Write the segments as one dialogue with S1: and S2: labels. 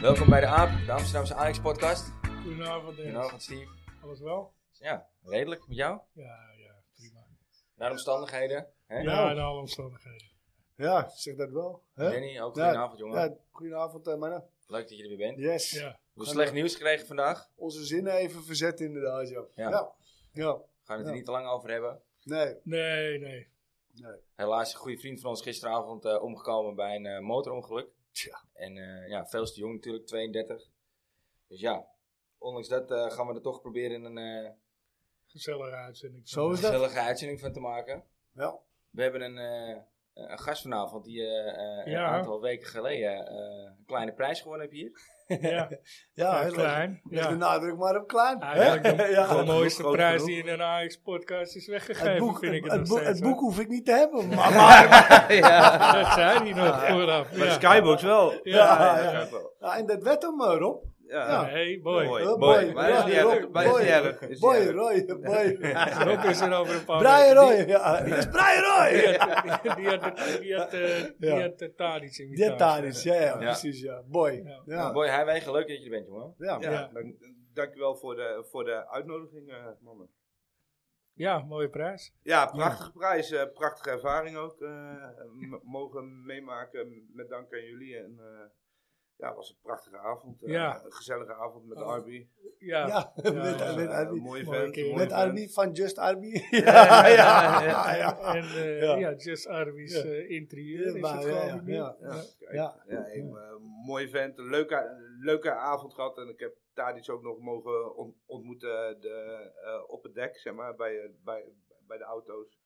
S1: Welkom bij de AAP, de Amsterdamse Alex podcast.
S2: Goedenavond, Dennis.
S1: Goedenavond Steve.
S2: Alles wel?
S1: Ja, redelijk met jou.
S2: Ja, ja, prima.
S1: Naar de omstandigheden. Hè?
S2: Ja, in alle omstandigheden.
S3: Ja, ik zeg dat wel. Hè?
S1: Danny, ook
S3: Ja,
S1: goedenavond jongen.
S3: Ja, goedenavond, eh, mannen.
S1: Leuk dat je er weer bent.
S3: Yes.
S2: Ja.
S1: We hebben slecht nieuws gekregen vandaag.
S3: Onze zinnen even verzet inderdaad, ja.
S1: Ja.
S3: Ja. ja.
S1: We gaan het er
S3: Ja.
S1: niet te lang over hebben.
S3: Nee.
S2: Nee, nee.
S3: nee.
S1: Helaas een goede vriend van ons gisteravond eh, omgekomen bij een eh, motorongeluk.
S3: Tja.
S1: En eh, ja, veel te jong natuurlijk, 32. Dus ja, ondanks dat eh, gaan we er toch proberen een eh,
S2: Gezellige uitzending.
S3: Zo is dat.
S1: gezellige uitzending van te maken.
S3: Ja.
S1: We hebben een, eh, een gast vanavond die eh, eh, een
S2: Ja.
S1: aantal weken geleden eh, een kleine prijs gewonnen heeft hier.
S2: Ja,
S3: Ja,
S2: ja
S3: heel
S2: klein.
S3: Leg de
S2: Ja.
S3: nadruk maar op klein.
S2: Eigenlijk
S3: hè?
S2: de,
S3: Ja.
S2: de mooiste
S1: genoeg,
S2: prijs
S1: genoeg.
S2: die in een AX-podcast is weggegeven,
S3: Het boek,
S2: vind ik het,
S3: het,
S2: nog
S3: boek,
S2: steeds.
S3: het
S2: hoor.
S3: boek hoef ik niet te hebben. Maar, maar-
S1: ja.
S2: Dat zei hij nog vooraf. ja.
S4: Maar de Skybox wel.
S2: Ja,
S3: Ja,
S2: ja.
S3: ja. Ja, en dat werd hem, eh, Rob. Ja.
S2: Hey, boy.
S4: Mooi.
S3: Eh,
S4: Boy, maar dat is
S3: Roy,
S4: niet erg,
S3: Rob,
S4: maar dat is niet
S3: Boy,
S4: erg, is niet
S3: Boy,
S4: erg.
S3: Roy, Boy.
S2: Rob is er over een paar
S3: Brian
S2: weken.
S3: Roy, ja. Dit is Brian Roy.
S2: Die, die had, de- die had, eh, die
S3: Ja.
S2: had de Tadic in
S3: Dit daar is, ja, ja,
S1: Ja.
S3: precies, ja. Boy.
S2: Ja.
S3: Ja.
S1: Nou, Boy, hij wegen, leuk dat je er bent, jongen.
S3: Ja.
S4: Ja,
S2: Ja.
S4: dank- Dankjewel voor de, voor de uitnodiging, eh, mannen.
S2: Ja, mooie prijs.
S4: Ja, prachtige prijs. eh, prachtige ervaring ook. eh, m- mogen meemaken met dank aan jullie. En, eh, ja, het was een prachtige avond. eh,
S2: Ja.
S4: Een gezellige avond met
S2: Oh.
S4: Arby.
S2: Ja.
S3: Ja, met,
S2: ja.
S3: met
S4: Eh,
S3: Arby.
S4: mooie
S2: Mooie
S4: vent.
S2: keer.
S4: mooie
S3: Met
S4: vent.
S3: Arby van Just Arby. ja, ja, ja, ja.
S2: En eh,
S3: Ja.
S2: ja. Just Arby's
S3: Ja.
S2: eh, interieur is
S3: Maar,
S2: het
S3: ja,
S2: gewoon
S3: ja,
S2: nu.
S3: ja.
S4: Ja, kijk,
S3: Ja.
S4: ja. een eh, mooi vent. Een leuke, een leuke avond gehad. En ik heb Tadic ook nog mogen on- ontmoeten de, eh, op het dek, zeg maar, bij, eh, bij, bij de auto's.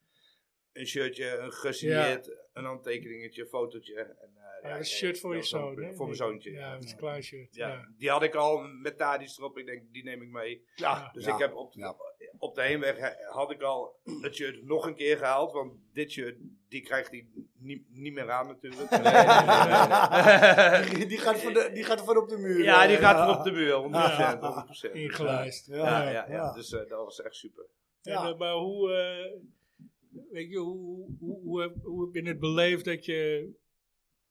S4: Een shirtje, een gesigneerd, een handtekeningetje, een fotootje. En, eh,
S2: Ja,
S4: ja,
S2: een
S4: ik-
S2: shirt voor je
S4: dat was
S2: zoon.
S4: een-
S2: hè?
S4: Voor mijn zoontje.
S2: Ja,
S4: Ja.
S2: een klein shirt.
S4: Ja.
S2: Ja.
S4: die had ik al met Tadic erop. Ik denk, die neem ik mee.
S2: Ja.
S4: Dus
S3: Ja.
S4: ik heb op,
S3: Ja.
S4: op de heenweg eh, had ik al het shirt nog een keer gehaald. Want dit shirt, die krijgt hij niet, niet meer aan natuurlijk.
S3: Die, die gaat voor de, die gaat voor op de muur.
S4: Ja,
S3: eh,
S4: die gaat er op de muur, 100%. 100%.
S3: Ja.
S2: Ingelijst.
S3: Ja,
S4: Ja, ja, ja. Dus eh, dat was echt super.
S3: Ja.
S2: En, eh, maar hoe, eh, weet je, hoe, hoe, hoe, heb- hoe heb je het beleefd dat je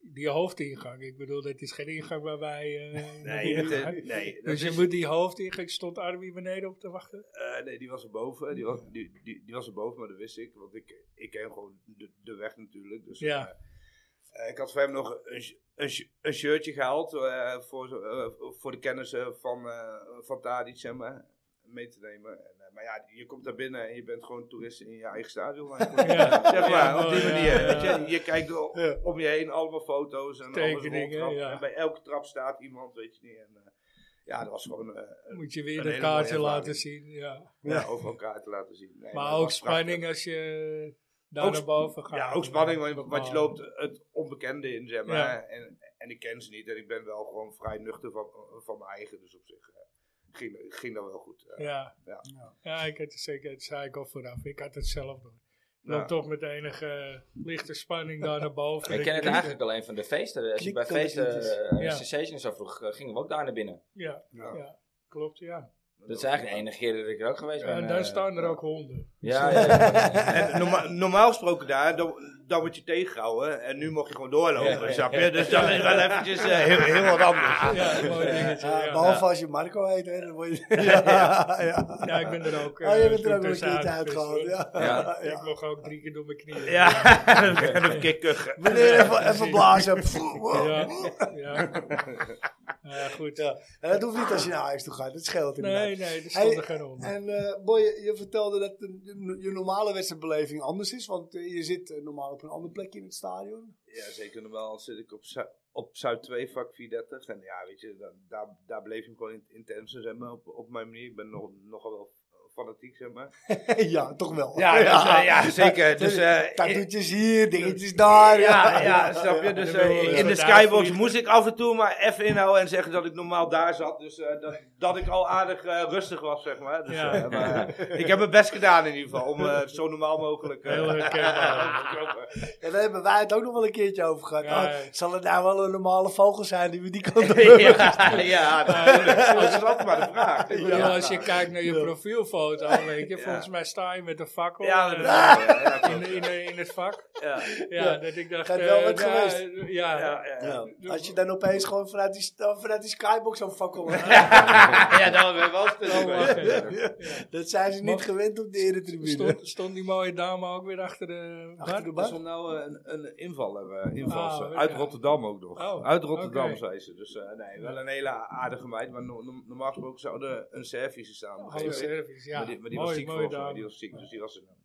S2: die hoofdingang, ik bedoel, dat is geen ingang waar wij. eh,
S4: Nee,
S2: naartoe
S4: het,
S2: gaan.
S4: eh, nee, dat
S2: dus je
S4: is-
S2: moet die hoofdingang, stond Arby beneden op te wachten?
S4: eh, nee, die was erboven. Die was, die, die, die was erboven, maar dat wist ik. Want ik, ik ken gewoon de, de weg natuurlijk. Dus,
S2: Ja.
S4: eh, eh, ik had voor hem nog een, sh- een, sh- een shirtje gehaald eh, voor, zo- eh, voor de kennissen van, eh van Tadic, zeg maar, mee te nemen. En, eh, maar ja, je komt daar binnen en je bent gewoon toerist in je eigen stadion. eigenlijk.
S2: Ja.
S4: Zeg maar,
S2: Ja,
S4: op die
S2: ja,
S4: manier.
S2: ja,
S4: weet
S2: ja.
S4: je, je kijkt o-
S3: Ja.
S4: om je heen, allemaal foto's en
S2: Tekeningen,
S4: alles rondtrap.
S2: ja.
S4: En bij elke trap staat iemand, weet je niet. En, eh, ja, dat was gewoon eh, een-
S2: Moet je weer
S4: Een
S2: een
S4: hele mooie
S2: kaartje
S4: ervaring.
S2: laten zien. Ja.
S4: ja, over elkaar te laten zien. Nee,
S2: maar
S4: dat
S2: ook
S4: was prachtig.
S2: spanning als je daar
S4: Ook
S2: naar
S4: sp-
S2: boven gaat.
S4: Ja, ook spanning, want, want
S2: Normaal.
S4: je loopt het onbekende in, zeg maar.
S2: Ja.
S4: En, en ik ken ze niet en ik ben wel gewoon vrij nuchter van, van mijn eigen. Dus op zich eh, ging, ging dat wel goed. eh.
S2: Ja.
S4: Ja.
S2: Ja. ik had het zeker, dat zei ik al vooraf. Ik had het zelf nog. Ik loop
S4: Ja.
S2: toch met enige eh, lichte spanning daar naar boven.
S1: Ik ken het
S2: Ja.
S1: eigenlijk alleen van de feesten. Als je bij
S3: Klik-
S1: feesten eh,
S2: Ja.
S1: Sensation zo vroeg, eh, gingen we ook daar naar binnen.
S2: Ja,
S3: Ja.
S2: ja, klopt, ja.
S1: Dat is eigenlijk de enige keer dat ik er ook geweest ben.
S2: En daar
S1: eh.
S2: staan er ook honden.
S1: Ja, ja, ja.
S4: En norma- normaal gesproken daar, dan, dan word je tegengehouden. En nu mocht je gewoon doorlopen,
S1: Ja.
S4: snap je? Dus dat is wel eventjes eh, heel, heel wat anders.
S2: Ja, een mooi dingetje.
S3: Ja,
S2: Ja,
S3: behalve als je Marco heet, hè, dan word je... Ja, ja.
S2: Ja, ik ben er ook.
S3: Oh, je
S2: eh,
S3: bent er
S2: toen
S3: ook een
S2: tussenuit
S3: keertje
S2: gepist,
S3: uitgehaald,
S2: hoor.
S3: ja.
S1: Ja.
S3: Ja.
S2: Ik mocht ook drie keer door mijn knieën.
S4: Ja, en een kikker.
S3: Meneer, even, even blazen. Pff, wow.
S2: ja. ja. Ja, goed.
S3: En dat hoeft niet als je naar huis toe gaat, dat scheelt inderdaad.
S2: Nee, nee, er stonden
S3: Hey,
S2: geen honden.
S3: En eh, Boy, je je vertelde dat de- de- je normale wedstrijdbeleving anders is, want eh, je zit eh, normaal op een ander plekje in het stadion.
S4: Ja, zeker normaal zit ik op, Zu- op Zuid 2, vak 430. En ja, weet je, dan, daar, daar bleef ik gewoon in- intens, zeg maar, op, op mijn manier. Ik ben nog, nogal wel fanatiek, zeg maar.
S3: ja, toch wel.
S4: Ja, dus, eh, ja zeker. Dus, eh,
S3: Tattoetjes hier, dingetjes daar.
S4: ja, ja, snap je? Dus
S2: Ja,
S4: eh,
S2: ja.
S4: in
S2: Ja.
S4: de skybox moest ik af en toe maar even inhouden en zeggen dat ik normaal daar zat. Dus eh, dat, dat ik al aardig eh, rustig was, zeg maar. Dus,
S2: Ja.
S4: eh, maar, eh, ik heb mijn best gedaan in ieder geval, om eh, zo normaal mogelijk... eh,
S2: Heel herkenbaar.
S4: te lopen.
S3: En daar hebben wij het ook nog wel een keertje over gehad.
S2: Ja,
S3: Oh,
S2: ja.
S3: zal het nou wel een normale vogel zijn die we die kant op hebben?
S4: ja, ja, natuurlijk. Dat is altijd maar de vraag.
S2: Ik bedoel, als je kijkt naar je profielfoto, voorpoot al, weet je. Volgens mij sta je met een fakkel
S4: Ja,
S2: eh,
S4: dat- ja, ja,
S2: in,
S4: klopt.
S2: in, eh, in het vak.
S4: ja,
S2: Ja,
S3: Ja.
S2: dat ik dacht...
S3: Gaat wel
S2: eh,
S3: wat
S2: ja,
S3: geweest.
S2: Ja, Oh,
S4: ja,
S2: ja.
S4: ja, ja.
S3: Ja. Als je dan opeens gewoon vanuit die, dan vanuit die skybox zo'n fakkel
S4: Ja, dan hebben we wel spullen.
S2: Oh, wacht even.
S3: Dat zijn ze niet
S2: Mag-
S3: gewend op de eretribune.
S2: Stond, stond die mooie dame ook weer achter de
S3: Achter
S2: bar?
S3: de
S4: Dus
S3: bar.
S4: om nou eh, een, een inval hebben, invalse.
S2: Ah,
S4: Uit
S2: ja.
S4: Rotterdam ook nog.
S2: Oh,
S4: Uit Rotterdam
S2: oké.
S4: zei ze. Dus eh, nee, wel een hele aardige meid. Maar no- no- normaal gesproken zou er een Servische staan. op een
S2: Hallo
S4: gegeven moment.
S2: service, ja.
S4: maar die, maar die was
S2: Oh, Mooi,
S4: ziek
S2: mooie
S4: volgens mij. Die
S2: dame.
S4: was ziek, dus die was er niet.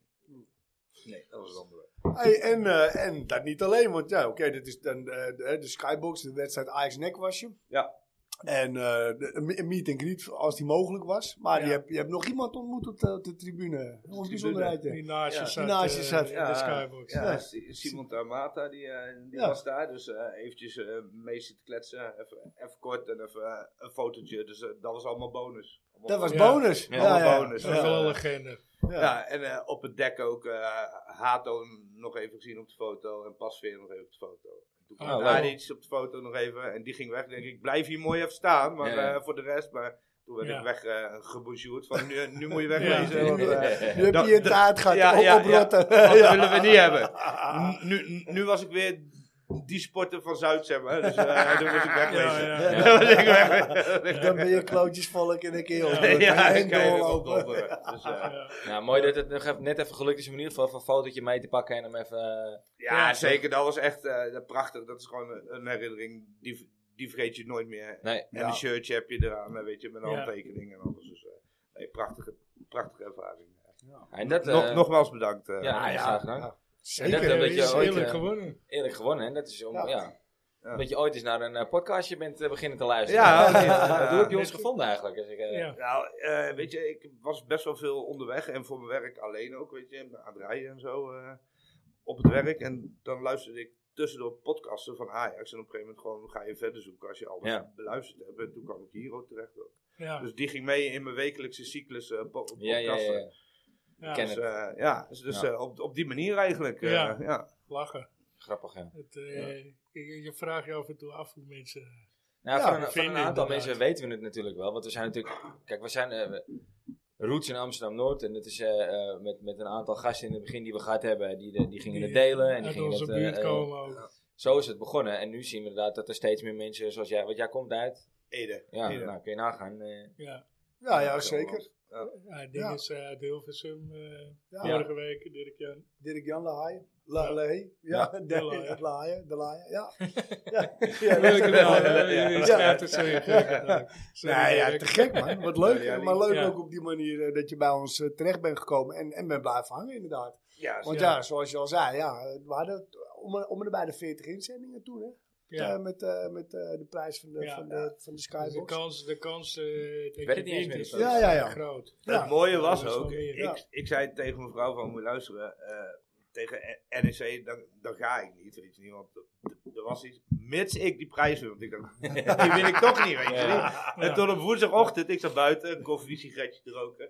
S4: Nee, dat was het andere.
S3: Hey, en, eh, en dat niet alleen, want ja, oké, dat is dan eh, de, de skybox, de wedstrijd Ajax Nek was je.
S4: Ja.
S3: En eh, de- een me- een meet and greet als die mogelijk was. Maar
S2: Ja.
S3: je, hebt, je hebt nog iemand ontmoet op de, op de tribune. Ons bijzonderheid. hè?
S2: Die naast je
S4: Ja.
S2: zat,
S3: Die naast je
S2: eh,
S3: zat.
S2: in
S4: Ja,
S2: de skybox.
S4: Ja,
S3: Ja.
S4: Si- Simon Tamata, die, eh, die
S3: Ja.
S4: was daar. Dus eh, eventjes eh mee zitten kletsen. Even, even kort en even eh, een fotootje. Dus eh, dat was allemaal bonus. Allemaal
S3: Dat was
S2: Ja.
S3: bonus.
S1: Ja,
S4: allemaal bonus.
S2: Dat is wel een
S4: Ja.
S2: legende.
S3: ja.
S4: Ja, en eh, op het dek ook eh, Hato nog even gezien op de foto en Pasveer nog even op de foto. Toen
S2: Ah,
S4: kwam
S1: leuk.
S4: Tadic op de foto nog even en die ging weg. denk ik, blijf hier mooi even staan, maar
S1: Ja.
S4: eh, voor de rest. Maar toen werd
S2: Ja.
S4: ik weg eh, gebonjourd van nu, nu moet je
S2: Ja.
S4: wegwezen. want, eh,
S3: Nu heb
S4: Dat-
S3: je een
S4: dat-
S3: taart gehad,
S4: ja,
S3: op,
S4: ja,
S3: op
S4: ja.
S3: rotten.
S4: dat
S3: Ja.
S4: willen we niet hebben. Nu, nu, nu was ik weer die sporter van Zuid, zeg maar. Dus eh, toen was
S2: Ja,
S4: ik wegwezen.
S2: ja.
S4: Toen was ik wegwezen.
S3: Dan ben je klootjesvolk en dan kun je op
S4: Ja, ja,
S3: en
S4: ik kan je
S3: doorlopen.
S4: oplopen. Dus, eh,
S1: Nou, mooi dat het nog even- net even gelukt is om in ieder geval even een fotootje mee te pakken en hem even... eh,
S4: Ja,
S2: Ja,
S4: zeker. Dat was echt eh, prachtig. Dat is gewoon een, een herinnering. Die, die vergeet je nooit meer.
S1: nee,
S4: En
S3: Ja.
S4: een shirtje heb je eraan, eh, weet je, met een
S2: Ja.
S4: handtekening en alles. Dus, eh, nee, prachtige, prachtige ervaring.
S1: en dat... eh,
S4: Nog, nogmaals bedankt. eh.
S1: ja,
S4: ja.
S1: ja, graag gedaan. En
S2: Zeker,
S1: dat, eh,
S2: dat
S1: dat
S2: is
S1: je ooit
S2: eerlijk
S1: eh,
S2: gewonnen.
S1: eerlijk gewonnen, hè? Dat is om...
S3: Ja.
S1: Ja.
S4: Ja.
S1: Dat je ooit eens naar een eh, podcastje bent eh, beginnen te luisteren.
S4: Ja,
S1: Eh,
S4: ja.
S1: Hoe heb je ons gevonden eigenlijk? Dus ik, eh,
S2: Ja.
S4: Nou, eh, weet je, ik was best wel veel onderweg en voor mijn werk alleen ook, weet je, aan het rijden en zo eh, op het werk. En dan luisterde ik tussendoor podcasten van Ajax en op een gegeven moment gewoon ga je verder zoeken als je alles
S1: Ja.
S4: beluisterd hebt. En toen kwam ik hier ook terecht. ook.
S2: Ja,
S4: Dus die ging mee in mijn wekelijkse cyclus eh, po- podcasten.
S1: ja, ja, ja, ja.
S2: ja,
S1: ken-
S4: Dus, eh, ja, dus, dus,
S1: Ja.
S4: eh, op, op die manier eigenlijk. eh,
S2: Ja.
S4: ja.
S2: lachen.
S1: Grappig, ja.
S2: Het, eh, je, je vraagt je af en toe af hoe mensen...
S1: Nou,
S3: Ja,
S1: van, een,
S2: dat
S1: van
S2: vind
S1: een
S2: ik
S1: aantal
S2: inderdaad.
S1: mensen weten we het natuurlijk wel. Want we zijn natuurlijk... Kijk, we zijn eh, we- roots in Amsterdam-Noord. En dat is eh, eh, met, met een aantal gasten in het begin die we gehad hebben. Die, de- die gingen het delen. En die
S2: uit
S1: gingen
S2: onze
S1: het, eh,
S2: buurt
S1: eh,
S2: komen ook.
S1: Zo is het begonnen. En nu zien we inderdaad dat er steeds meer mensen zoals jij... Want jij komt uit...
S4: Ede.
S1: Ja,
S4: Ede.
S1: nou kun je nagaan. eh,
S2: Ja,
S3: Ja, ja, zeker.
S2: ja Ding
S3: Ja.
S2: is eh, uit Hilversum eh,
S3: Ja.
S2: vorige week, Dirk-Jan.
S3: Dirk-Jan Lahaaien. La Lahey. Ja, de
S2: De Laaien.
S3: Lahaaien. De Laaien, ja.
S2: Ja,
S3: Ja.
S2: ja, ja.
S3: Ja.
S2: het zo eh, in. Ja.
S3: Nou
S2: Sorry,
S3: ja,
S2: Dirk.
S3: te gek man. Wat leuk.
S4: Ja, die-
S3: maar leuk
S2: ja.
S3: ook op die manier eh, dat je bij ons eh, terecht bent gekomen en, en bent blijven hangen inderdaad.
S4: Ja,
S3: Want
S2: Ja.
S3: ja, zoals je al zei, ja, eh, we hadden om, eh, om en bij de 40 inzendingen toen hè.
S2: Ja.
S3: Eh, met eh, met eh, de prijs van de,
S2: Ja.
S3: van de, van de
S2: Dus de
S3: Skybox.
S2: kans, de kans eh dat
S1: weet
S2: je
S1: het niet eens meer,
S2: dient is
S1: dat
S3: is- Ja, ja, ja.
S2: groot.
S4: Het
S3: Ja.
S4: mooie was
S2: Dat is
S4: ook,
S2: wel meer,
S4: ik,
S3: ja.
S4: ik zei tegen mijn vrouw van, moet je luisteren, eh, tegen NEC, dan, dan ga ik niet, weet je niet. Want er- er was iets, mits ik die prijs win, want ik dacht, die win ik toch niet, weet je niet. En tot op woensdagochtend, ik zat buiten, een koffiesigaretje te roken.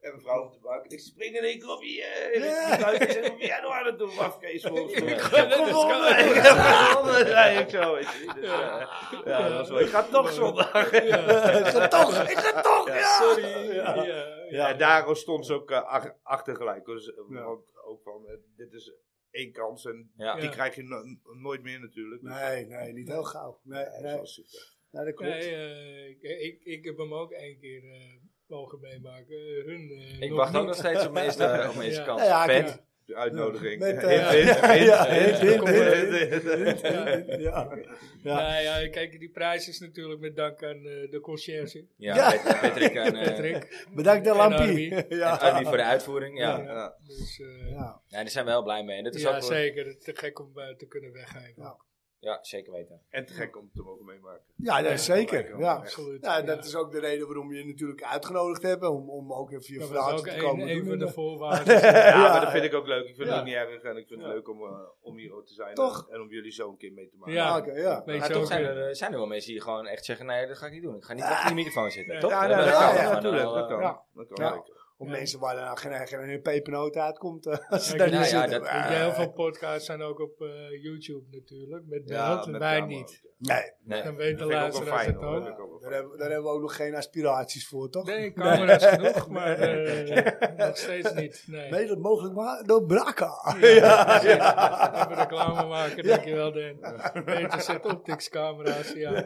S4: En mijn vrouw op de bank, ik spring in één keer op je, eh, in
S3: Ja.
S4: die buiten. Ik zeg, wat ben jij nou aan het doen, mafkees, volgens mij. Ik
S2: heb
S4: gewonnen, ik heb gewonnen, zei ik zo, weet je niet. Dus, eh, ja, dat was wel, ik ga toch zondag.
S3: ik ga toch, ik ga toch, ja.
S2: Sorry.
S3: Ja.
S2: Ja. Ja.
S4: Ja, en daarom stond ze ook eh, ach- achter gelijk. Dus, eh,
S3: Ja.
S4: Want ook van, eh, dit is één kans en
S1: Ja.
S4: die
S2: Ja.
S4: krijg je no- nooit meer natuurlijk.
S3: Nee, nee, niet heel gauw. Nee,
S4: Ja, dat is
S3: nee.
S4: wel super.
S3: nee dat klopt.
S2: Nee, eh, ik, ik, ik heb hem ook één keer eh, mogen meemaken. Eh, hun, eh,
S1: Ik
S2: nog
S1: wacht ook
S2: niet.
S1: nog steeds op mijn eerste, op mijn eerste
S2: Ja.
S1: kans.
S3: Ja, ja,
S1: Vet.
S4: De uitnodiging.
S3: Met,
S4: Hint,
S3: eh,
S4: hint, hint,
S3: ja,
S4: hint,
S3: hint,
S4: kom
S3: hint,
S4: maar,
S3: hint,
S4: hint, hint.
S3: ja. Ja.
S2: Nou ja, kijk, die prijs is natuurlijk met dank aan eh, de conciërge,
S1: Ja,
S3: Ja.
S1: Pet- Patrick en, eh,
S2: Patrick.
S3: Bedankt de
S2: En
S3: lampie.
S2: Arby.
S1: en
S3: Ja.
S1: Arnie voor de uitvoering. Ja.
S4: Ja. Ja.
S2: dus, eh, ja,
S3: Ja.
S1: Ja, daar zijn we heel blij mee. En dat is ook wel-
S2: zeker. Het is te gek om eh, te kunnen weggeven.
S3: Ja.
S1: Ja, zeker weten.
S4: En te gek om te mogen meemaken.
S3: Ja, nee, zeker. Ja.
S2: Absoluut.
S3: Ja, en dat is ook de reden waarom we je natuurlijk uitgenodigd hebben. Om, om ook even je
S2: dat was
S3: verhaal
S2: ook
S3: te
S2: een,
S3: komen
S2: een
S3: doen.
S2: van de
S3: Ja.
S2: voorwaarden.
S4: Ja,
S3: Ja.
S4: maar dat vind ik ook leuk. Ik vind
S3: Ja.
S4: het ook niet erg en ik vind het
S3: Ja.
S4: leuk om, eh, om hier ook te zijn.
S3: Toch?
S4: En, en om jullie zo een keer mee te maken.
S2: Ja.
S3: Ah, oké, ja.
S2: Weet
S1: Maar
S2: je
S1: toch
S2: ook,
S1: zijn
S2: eh,
S1: er, eh, zijn er wel mensen die gewoon echt zeggen, nee, dat ga ik niet doen. Ik ga niet achter die microfoon zitten,
S2: Ja.
S1: toch?
S4: Ja, nou,
S1: dat
S4: dat
S1: kan
S4: kan.
S3: ja,
S1: gewoon
S4: natuurlijk,
S1: al,
S4: dat kan.
S1: eh,
S3: ja.
S4: Dat kan
S3: Ja.
S4: zeker.
S3: Om
S2: Ja.
S3: mensen waar dan geen, geen pepernoot uitkomt. eh, als ze
S2: Ja,
S3: daar
S2: nou
S3: niet
S1: ja,
S3: zitten.
S1: dat-
S2: Want heel veel podcasts zijn ook op eh, YouTube natuurlijk. Met beeld en
S4: met
S2: wij
S4: camera.
S2: niet.
S3: Nee,
S1: Nee.
S2: Dan weten de
S4: Dat vind ik ook wel
S2: luisteraars
S4: fijn.
S2: het
S4: hoor.
S2: ook.
S4: Dat vind ik ook wel
S3: daar
S4: fijn.
S3: hebben, daar hebben we ook nog geen aspiraties voor, toch?
S2: Nee, camera is genoeg, maar eh, nog steeds niet. Nee.
S3: Mede mogelijk maar door Braca.
S2: Ja,
S3: Ja,
S2: precies.
S3: ja.
S2: Even reclame maken, dankjewel Dan. Beter zet opticscamera's, ja.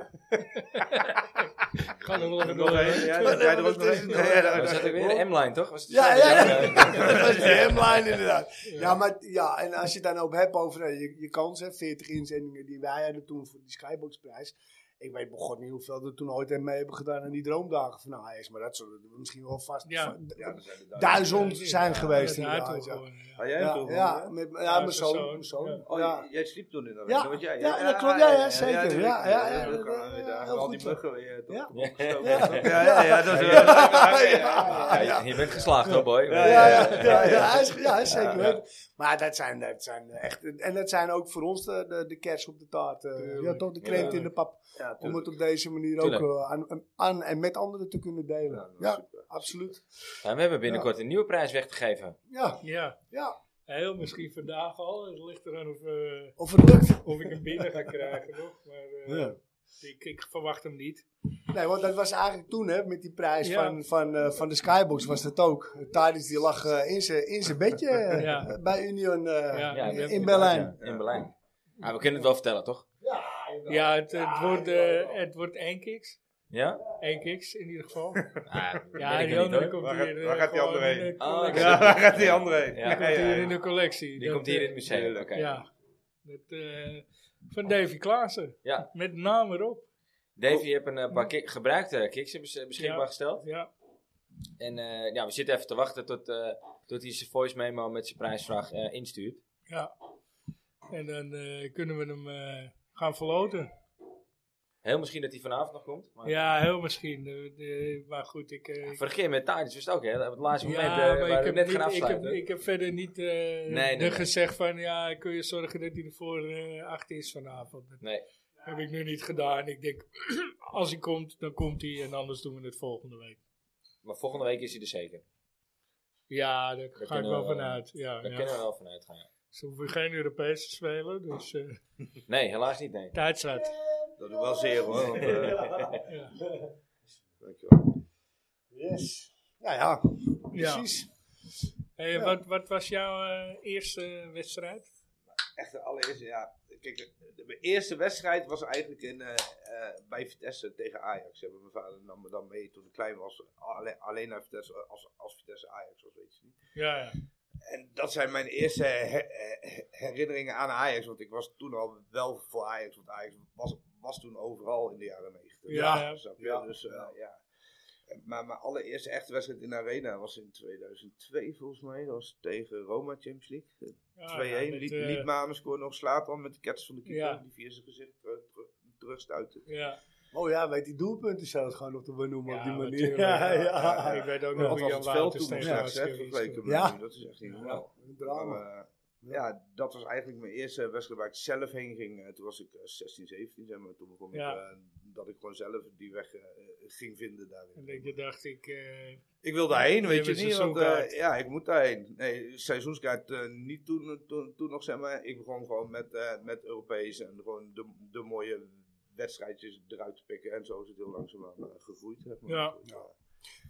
S2: Ik ga er nog een
S4: Nog
S2: door.
S4: één? Ja, jij er ook nog één?
S3: Ja,
S4: Ja, daar-
S1: We zaten weer in de M-line, toch? Was het
S3: Ja, ja,
S1: dezelfde?
S3: ja. Dat is de hemline inderdaad.
S2: Ja.
S3: Ja, maar ja, en als je het dan ook hebt over eh, je, je kans, hè, 40 inzendingen die wij hadden toen voor die Skyboxprijs. Ik weet begon niet hoeveel er toen ooit aan mee hebben gedaan aan die droomdagen van Ajax. Maar dat zullen er misschien wel vast
S2: Ja.
S3: va-
S4: Ja, dat zijn de duizend.
S3: duizend zijn geweest
S2: Ja, daartoe
S3: inderdaad. Ja,
S2: gewoon, ja.
S4: Ga jij hem
S3: ja,
S4: toch?
S3: ja, met, ja,
S2: Ja,
S3: mijn zoon.
S2: persoon,
S3: mijn zoon,
S2: ja.
S4: Oh,
S3: ja.
S4: j- jij sliep toen in dat
S3: Ja,
S4: weet jij, Ah,
S3: ja, dat klopt, ja, ja, zeker,
S4: tuurlijk.
S3: ja, ja, ja,
S4: dat kan
S3: ja,
S4: weer,
S3: ja, heel
S4: daar hebben al die
S3: goed,
S4: muggen weer eh, toch
S3: Ja.
S4: opgestoken.
S3: Ja.
S4: Ja, ja, ja, dat is wel-
S3: Ja, ja,
S1: Ja,
S3: ja, ja.
S1: je- Je bent geslaagd, hoor, boy.
S4: Ja,
S3: ja, ja, ja, ja, hij is- ja, hij is zeker
S1: Ja.
S3: weten. Maar dat zijn, dat zijn echt, en dat zijn ook voor ons de, de, de kers op de taart. eh.
S2: Tuurlijk.
S3: ja, toch, de krent in de pap.
S4: Ja,
S3: Om het
S4: tuurlijk.
S3: op deze manier ook
S1: Tuurlijk.
S3: eh, aan, aan en met anderen te kunnen
S4: Ja,
S3: delen.
S4: dat is
S3: Ja,
S4: super.
S3: absoluut.
S1: Ja, we hebben binnenkort een nieuwe prijs weg te geven.
S3: Ja,
S2: Ja,
S3: ja.
S2: heel misschien vandaag al. Het ligt eraan of, eh,
S3: Of het lukt.
S2: of ik hem binnen ga krijgen nog. Maar eh,
S3: Ja.
S2: ik, ik verwacht hem niet.
S3: Nee, want dat was eigenlijk toen, hè, met die prijs
S2: Ja.
S3: van, van, eh, van de Skybox was dat ook. Tadic die lag eh, in zijn in zijn bedje eh,
S2: Ja.
S3: bij Union eh,
S2: Ja,
S1: Ja,
S2: we
S3: in,
S2: hebben-
S3: Berlijn.
S1: Ja, in Berlijn. Ah, we kunnen het wel vertellen, toch?
S2: Ja, het, het wordt, eh het wordt één kiks.
S1: Ja?
S2: Eén kiks in ieder geval.
S1: Ah,
S2: Ja,
S1: weet ik nog
S2: die
S1: niet,
S2: andere
S1: hoor.
S2: komt
S4: Waar
S2: hier.
S4: gaat-
S2: eh,
S4: waar gaat die
S2: gewoon
S4: andere
S2: in de
S4: heen?
S1: Oh,
S2: collectie.
S1: oké.
S4: Ja, waar gaat die andere heen?
S1: Ja.
S2: Die komt hier in de collectie.
S1: Die
S2: Dat,
S1: komt hier in het
S2: eh,
S1: museum. Oké.
S2: Ja. Met, eh, van Davy Klaassen.
S1: Ja.
S2: Met naam erop.
S1: Davy, je hebt een eh, paar ki- gebruikte kicks bes- beschikbaar
S2: Ja.
S1: gesteld.
S2: Ja.
S1: En eh, ja, we zitten even te wachten tot, eh, tot hij zijn voice memo met zijn prijsvraag eh, instuurt.
S2: ja. En dan eh, kunnen we hem eh, gaan verloten.
S1: Heel misschien dat hij vanavond nog komt. Maar...
S2: Ja, heel misschien. Eh, eh, maar goed, ik... eh,
S1: Vorige keer met Tardis was het ook, hè? Op het laatste
S2: Ja,
S1: moment eh,
S2: maar
S1: waren we net
S2: niet-
S1: gaan
S2: ik, heb,
S1: afsluiten.
S2: ik heb verder niet eh
S1: nee,
S2: de
S1: nee.
S2: gezegd van ja, kun je zorgen dat hij ervoor eh acht is vanavond. Dat
S1: Nee.
S2: heb ik nu niet gedaan. Ik denk, als hij komt, dan komt hij en anders doen we het volgende week.
S1: Maar volgende week is hij er zeker.
S2: Ja, daar ga ik
S1: kunnen
S2: wel
S1: we-
S2: vanuit. Ja,
S1: Daar
S2: ja.
S1: kunnen we wel van uitgaan. ja.
S2: Ze hoeven geen Europese te spelen, dus eh
S1: Nee, helaas niet, nee.
S2: tijd zat.
S4: Dat doet wel zeer hoor. want, eh,
S2: Ja.
S4: dankjewel.
S3: Yes. Ja, ja,
S2: Ja.
S3: precies.
S2: Hey,
S3: Ja.
S2: Wat, wat was jouw eh, eerste wedstrijd?
S4: Echt de allereerste, ja. Kijk, de- de- mijn eerste wedstrijd was eigenlijk in, eh, eh, bij Vitesse tegen Ajax. Hè. Mijn vader nam me dan mee toen ik klein was. Alleen, alleen naar Vitesse, als, als Vitesse Ajax of zoiets.
S2: Ja, ja.
S4: En dat zijn mijn eerste her- her- herinneringen aan Ajax. Want ik was toen al wel voor Ajax. Want Ajax was, was toen overal in de jaren negentig.
S2: Ja, ja.
S4: snap je? Dus, eh, ja. En- Maar mijn allereerste echte wedstrijd in de Arena was in 2002 volgens mij. Dat was tegen Roma Champions League.
S2: Ja,
S4: 2-1.
S2: ja, met,
S4: liet,
S2: eh,
S4: liet Manen scoren nog slaat dan met de kets van de keeper.
S2: Ja.
S4: Die via zijn gezicht terug, terug, terugstuitte.
S2: ja.
S3: Oh ja, weet die doelpunten zelfs gewoon nog te benoemen
S2: Ja,
S3: op die manier.
S2: natuurlijk,
S3: Ja,
S2: ja.
S3: ja.
S2: Ik weet ook
S3: Ja,
S2: nog
S4: Dat
S2: hoe
S4: was
S2: Jan
S4: het veld
S2: Wouters
S4: toen
S2: tegen
S4: straks,
S2: Ajax
S4: hè,
S2: geweest
S4: vergeleken
S2: toen.
S4: met
S3: Ja.
S4: nu. Dat is echt niet
S2: Ja.
S4: normaal.
S3: Een drama.
S4: Maar, eh, ja, dat was eigenlijk mijn eerste wedstrijd waar ik zelf heen ging. Eh, toen was ik eh, 16, 17, zeg maar. Toen begon ik
S2: Ja.
S4: eh, dat ik gewoon zelf die weg eh, ging vinden daarin.
S2: En dat je dacht, ik... eh,
S4: Ik wil daarheen, weet je
S2: Hebben
S4: niet. Want, eh,
S2: seizoenkaart.
S4: ja, ik moet daarheen. Nee, seizoenskaart eh, niet toen, toen, toen nog, zeg maar. Ik begon gewoon met, eh, met Europees en gewoon de, de mooie wedstrijdjes eruit te pikken. En zo is het heel langzaamaan eh, gegroeid. zeg maar.
S2: Ja.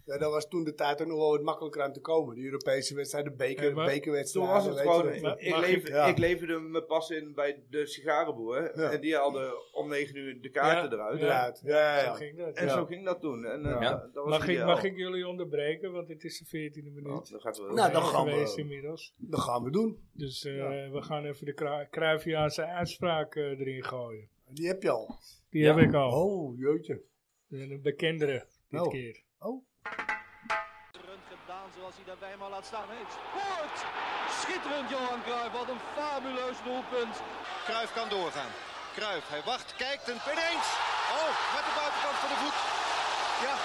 S3: Ja, dat was toen de tijd ook nog wel wat makkelijker aan te komen. De Europese wedstrijden, beker,
S2: Ja, maar
S4: Toen
S3: bekerwedstrijden.
S4: was het
S3: weet je
S4: gewoon,
S3: dat.
S2: Maar-
S4: ik,
S2: maar-
S4: lever,
S3: ja.
S4: ik leverde mijn pas in bij de sigarenboer.
S3: Ja.
S4: En die haalden om 9 uur de kaarten
S2: Ja, ja.
S4: eruit.
S3: Inderdaad. Ja, ja,
S2: Zo
S3: ja.
S2: ging dat.
S4: En
S3: Ja.
S4: zo ging dat toen. En, eh,
S3: Ja.
S4: dat- dat was
S2: Mag ik,
S4: ideaal.
S2: mag ik jullie onderbreken? Want het is de 14e
S4: Nou,
S2: minuut. Eh,
S4: dat gaat wel.
S3: Nou, dan gaan we-
S2: geweest inmiddels.
S3: Dat gaan we doen.
S2: Dus eh, we gaan even de Kra- Cruyffiaanse uitspraak eh, erin gooien.
S3: Die heb je al.
S2: Die
S1: Ja.
S2: heb ik al.
S3: Oh, jeetje.
S2: Een bekendere dit
S3: Oh.
S2: keer.
S3: Oh.
S5: schitterend gedaan zoals hij daarbij maar laat staan. Hij scoort! Schitterend Johan Cruijff, wat een fabuleus doelpunt.
S6: Kruif kan doorgaan. Kruif, hij wacht, kijkt en ineens. Oh, met de buitenkant van de voet. Ja,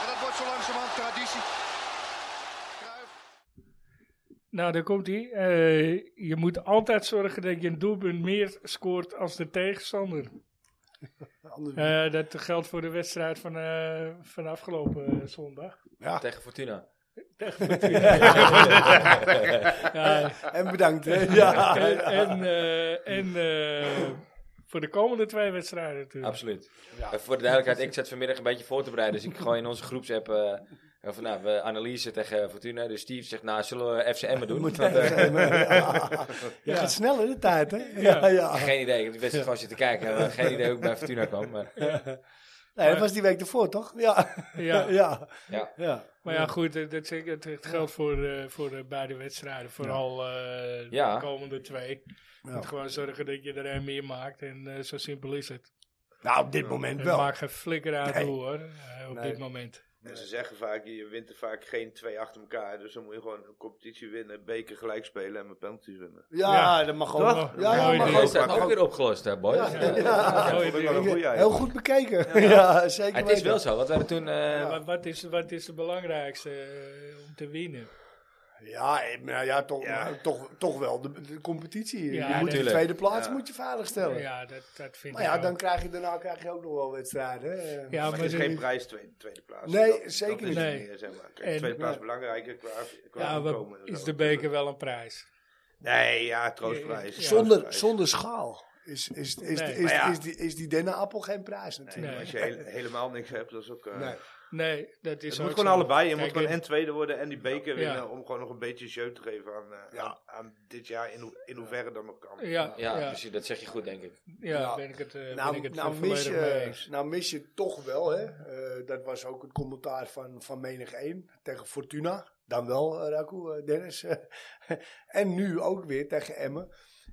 S6: en dat wordt zo langzamerhand traditie. Kruif.
S2: Nou, daar komt hij. Eh, je moet altijd zorgen dat je een doelpunt meer scoort als de tegenstander.
S3: Anders-
S2: Eh, dat geldt voor de wedstrijd van, eh, van afgelopen eh, zondag.
S3: ja.
S1: Tegen Fortuna.
S2: Ja,
S3: En bedankt. Hè? Ja.
S2: Eh, en en, eh, en eh, voor de komende twee wedstrijden natuurlijk.
S1: Absoluut. Eh, voor de duidelijkheid, ik zat vanmiddag een beetje voor te bereiden. Dus ik gooi in onze groepsapp eh, van nou, we analyse tegen Fortuna. Dus Steve zegt, nou, zullen we FC Emmen doen? Want, eh,
S3: Je gaat snel in de tijd, hè? Ja, ja.
S1: geen idee, ik heb de wedstrijd gewoon zitten kijken. Eh, geen idee hoe ik bij Fortuna kwam. Maar,
S3: Nee, dat was die week ervoor, toch? Ja.
S2: Ja.
S3: ja.
S1: ja.
S3: ja.
S2: Maar ja, goed, eh, dat, zeg- het het geldt voor, eh, voor de beide wedstrijden. Vooral eh,
S1: Ja.
S2: de komende twee.
S3: Ja.
S2: Moet gewoon zorgen dat je er een meer maakt. En eh, zo simpel is het.
S3: Nou, op dit moment
S2: Het
S3: wel.
S2: maakt geen flikker uit
S3: Nee.
S2: hoe hoor, eh, op
S3: Nee.
S2: dit moment.
S4: En ze zeggen vaak, je wint er vaak geen twee achter elkaar. Dus dan moet je gewoon een competitie winnen, beker gelijk spelen en met penalties winnen.
S3: Ja,
S2: Ja.
S3: dat mag ook.
S2: Toch?
S1: Oh,
S3: Ja,
S2: Mooi
S3: ja,
S2: idee.
S3: mag
S1: Is
S3: ook.
S1: dat
S3: Mag
S1: ook
S3: ook.
S1: weer opgelost, hè, boys?
S3: Ja.
S1: Eh,
S3: Ja.
S2: Mooi
S4: Dat vond ik wel
S2: idee.
S4: een goeie
S3: Heel
S4: eigenlijk.
S3: goed bekeken. Ja, zeker
S1: het is
S3: weten.
S1: wel zo, want we hebben toen... eh,
S2: Eh, wat, wat, is, wat is het belangrijkste eh, om te winnen?
S3: Ja, eh, nou ja, toch,
S4: Ja.
S3: nou, toch, toch wel de, de competitie.
S2: Ja,
S3: je moet de
S1: tuurlijk.
S3: tweede plaats
S4: Ja.
S3: moet je veiligstellen.
S2: Ja, dat, dat vind
S3: Maar
S2: ik
S3: ja,
S2: ook.
S3: dan krijg je, daarna krijg je ook nog wel wedstrijden. hè.
S2: Ja,
S4: Maar het is
S2: maar-
S4: geen prijs tweede, tweede plaats.
S3: Nee,
S4: Dat-
S3: zeker
S4: dat is
S3: niet.
S4: het
S2: Nee.
S4: meer, zeg maar. Kijk,
S2: En-
S4: tweede plaats belangrijker qua, qua
S2: ja, wat-
S4: opkomen en
S2: is
S4: zo.
S2: de beker wel een prijs?
S4: Nee, ja, troostprijs.
S2: Ja.
S3: Zonder,
S4: Troostprijs.
S3: zonder schaal is, is, is,
S2: Nee.
S3: is,
S4: Maar
S3: is,
S4: ja.
S3: die, is die dennenappel geen prijs natuurlijk.
S4: Nee,
S2: Nee.
S4: Als je he- helemaal niks hebt, dat is ook... eh,
S3: Nee.
S2: Nee, dat is
S4: Het moet
S2: ook
S4: gewoon
S2: zo.
S4: allebei. Je moet
S2: Kijk,
S4: gewoon
S2: en-
S4: en tweede worden en die beker winnen.
S2: Ja.
S4: Om gewoon nog een beetje show te geven aan, eh,
S3: Ja.
S4: aan, aan dit jaar. In, hoe- in hoeverre dan nog kan.
S2: Ja, ja,
S1: ja, dus-
S2: ja,
S1: precies, dat zeg je goed, denk ik.
S3: Ja.
S2: ben ik het, eh, ben ik
S3: Nou,
S2: het
S3: nou,
S2: volledig
S3: mis
S2: mee
S3: je,
S2: eens.
S3: nou mis je toch wel, hè. eh, dat was ook het commentaar van, van menig 1 tegen Fortuna. Dan wel, eh, Raku, eh, Dennis. en nu ook weer tegen Emmen.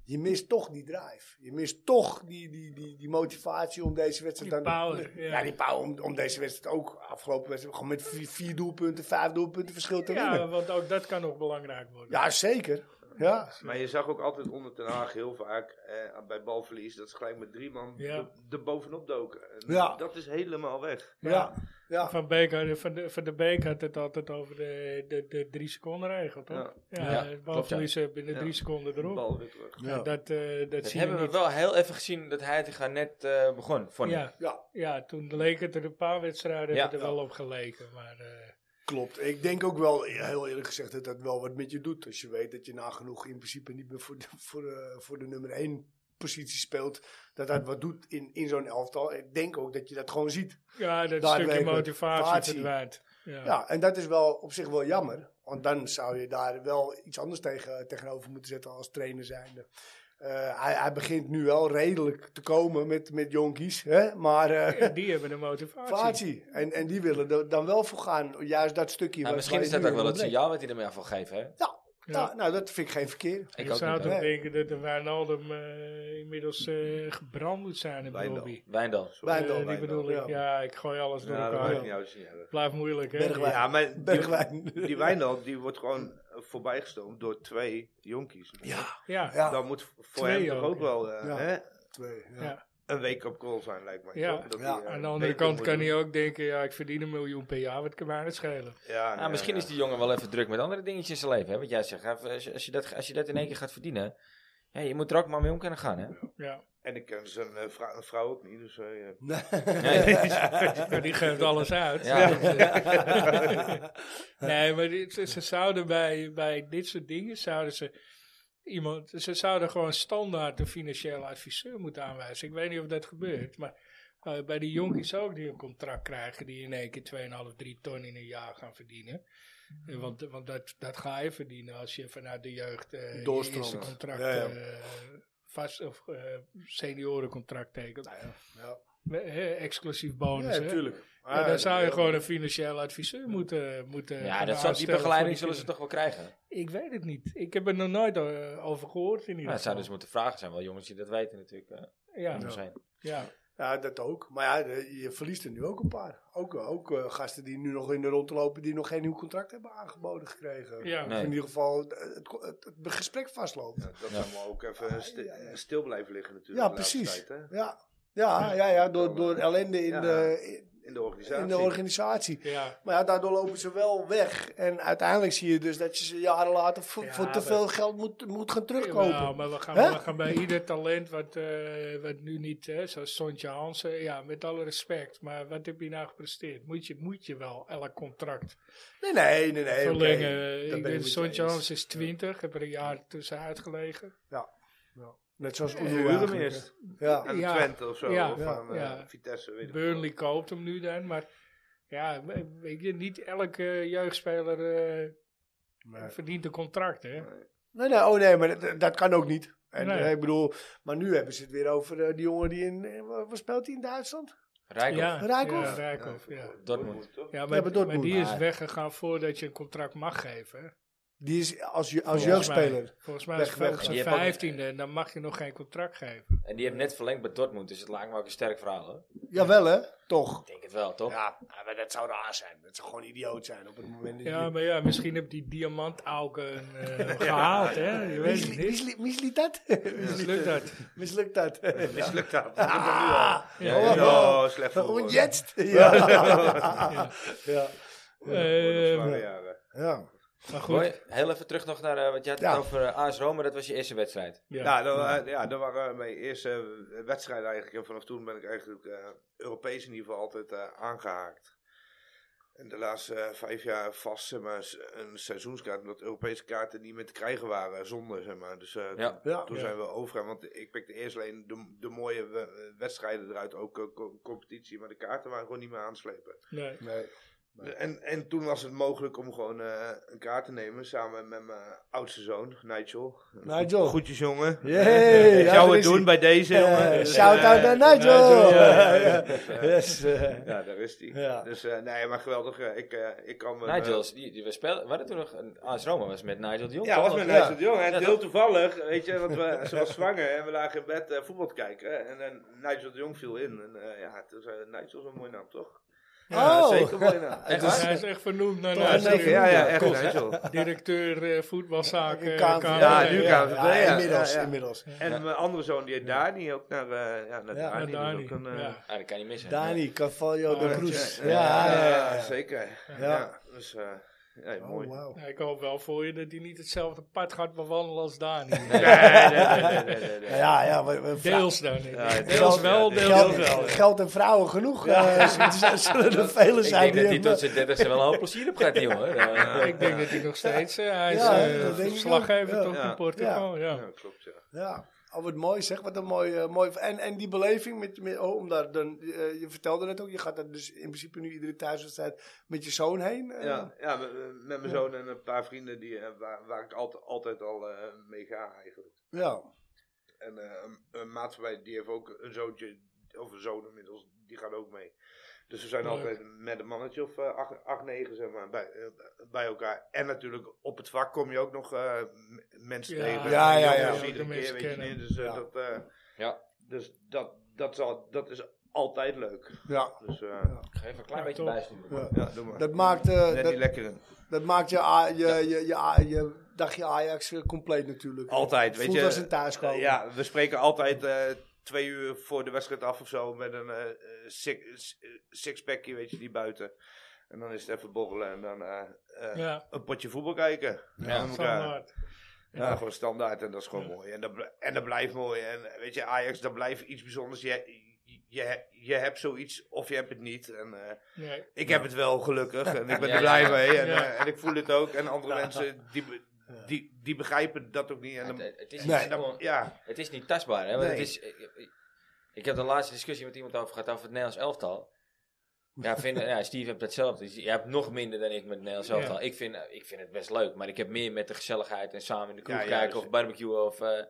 S3: Je mist toch die drive. Je mist toch die, die, die, die motivatie om deze wedstrijd...
S2: Die
S3: dan-
S2: power, ja.
S3: ja. die power om, om deze wedstrijd ook, afgelopen wedstrijd, gewoon met vier, vier doelpunten, vijf doelpunten verschil te
S2: Ja,
S3: winnen.
S2: want ook dat kan nog belangrijk worden.
S3: Ja, zeker. Ja,
S4: Maar je zag ook altijd onder Ten Haag heel vaak eh, bij balverlies dat ze gelijk met drie man
S2: Ja.
S4: er- er bovenop doken. En
S3: Ja.
S4: Dat is helemaal weg.
S3: ja, ja.
S2: Van, Beek, had- van, de, van de Beek had het altijd over de, de, de drie seconden regel, toch? Ja,
S1: Ja,
S2: ja,
S1: klopt,
S2: balverlies eh, binnen
S4: Ja.
S2: drie seconden
S4: De
S2: erop.
S4: bal weer terug.
S2: Ja, Dat, eh, dat,
S1: Dat
S2: zien we
S1: hebben we
S2: niet.
S1: wel heel even gezien dat hij het net eh, begon, vond ik.
S2: Ja,
S3: ja.
S2: ja, toen leek het er een paar wedstrijden
S1: Ja.
S2: hebben er
S3: Ja.
S2: wel op geleken. Maar eh,
S3: Klopt. Ik denk ook wel, heel eerlijk gezegd, dat dat wel wat met je doet. Als je weet dat je nagenoeg in principe niet meer voor de, voor de, voor de nummer 1 positie speelt. Dat dat wat doet in, in zo'n elftal. Ik denk ook dat je dat gewoon ziet.
S2: ja, dat
S3: Daar
S2: stukje
S3: leek het.
S2: motivatie
S3: Motivatie.
S2: verdwijnt.
S3: Ja, en dat is wel op zich wel jammer. Want dan zou je daar wel iets anders tegen, tegenover moeten zetten als trainer zijnde. Eh, hij, hij begint nu wel redelijk te komen met, met jonkies. Hè? Maar eh,
S2: En die hebben de motivatie.
S3: motivatie. En, en die willen er dan wel voor gaan. Juist dat stukje.
S1: Maar
S3: wat-
S1: Nou, misschien
S3: waar
S1: is
S3: je
S1: dat
S3: nu
S1: ook wel
S3: in
S1: het
S3: ontbreekt.
S1: signaal wat hij ermee af wil geven, hè?
S2: Ja.
S3: Ja, nou, dat vind ik geen verkeer.
S1: Ik
S2: Je
S1: ook
S2: zou
S1: niet,
S2: toch
S1: hè?
S3: hè?
S2: denken dat de Wijnaldum eh, inmiddels eh, gebrand moet zijn in
S4: Wijndal.
S2: Bobby.
S1: Wijndal.
S2: Eh,
S3: Wijndal,
S2: die
S4: Wijndal,
S2: bedoel ik.
S3: ja.
S2: Ja, ik gooi alles door
S4: Ja, dat
S2: elkaar.
S4: maakt niet uit. Ja, dat-
S2: Blijft moeilijk, hè?
S3: Bergwijn.
S4: Ja, maar die,
S3: Bergwijn.
S4: die Wijndal die wordt gewoon eh, voorbijgestoomd door twee jonkies.
S3: Ja,
S2: Ja, ja.
S3: ja.
S4: Dan moet voor
S2: Twee
S4: hem toch
S2: ook,
S4: ook
S2: ja.
S4: wel eh,
S3: Ja.
S4: hè,
S3: twee. Ja.
S2: Ja.
S4: een wake-up call zijn, lijkt mij.
S2: Ja.
S4: toch? Dat
S3: Ja.
S4: hij, eh,
S2: Aan de andere
S4: beter
S2: kant
S4: moet
S2: kan
S4: doen.
S2: hij ook denken, ja, ik verdien een miljoen per jaar, wat kan mij het schelen?
S4: Ja,
S1: Nou, misschien
S4: is
S1: is die jongen wel even druk met andere dingetjes in zijn leven, hè? Wat jij zegt, hè, als je, als je, dat, als je dat in één keer gaat verdienen, ja, je moet er ook maar mee om kunnen gaan, hè?
S2: Ja.
S4: En ik ken zijn eh, vrou- een vrouw ook niet, dus eh, ja.
S2: Ja, Nou, die geeft alles uit.
S1: Ja.
S2: nee, maar dit- ze, ze zouden bij, bij dit soort dingen, zouden ze iemand, ze zouden gewoon standaard een financieel adviseur moeten aanwijzen. Ik weet niet of dat gebeurt,
S3: Hmm.
S2: maar eh, bij die jonkies ook die een contract krijgen, die in één keer 2,5, 3 ton in een jaar gaan verdienen.
S3: Hmm.
S2: Eh, Want, want dat, dat ga je verdienen als je vanuit de jeugd eh, je
S3: Doorstroomt.
S2: eerste contract,
S3: Ja, ja.
S2: eh, vast of eh, seniorencontract tekent.
S3: ja.
S2: We- hè, exclusief bonus. hè? Ja,
S3: Ah,
S2: dan zou je gewoon een financieel adviseur moeten, eh, moeten
S1: eh, Ja,
S2: gaan
S1: dat zal, die
S2: aanstellen
S1: begeleiding
S2: voor
S1: zullen
S2: die
S1: ze toch wel krijgen?
S2: kinderen. Ik weet het niet. Ik heb er nog nooit eh, over gehoord in
S1: Maar
S2: ieder
S1: het zou
S2: geval.
S1: dus moeten vragen zijn, wel jongens die dat weten natuurlijk. eh,
S2: ja,
S1: om
S2: ja.
S1: zijn.
S3: Ja, dat ook. Maar ja, de- je verliest er nu ook een paar. Ook, ook eh, gasten die nu nog in de rond lopen, die nog geen nieuw contract hebben aangeboden gekregen.
S2: Ja.
S1: Nee.
S3: Of in ieder geval het, het, het- het gesprek vastloopt.
S4: Ja, dat
S1: Ja.
S4: zou we ook even sti-
S3: Ah, ja, ja.
S4: stil blijven liggen natuurlijk.
S3: Ja,
S4: de laatste
S3: precies.
S4: tijd, hè.
S3: Ja, ja, ja, ja door, door ellende in
S4: Ja.
S3: de... in-
S4: in de organisatie.
S3: in de organisatie.
S2: Ja.
S3: Maar ja, daardoor lopen ze wel weg. En uiteindelijk zie je dus dat je ze jaren later voor,
S2: Ja,
S3: voor te
S2: maar-
S3: veel geld moet, moet gaan terugkopen.
S2: Nou, maar we gaan,
S3: Hè?
S2: we gaan bij ieder talent wat, eh, wat nu niet, hè, zoals Sontje Hansen, ja, met alle respect. Maar wat heb je nou gepresteerd? Moet je, moet je wel elk contract
S3: Nee, nee, nee. nee oké.
S2: verlengen?
S3: Dat
S2: ik
S3: ben
S2: ben
S3: met je
S2: Sontje
S3: eens.
S2: Hansen is 20, heb er een jaar tussen uitgelegen.
S3: Net zoals
S2: Eh,
S3: Oeroe
S2: Oeroe
S4: Huur hem
S3: eigenlijk,
S4: eerst.
S3: hè. Ja.
S4: Aan de
S2: Ja.
S4: Twente of zo.
S2: Ja.
S4: Of
S3: Ja.
S4: aan eh,
S2: Ja.
S4: Vitesse. Weet ik
S2: Burnley koopt hem nu dan, maar ja, we- weet je, niet elke jeugdspeler eh,
S3: Nee.
S2: verdient een contract, hè?
S3: Nee, nee, oh nee, maar dat, dat kan ook niet. En,
S2: Nee.
S3: eh, ik bedoel, maar nu hebben ze het weer over eh, die jongen die in. eh, waar waar speelt hij in Duitsland?
S1: Rijkoff.
S2: Ja,
S3: Rijkoff?
S2: Ja, Rijkoff, ja.
S1: Dortmund.
S4: toch?
S2: Ja,
S3: maar
S2: maar,
S3: Dortmund.
S2: maar die is
S1: Maar-
S2: weggegaan voordat je een contract mag geven. hè?
S3: Die is als, je-
S2: Volgens
S3: als jeugdspeler.
S2: mij- Volgens mij is
S3: Weg-
S2: hij op
S3: weg-
S2: zijn
S1: Je hebt ook-
S2: vijftiende en dan mag je nog geen contract geven.
S1: En die heeft net verlengd bij Dortmund, dus het lijkt me ook een sterk verhaal. Hè? Ik
S3: Jawel, hè? Toch?
S1: denk het wel, toch?
S3: Ja, maar dat zou raar zijn. Dat zou gewoon idioot zijn op het moment. dat
S2: Ja,
S3: je-
S2: maar ja, misschien heb die diamant ook een, eh, gehaald, hè? Je weet het
S3: Misli-
S2: niet.
S3: misli- Mislukt dat?
S2: Mislukt dat.
S3: Mislukt dat? Ja.
S4: Mislukt dat.
S3: Ah,
S1: Ja,
S3: oh,
S4: Ja, slecht
S3: oh,
S4: voetbal.
S3: jetzt? Ja.
S2: Ja.
S3: ja.
S4: Wordt nog
S2: Ehm,
S4: zware jaren.
S3: ja.
S2: maar goed,
S1: Mooi. Heel even terug nog naar eh, want je had
S3: Ja.
S1: het over eh, AS Roma, dat was je eerste wedstrijd.
S2: ja.
S4: Ja, dat, wa- Nou, eh, ja, dat waren mijn eerste wedstrijden eigenlijk. En vanaf toen ben ik eigenlijk eh, Europees in ieder geval altijd eh, aangehaakt. En de laatste eh, vijf jaar vast zeg maar, s- een seizoenskaart, omdat Europese kaarten niet meer te krijgen waren zonder. Zeg maar. Dus eh,
S1: Ja.
S3: Ja.
S4: toen zijn we overgegaan. Want ik pikte eerst alleen de, de mooie we- wedstrijden eruit, ook eh, co- competitie. Maar de kaarten waren gewoon niet meer aan te slepen.
S2: Nee.
S3: Nee.
S4: Nee. En, en toen was het mogelijk om gewoon eh, een kaart te nemen samen met mijn oudste zoon, Nigel.
S3: Nigel.
S4: Goedjes jongen.
S3: Yay,
S4: Eh, ik
S3: ja,
S4: zou
S3: daar
S4: het
S3: is
S4: doen
S3: ie.
S4: bij deze jongen.
S3: Eh,
S4: Dus,
S3: Shout-out
S4: eh,
S3: naar Nigel!
S2: Nigel, ja,
S3: Ja, ja.
S4: ja.
S3: Yes. eh.
S4: Ja, daar is hij.
S3: Ja.
S4: Dus eh, nee, maar geweldig. eh, Ik, eh, ik kan me,
S1: Nigel, die, die we spelen, waren toen nog, een- AS Roma was met Nigel de Jong.
S4: Ja,
S1: toch?
S4: was met
S1: Of-
S4: Nigel de Jong.
S1: Ja,
S4: En heel
S1: toch?
S4: toevallig, weet je, want we, ze was zwanger en we lagen in bed eh, voetbal te kijken. En, en Nigel de Jong viel in. En eh, ja, toen zei Nigel is een mooie naam, toch? Ja,
S3: Oh.
S4: zeker een mooie naam.
S3: Het
S2: Dus
S3: is-
S2: hij is echt vernoemd naar
S3: Toch,
S2: naar-
S3: zeker,
S4: Ja, ja,
S3: Ja,
S4: echt
S3: klopt.
S4: Nigel.
S2: directeur eh, voetbalzaken. eh,
S3: Ja,
S2: KNVB.
S4: ja, nu
S2: ja.
S4: KNVB, ja.
S3: Inmiddels,
S4: Ja, ja.
S3: inmiddels.
S4: En mijn andere zoon, die heet Dani, ook naar, eh, ja, naar
S3: Ja,
S4: Dani.
S2: Naar
S4: dus
S2: Dani,
S4: ook een, eh,
S2: ja.
S1: Ah, dat kan je niet missen.
S3: Dani, Cavallo
S2: Oh,
S3: de
S2: ja,
S3: Cruz. Ja,
S4: Ja,
S3: ja,
S4: ja,
S3: ja, Oh, ja.
S4: zeker. Ja. dus, eh, ja,
S3: Oh,
S4: mooi.
S3: wauw.
S2: Ja, ik hoop wel voor je dat hij niet hetzelfde pad gaat bewandelen als Dani.
S4: Nee, nee, nee, nee, nee, nee.
S3: Ja, ja, we- we-
S2: Deels dan. niet.
S4: Ja,
S2: Deels wel,
S4: ja,
S2: deels
S3: Geld,
S2: wel.
S3: geld en vrouwen genoeg. eh, z- z- zullen er velen
S1: Ik
S3: zijn
S1: denk dat hij
S3: hem-
S1: tot zijn dertigste wel een hoop plezier op gaat, die jongen. Eh,
S2: Ik denk dat hij nog steeds, eh, hij is
S3: Ja,
S2: eh,
S3: dat denk ik
S2: verslaggever
S3: ook.
S2: toch
S4: Ja.
S2: in Portugal. Ja.
S4: Ja, klopt, ja.
S3: Ja, oh, wat mooi zeg. Wat een mooi. eh, mooi en, en die beleving met, met oh, om daar dan, eh, je vertelde net ook, je gaat daar dus in principe nu iedere thuiswedstrijd met je zoon heen. eh.
S4: Ja, ja met, met mijn zoon en een paar vrienden die, eh, waar, waar ik altijd, altijd al eh, mee ga eigenlijk.
S3: ja.
S4: En eh, een, een maat van mij, die heeft ook een zoontje, of een zoon inmiddels, die gaat ook mee. Dus we zijn
S2: Leuk.
S4: altijd met een mannetje of eh, acht, acht, negen zeg maar, bij, eh, bij elkaar. En natuurlijk op het vak kom je ook nog eh, m- mensen
S2: Ja,
S4: tegen.
S3: ja, ja,
S4: Jongens
S3: ja.
S4: die
S2: De
S4: Iedere keer,
S2: mensen
S4: weet je
S2: kennen.
S4: niet. Dus, eh,
S3: Ja.
S4: dat, eh,
S1: Ja.
S4: dus dat, dat, zal, dat is altijd leuk.
S3: ja.
S4: Dus eh,
S1: Ik ga even een klein
S2: Ja,
S1: beetje
S2: top.
S1: bijsturen.
S3: ja.
S4: ja, doe maar.
S3: Dat maakt, eh,
S4: Net
S3: dat,
S4: die lekkere.
S3: dat maakt je, A- je, je, je, A- je dagje Ajax eh, compleet natuurlijk.
S4: Altijd, weet
S3: Voelt
S4: je.
S3: als een thuiskomen.
S4: Ja, we spreken altijd eh, twee uur voor de wedstrijd af of zo met een eh, eh, six, eh, sixpackje, weet je, die buiten. En dan is het even borrelen en dan eh, eh,
S2: Ja,
S4: een potje voetbal kijken.
S1: Ja,
S4: Met elkaar.
S2: standaard.
S4: Ja, gewoon standaard en dat is gewoon mooi. En dat, bl- en dat blijft mooi. En eh, weet je, Ajax, dat blijft iets bijzonders. Je, je, he- je hebt zoiets of je hebt het niet. En, eh,
S2: Nee.
S4: ik heb het wel, gelukkig. En ik ben
S1: Ja, ja.
S4: er blij mee. En,
S2: Ja.
S4: eh, en ik voel het ook. En andere mensen, die, be- die, die begrijpen dat ook niet. En
S1: Het,
S4: dan,
S1: het- het is
S3: Nee.
S1: niet
S4: dan-
S1: gewoon-
S4: ja.
S1: Het is niet tastbaar, hè? Want
S4: Nee.
S1: het is, ik, ik- ik heb de laatste discussie met iemand over gehad over het Nederlands elftal. Ja, vind, ja Steve hebt hetzelfde. Dus Jij hebt nog minder dan ik met het Nederlands
S2: Ja.
S1: elftal. Ik, vind, ik vind het best leuk, maar ik heb meer met de gezelligheid en samen in de kroeg
S4: Ja,
S1: kijken
S4: juist.
S1: of barbecue. Of, eh,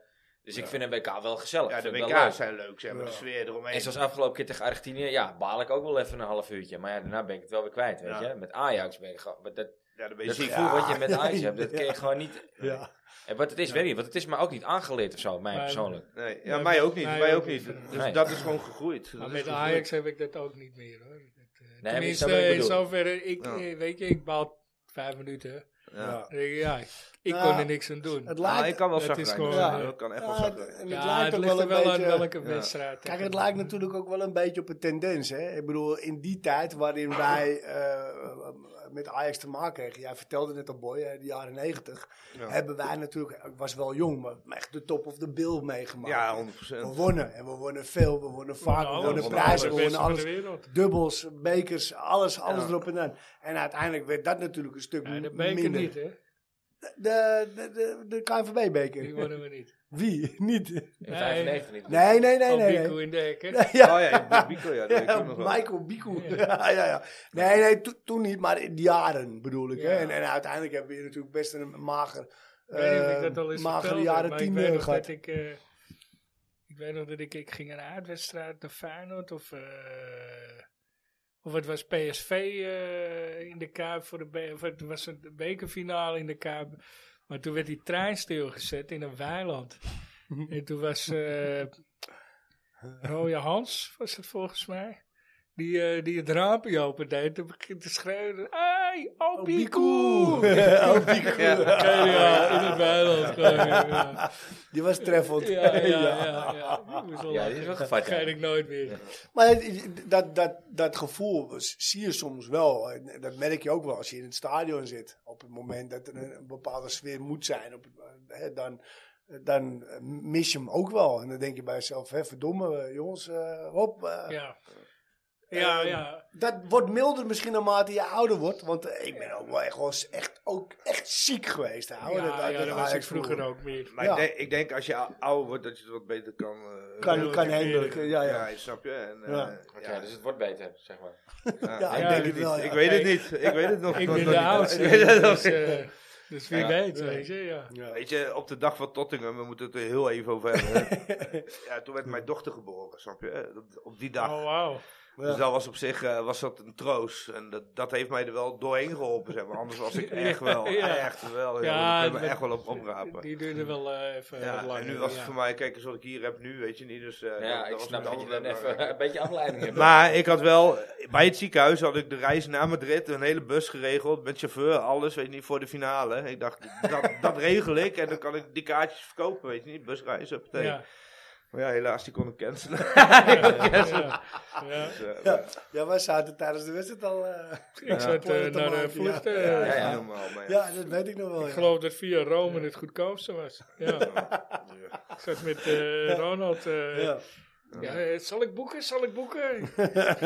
S1: dus ik vind een WK wel gezellig.
S4: Ja,
S1: Ik
S4: de
S1: vind het wel leuk.
S4: WK's zijn leuk, zeg maar. De
S3: Ja.
S4: sfeer eromheen.
S1: En zoals afgelopen keer tegen Argentinië, ja, baal ik ook wel even een half uurtje. Maar ja, daarna ben ik het wel weer kwijt, weet
S4: Ja.
S1: je. Met Ajax ben ik gewoon... maar Dat,
S4: ja, dan ben je
S1: dat
S4: ziek.
S1: gevoel
S3: Ja.
S1: wat je met Ajax hebt, dat
S3: Ja.
S1: kun je gewoon niet...
S3: Ja.
S1: En wat het is, weet ik niet. Want het is me ook niet aangeleerd of zo, mij
S2: Maar-
S1: persoonlijk.
S4: Nee, ja,
S2: Nee,
S4: mij
S2: maar-
S4: ook niet.
S2: nee,
S4: mij
S2: ook
S4: ook
S2: niet.
S4: niet. Dus
S1: Nee.
S4: dat is gewoon gegroeid. Dat
S2: Maar
S4: is dus
S2: met
S4: gegroeid.
S2: Ajax heb ik dat ook niet meer hoor. Dat, eh,
S1: maar
S2: tenminste,
S1: ik snap wat je
S2: in
S1: bedoelt.
S2: zoverre, ik,
S4: Ja.
S2: eh, weet je, ik baal vijf minuten.
S4: Ja.
S2: Dan denk ik, ja, Ik
S3: Nou,
S2: kon er niks aan doen.
S3: Het
S2: Het,
S4: Nou,
S3: lijkt,
S4: ik kan wel
S2: het is
S4: zacht
S2: gewoon,
S4: zijn.
S2: ja.
S4: Dat kan echt wel
S3: ja, het,
S4: zacht zijn.
S3: en het
S2: ja,
S3: lijkt
S2: het
S3: ook
S2: ligt
S3: wel
S2: er
S3: een
S2: wel aan
S3: beetje...
S2: welke
S4: Ja.
S2: wedstrijd.
S3: Kijk, het lijkt natuurlijk ook wel een beetje op een tendens. Hè? Ik bedoel, in die tijd waarin wij eh, met Ajax te maken kregen. Jij vertelde net al, Boy, eh, de jaren negentig. Hebben wij natuurlijk, ik was wel jong, maar echt de top of the bill meegemaakt.
S4: Ja,
S3: we
S4: 100%.
S3: wonnen. En we wonnen veel, we wonnen vaak,
S2: Nou,
S3: we wonnen
S4: we
S3: prijzen,
S2: de
S3: we
S2: beste
S3: wonnen
S2: van de
S3: alles.
S2: wereld.
S3: Dubbels, bekers, alles, alles
S4: Ja.
S3: erop en aan. En uiteindelijk werd dat natuurlijk een stuk
S2: Ja, de beker
S3: minder.
S2: niet, hè?
S3: De, de, de, de
S2: Die
S3: KNVB-beker.
S2: wonnen we niet.
S3: Wie? Niet.
S1: In 95 niet.
S3: Nee, nee, nee,
S2: Al
S3: nee.
S2: Bico
S3: nee.
S2: in de hek, hè?
S3: Ja,
S4: Oh ja, Bico, ja, dat weet ik
S3: Ja,
S4: ook nog wel.
S3: Michael Bico. Ja, ja, ja. Nee, nee, to- toen niet, maar in die jaren bedoel ik. Hè?
S2: Ja.
S3: En, en uiteindelijk hebben we hier natuurlijk best een mager,
S2: Ik weet niet of ik dat
S3: eh,
S2: al eens
S3: magere
S2: vertelde,
S3: jaren
S2: maar ik
S3: tien
S2: weet
S3: eh,
S2: nog
S3: gehad.
S2: dat ik, eh, ik weet nog dat ik, ik ging een aardwedstrijd naar Feyenoord of, eh, of het was PSV eh, in de Kuip voor de be- of het was een bekerfinale in de Kuip. Maar toen werd die trein stilgezet in een weiland. en toen was eh Roya Hans, was het volgens mij. Die, eh, die het raampje opendeed en begint te schreeuwen. Hey, Alpico!
S3: Oh, Bico.
S2: Ja, ja, in het weiland. gewoon, Ja,
S3: Die was treffend.
S2: ja, ja. ja, ja. Die was wel
S1: Ja, die is
S2: lachen.
S1: wel gevat, ja.
S2: Vergeet ik nooit meer.
S3: Maar het- dat, dat, dat gevoel zie je soms wel. En Dat merk je ook wel als je in het stadion zit. Op het moment dat er een, een bepaalde sfeer moet zijn, op, het- hè, dan, dan mis je hem ook wel. En dan denk je bij jezelf, hè, verdomme eh, jongens, eh, hop. eh,
S2: Ja, ja.
S3: Ehm,
S2: ja.
S3: Dat wordt milder misschien naarmate je ouder wordt. Want eh, ik ben ook wel echt, wel s- echt, ook echt ziek geweest.
S2: Ja,
S3: Ouwe,
S2: ja,
S3: uit het
S2: dat was ik
S3: Ajax
S2: vroeger ook meer.
S4: Maar
S3: Ja.
S4: ik, denk, ik denk als je ou- ouder wordt, dat je het wat beter kan... eh,
S3: Kan,
S4: doen.
S3: kan handelen, ja,
S4: Ja,
S3: ja.
S4: snap je? En, eh,
S3: Ja.
S1: Oké, dus het wordt beter, zeg maar.
S4: ja,
S3: Ja,
S4: ik
S2: ja,
S4: denk
S3: ik
S4: het
S3: wel,
S4: niet.
S3: ja.
S4: Ik weet het
S2: Kijk,
S4: niet. Ik weet het nog
S2: Ik
S4: nog-
S2: ben
S4: nog
S2: de
S4: niet.
S2: oudste.
S4: Ik weet het nog
S2: Dus,
S4: niet.
S2: eh, dus wie
S4: Ja.
S2: weet, weet je. Ja.
S3: Ja.
S4: Weet je, op de dag van Tottingham, we moeten het er heel even over hebben. ja, toen werd mijn dochter geboren, snap je? Eh, Op- Op die dag.
S2: Oh, wauw.
S3: Ja.
S4: Dus dat was op zich eh, was dat een troost. En dat, dat heeft mij er wel doorheen geholpen, zeg maar. Anders was ik echt wel,
S2: Ja.
S4: echt wel.
S2: Ja,
S4: Ja, ik
S2: het
S4: me echt
S2: werd-
S4: wel op oprapen.
S2: Die duurde wel eh, even wat
S4: Ja,
S2: langer.
S4: en nu was het
S2: ja.
S4: voor mij, kijk eens wat ik hier heb nu, weet je niet. Dus, eh,
S1: ja, ik
S4: was
S1: snap
S4: met
S1: dat je
S4: andere
S1: dan even
S4: belangrijk.
S1: een beetje afleiding hebt.
S4: Maar ik had wel, bij het ziekenhuis had ik de reis naar Madrid, een hele bus geregeld, met chauffeur, alles, weet je niet, voor de finale. Ik dacht, dat, dat regel ik en dan kan ik die kaartjes verkopen, weet je niet, busreis, huppatee.
S2: Ja.
S4: Maar ja, helaas, die kon ik cancelen.
S2: Ja, ja. Ja.
S4: Dus, eh,
S3: Ja. ja, wij zaten tijdens de wedstrijd al. eh,
S2: Ik zat eh,
S3: Plannen te
S2: naar de
S3: maken, ja.
S2: vluchten.
S4: ja,
S2: eh,
S4: ja,
S1: ja.
S4: helemaal. Maar ja.
S3: ja, dat weet ik nog wel.
S2: Ik
S3: Ja.
S2: geloof dat via Rome het goedkoopste was. Ja. Ik zat met eh, Ronald. eh,
S3: Ja.
S2: Ja, eh, zal ik boeken? Zal ik boeken? Ja,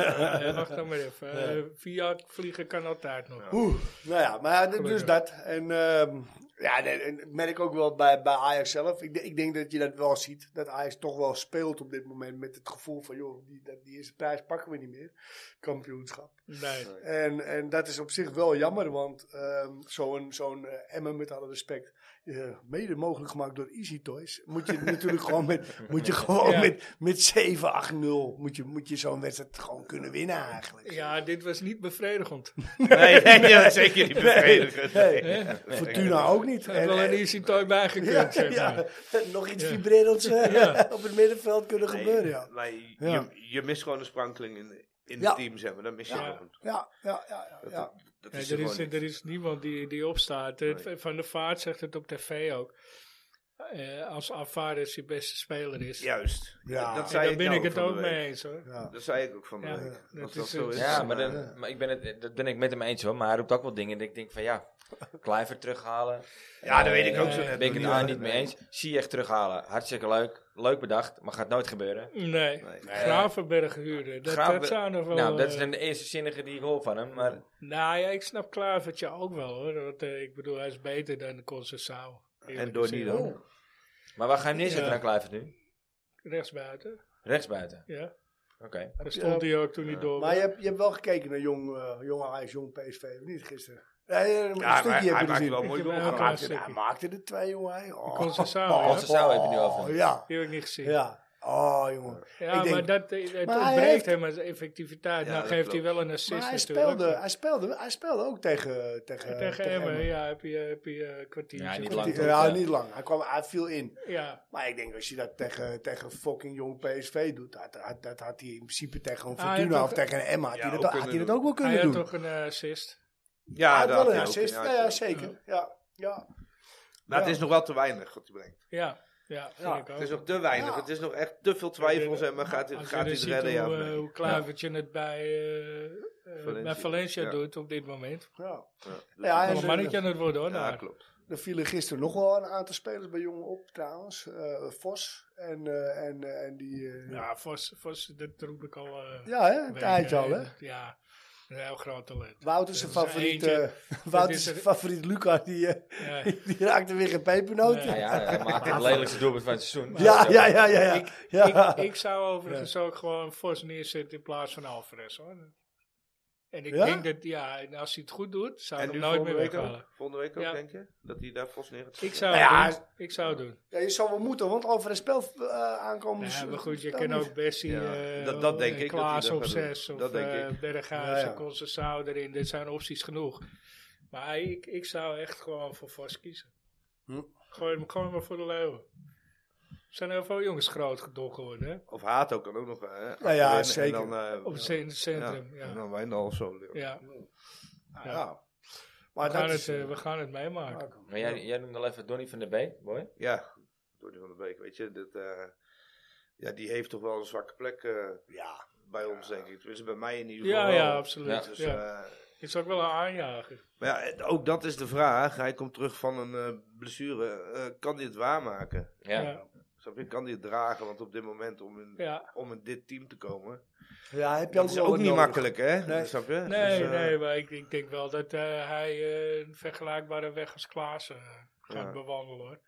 S2: eh, wacht dan maar even. Eh, via vliegen kan altijd nog.
S3: Oeh, nou ja, maar d- dus
S2: Gelukkig.
S3: dat. En ehm, ja, nee, en ik merk ook wel bij, bij Ajax zelf. Ik, de- ik denk dat je dat wel ziet. Dat Ajax toch wel speelt op dit moment met het gevoel van, joh, die, dat- die eerste prijs pakken we niet meer. Kampioenschap.
S2: Nee.
S3: En, en dat is op zich wel jammer, want ehm, zo'n zo'n eh, emmer met alle respect, eh, mede mogelijk gemaakt door Easy Toys, moet je natuurlijk gewoon met, moet je gewoon
S2: Ja.
S3: met, met 7-8-0, moet je, moet je zo'n wedstrijd gewoon kunnen winnen eigenlijk.
S2: Ja, dit was niet bevredigend.
S4: Nee, nee, nee, dat is zeker niet bevredigend.
S3: Nee.
S4: Nee.
S3: Fortuna ook niet.
S2: Er had
S3: En-
S2: wel een
S3: en-
S2: easy toy bijgekund,
S3: Ja,
S2: zeg maar.
S3: ja. nog iets vibrerends eh,
S2: Ja.
S3: op het middenveld kunnen gebeuren, ja.
S4: Maar je,
S3: Ja.
S4: je mist gewoon een sprankeling in, in
S3: Ja.
S4: het team, zeg maar. Dat mis je
S2: Ja.
S4: gewoon.
S3: Ja, ja, ja, ja. ja.
S4: Dat
S2: Nee,
S4: is
S2: er,
S4: er
S2: is,
S4: gewoon
S2: er is niemand die, die opstaat. Het-
S4: Nee.
S2: Van der Vaart zegt het op tv ook. Eh, als Alvarez je beste speler is.
S4: niet. Juist.
S3: Ja.
S4: Dat
S2: En
S4: zei
S2: daar ben
S4: nou
S2: ik het
S4: van de
S2: ook
S4: week.
S2: mee eens hoor.
S3: Ja.
S4: Dat zei ik ook van de
S2: Ja,
S4: week.
S2: dat
S4: Als
S2: is
S4: dat zo
S2: het.
S4: is.
S1: Ja,
S4: dan,
S1: maar,
S4: eh,
S1: dan, maar ik ben het, dat ben ik met hem eens hoor. Maar hij roept ook wel dingen dat ik denk van ja, Kluivert terughalen.
S4: Ja, dat weet ik ook zo
S1: Eh,
S4: net
S1: Ben ik het
S4: nog niet,
S1: daar
S4: hoor.
S1: niet mee eens. Ziyech terughalen. Hartstikke leuk. Leuk bedacht, maar gaat nooit gebeuren.
S2: Nee.
S4: Nee.
S2: Gravenberg huren. Dat, dat
S1: Graven-
S2: zou nog wel...
S1: nou, dat
S2: eh,
S1: zijn de eerste zinnige die ik hoor van hem. Maar
S2: Nou ja, ik snap Klavertje ook wel hoor. Want, eh, ik bedoel, hij is beter dan Concessao.
S4: En door niet
S2: dan.
S4: ook.
S1: Maar waar ga je hem neerzetten
S2: Ja.
S1: dan Kluivert nu?
S2: Rechtsbuiten,
S1: Rechtsbuiten.
S2: ja.
S1: Oké.
S2: Daar stond hij ook toen hij door
S3: Maar je
S2: was.
S3: hebt, je hebt wel gekeken naar jong, eh jong Ajax, jong PSV, of niet gisteren? Nee, een
S4: Ja, maar
S3: stukje
S4: hij
S3: heb je
S4: maakt
S3: gezien.
S4: wel mooi
S2: Ik heb
S4: doel.
S2: hem
S3: Hij
S2: ook
S4: gemaakt.
S3: maakte, hij
S2: stukje.
S3: maakte er twee, jongen. hè. Oh,
S2: Concessao,
S3: oh,
S2: ja.
S1: Concessao heb je nu
S3: oh,
S1: over.
S3: Ja,
S2: Die heb ik niet gezien. Ja,
S3: ja. Oh, jongen. ik denk-
S2: maar dat, eh, het
S3: Maar hij
S2: ontbreekt
S3: heeft-
S2: hem als effectiviteit.
S4: Ja,
S2: nou
S4: dat
S2: geeft hij
S4: klopt.
S2: wel een assist
S3: Maar hij
S2: natuurlijk.
S3: speelde, hij, speelde, hij speelde ook tegen, tegen,
S2: Tegen Emmen,
S3: Emmen.
S2: ja, heb je, heb je eh, kwartiertje.
S1: Ja, niet
S2: Kwartier-
S1: lang.
S3: Ja, niet lang. Hij, kwam, hij viel in.
S2: Ja.
S3: Maar ik denk als je dat tegen, tegen fucking jong PSV doet, dat, dat, dat had hij in principe tegen een
S2: Ah, hij
S3: Fortuna
S2: had
S3: of
S2: ook-
S3: tegen een Emma, had
S4: Ja,
S3: hij
S4: ook
S3: dat, ook- had
S4: kunnen
S3: hij dat
S4: doen.
S3: ook wel
S2: Hij
S3: kunnen
S2: had
S3: doen.
S2: toch een eh, assist.
S4: Ja,
S3: hij had
S4: dat
S3: wel een
S4: had hij ook
S3: assist, ja,
S4: in,
S3: ja, zeker. Ja. Ja.
S4: Maar het
S3: Ja.
S4: is nog wel te weinig wat hij brengt.
S2: Ja, ja, vind
S3: Ja,
S2: ik ook.
S4: Het is nog te weinig.
S3: Ja.
S4: Het is nog echt te veel twijfels en maar gaat,
S2: Als
S4: dit-
S2: je
S4: gaat
S2: dan
S4: hij het
S2: ziet
S4: redden? Ja,
S2: hoe,
S4: of
S2: eh,
S4: nee?
S2: hoe Klavertje het bij, eh, eh, bij
S4: Valencia.
S2: Valencia
S4: Ja.
S2: doet op dit moment.
S3: Ja.
S4: Ja,
S3: Ja,
S2: Wel
S3: en
S2: Een
S3: ze-
S2: mannetje aan het worden hoor.
S4: ja,
S2: daar.
S4: klopt.
S3: Er vielen gisteren nog wel een aantal spelers bij jongen op trouwens. Eh, Vos en, eh, en, eh, en die... eh, ja.
S2: Ja, Vos, Vos, dat roep ik al. eh,
S3: hè? Een
S2: weken.
S3: tijdje al, hè?
S2: Ja, een heel groot talent.
S3: Wouter zijn
S2: Dat eh, is
S3: favoriet,
S2: eentje.
S3: eh, Wouter
S2: is
S3: zijn
S2: er-
S3: favoriet Luca, die, eh,
S2: Ja.
S3: die raakte weer een pepernoot.
S2: Nee.
S1: Nou ja, hij maakt het lelijkste doelpunt van het seizoen.
S3: Ja, ja, ja, ja. ja. ja.
S2: Ik, ik zou overigens ook gewoon Vos neerzetten in plaats van Alvarez hoor. En ik
S3: Ja?
S2: denk dat, ja, en als hij het goed doet, zou ik
S4: En
S2: hem
S4: nu
S2: nooit
S4: volgende
S2: meer
S4: week
S2: weghalen.
S4: ook? Volgende week ook,
S2: Ja.
S4: denk je? Dat hij daar Vos neer gaat
S2: Ik
S4: zetten?
S2: zou,
S3: Nou ja,
S2: het doen. ik zou het doen.
S3: Ja, je zou wel moeten, want over een spel eh, aankomen.
S2: Ja,
S3: dus-
S2: maar goed, je
S3: dan
S2: kan
S3: moet-
S2: ook Bessie,
S4: Ja,
S2: eh,
S4: dat- dat denk
S2: en
S4: ik dat
S2: Klaas
S4: hij dat
S2: op
S4: gaat doen.
S2: zes, of
S4: Dat denk
S2: eh,
S4: ik. Nou
S2: Berghuis
S3: Ja, ja.
S2: en Concessao erin. Dit zijn opties genoeg. Maar ik, ik zou echt gewoon voor Vos kiezen.
S3: Hm.
S2: Gooi hem gewoon maar voor de leeuwen. Er zijn heel veel jongens groot gedokken worden, hè?
S4: Of Hato kan ook nog. Hè,
S3: Ja, ja,
S4: achterin en
S3: zeker.
S4: dan, eh,
S2: Op het cent-
S4: ja,
S2: centrum, ja.
S4: En
S2: ja.
S4: dan Wijndal of zo. Ja.
S3: Ah,
S2: Ja.
S3: ja.
S2: We,
S3: Maar
S2: gaan
S3: dat
S2: het,
S3: is...
S2: eh, we gaan het meemaken.
S1: Maar jij, jij noemde al even Donny van der Beek, mooi.
S4: ja, Donny van der Beek, weet je. Dat, eh, ja, die heeft toch wel een zwakke plek eh,
S3: ja.
S4: bij ons, denk ik. Tenminste, bij mij in ieder geval
S2: Ja,
S4: wel.
S2: ja, absoluut.
S1: Ja.
S4: Dus,
S2: ja.
S4: eh,
S2: Is ook wel een aanjager.
S4: maar ja, het- ook dat is de vraag. Hij komt terug van een eh, blessure. Eh, kan hij het waarmaken?
S1: Ja.
S2: ja.
S4: Snap je? Kan hij het dragen? Want op dit moment om in,
S2: ja.
S4: om in dit team te komen...
S3: ja, heb je
S4: Dat
S3: ook
S4: is
S3: wel
S4: ook
S3: wat
S4: niet
S3: nodig.
S4: makkelijk, hè?
S3: Nee.
S4: Snap je?
S2: Nee,
S4: Dus, eh,
S2: nee, maar ik, ik denk wel dat eh, hij eh, een vergelijkbare weg als Klaassen eh, gaat
S4: Ja.
S2: bewandelen hoor.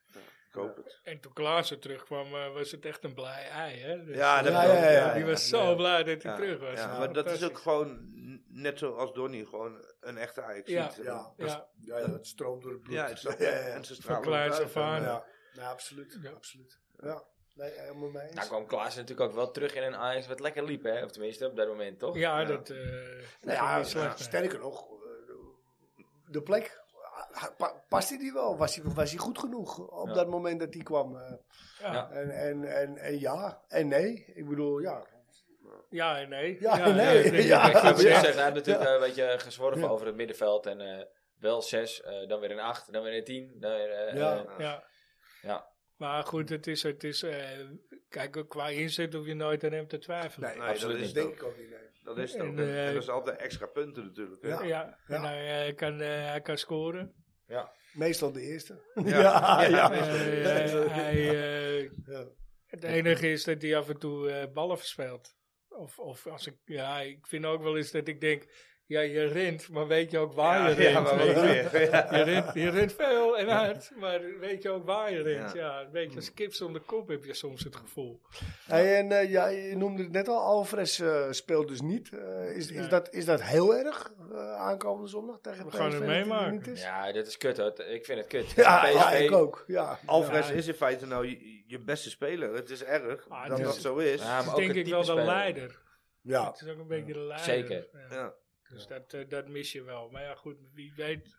S4: Ik hoop het.
S2: En toen Klaassen terugkwam, eh, was het echt een blij ei. Hè? Dus,
S4: Ja,
S2: eh,
S4: dat
S3: Ja, ja, ja, ja.
S2: Die was zo blij dat hij
S4: Ja,
S2: terug was.
S4: ja,
S2: Ja,
S4: maar dat is ook
S2: fantastisch.
S4: gewoon, n- net zoals Donny, gewoon een echte ajax
S2: Ja.
S3: Ja.
S2: Ja,
S3: Ja, ja, het stroomt door het bloed.
S4: Ja, het is
S3: ja,
S4: dat.
S3: ja, ja.
S4: En ze stralen
S2: Van kleins
S4: ook uit.
S2: af aan.
S4: En, eh,
S3: Ja. Ja, absoluut.
S2: Ja.
S3: absoluut. Ja. Nee, eh, helemaal mee eens.
S1: Nou kwam Klaas natuurlijk ook wel terug in een Ajax wat lekker liep, hè? Of tenminste, op dat moment, toch?
S2: ja,
S4: Ja.
S2: dat eh
S3: Nou
S2: dat
S3: ja,
S2: ging niet slecht. nee.
S3: sterker nog, eh, de plek. ah, pa- Past hij die wel? Was hij, was hij goed genoeg op
S1: Ja.
S3: dat moment dat hij kwam? eh?
S2: Ja.
S1: Ja.
S3: En, en, en, en ja, en nee. Ik bedoel, ja.
S2: Ja en nee.
S3: Ja en nee.
S2: dat denk ik
S3: Ja.
S2: echt wel.
S1: Goed,
S3: Ja.
S1: Hij heeft natuurlijk eh, een beetje gezworven
S3: Ja.
S1: over het middenveld. En eh, wel zes, eh, dan weer een acht, dan weer een tien. Dan weer, eh,
S3: Ja.
S1: eh,
S2: Ja.
S1: Ja.
S2: Maar goed, het is, het is eh, kijk, ook qua inzet hoef je nooit aan hem te twijfelen.
S4: Nee,
S1: absoluut
S4: dat is
S1: niet.
S4: het
S3: denk
S4: ook.
S3: ik ook niet. Nee.
S4: Dat is het ook.
S2: En,
S4: En,
S2: eh,
S4: en dat is altijd extra punten natuurlijk. hè.
S3: Ja.
S2: Ja, en
S3: Ja.
S2: hij, eh, kan, eh, hij kan scoren.
S3: Meestal de eerste. Ja,
S4: Ja.
S3: ja.
S4: Ja.
S2: Eh,
S3: Ja.
S2: hij, eh,
S3: Ja.
S2: het enige is dat hij af en toe eh, ballen verspeelt. Of, of als ik, ja, ik vind ook wel eens dat ik denk, ja, je rent, maar weet je ook waar
S4: Ja,
S2: je rent?
S4: ja, maar
S2: weet
S4: wat
S2: je?
S4: weer. Ja.
S2: Je rent, je rent veel en hard, maar weet je ook waar je rent?
S4: Ja.
S2: Ja, een beetje als kip zonder kop heb je soms het gevoel.
S3: Hey, en eh, ja, je noemde het net al, Alvarez eh, speelt dus niet. Eh, is, is,
S2: Nee.
S3: dat, is dat heel erg eh, aankomende zondag tegen
S2: We gaan het
S3: PSV dat hij er
S2: meemaken.
S3: niet is? Ja,
S1: ja, dat is kut hoor. Ik vind het kut.
S3: ja,
S1: PSV
S3: ik ook. Ja.
S4: Alvarez
S2: Ja.
S4: is in feite nou je, je beste speler. Het is erg
S2: Ah,
S4: dat
S2: het is-
S4: dat zo is.
S1: Ja,
S4: Ja,
S1: maar
S2: Het is
S1: ook
S2: denk
S1: een
S2: ik
S1: type
S2: wel de
S1: speler.
S2: leider.
S3: Ja.
S2: Het is ook een beetje de leider.
S1: Zeker.
S2: Ja.
S4: ja.
S2: Dus dat, eh, dat mis je wel. Maar ja, goed, wie weet.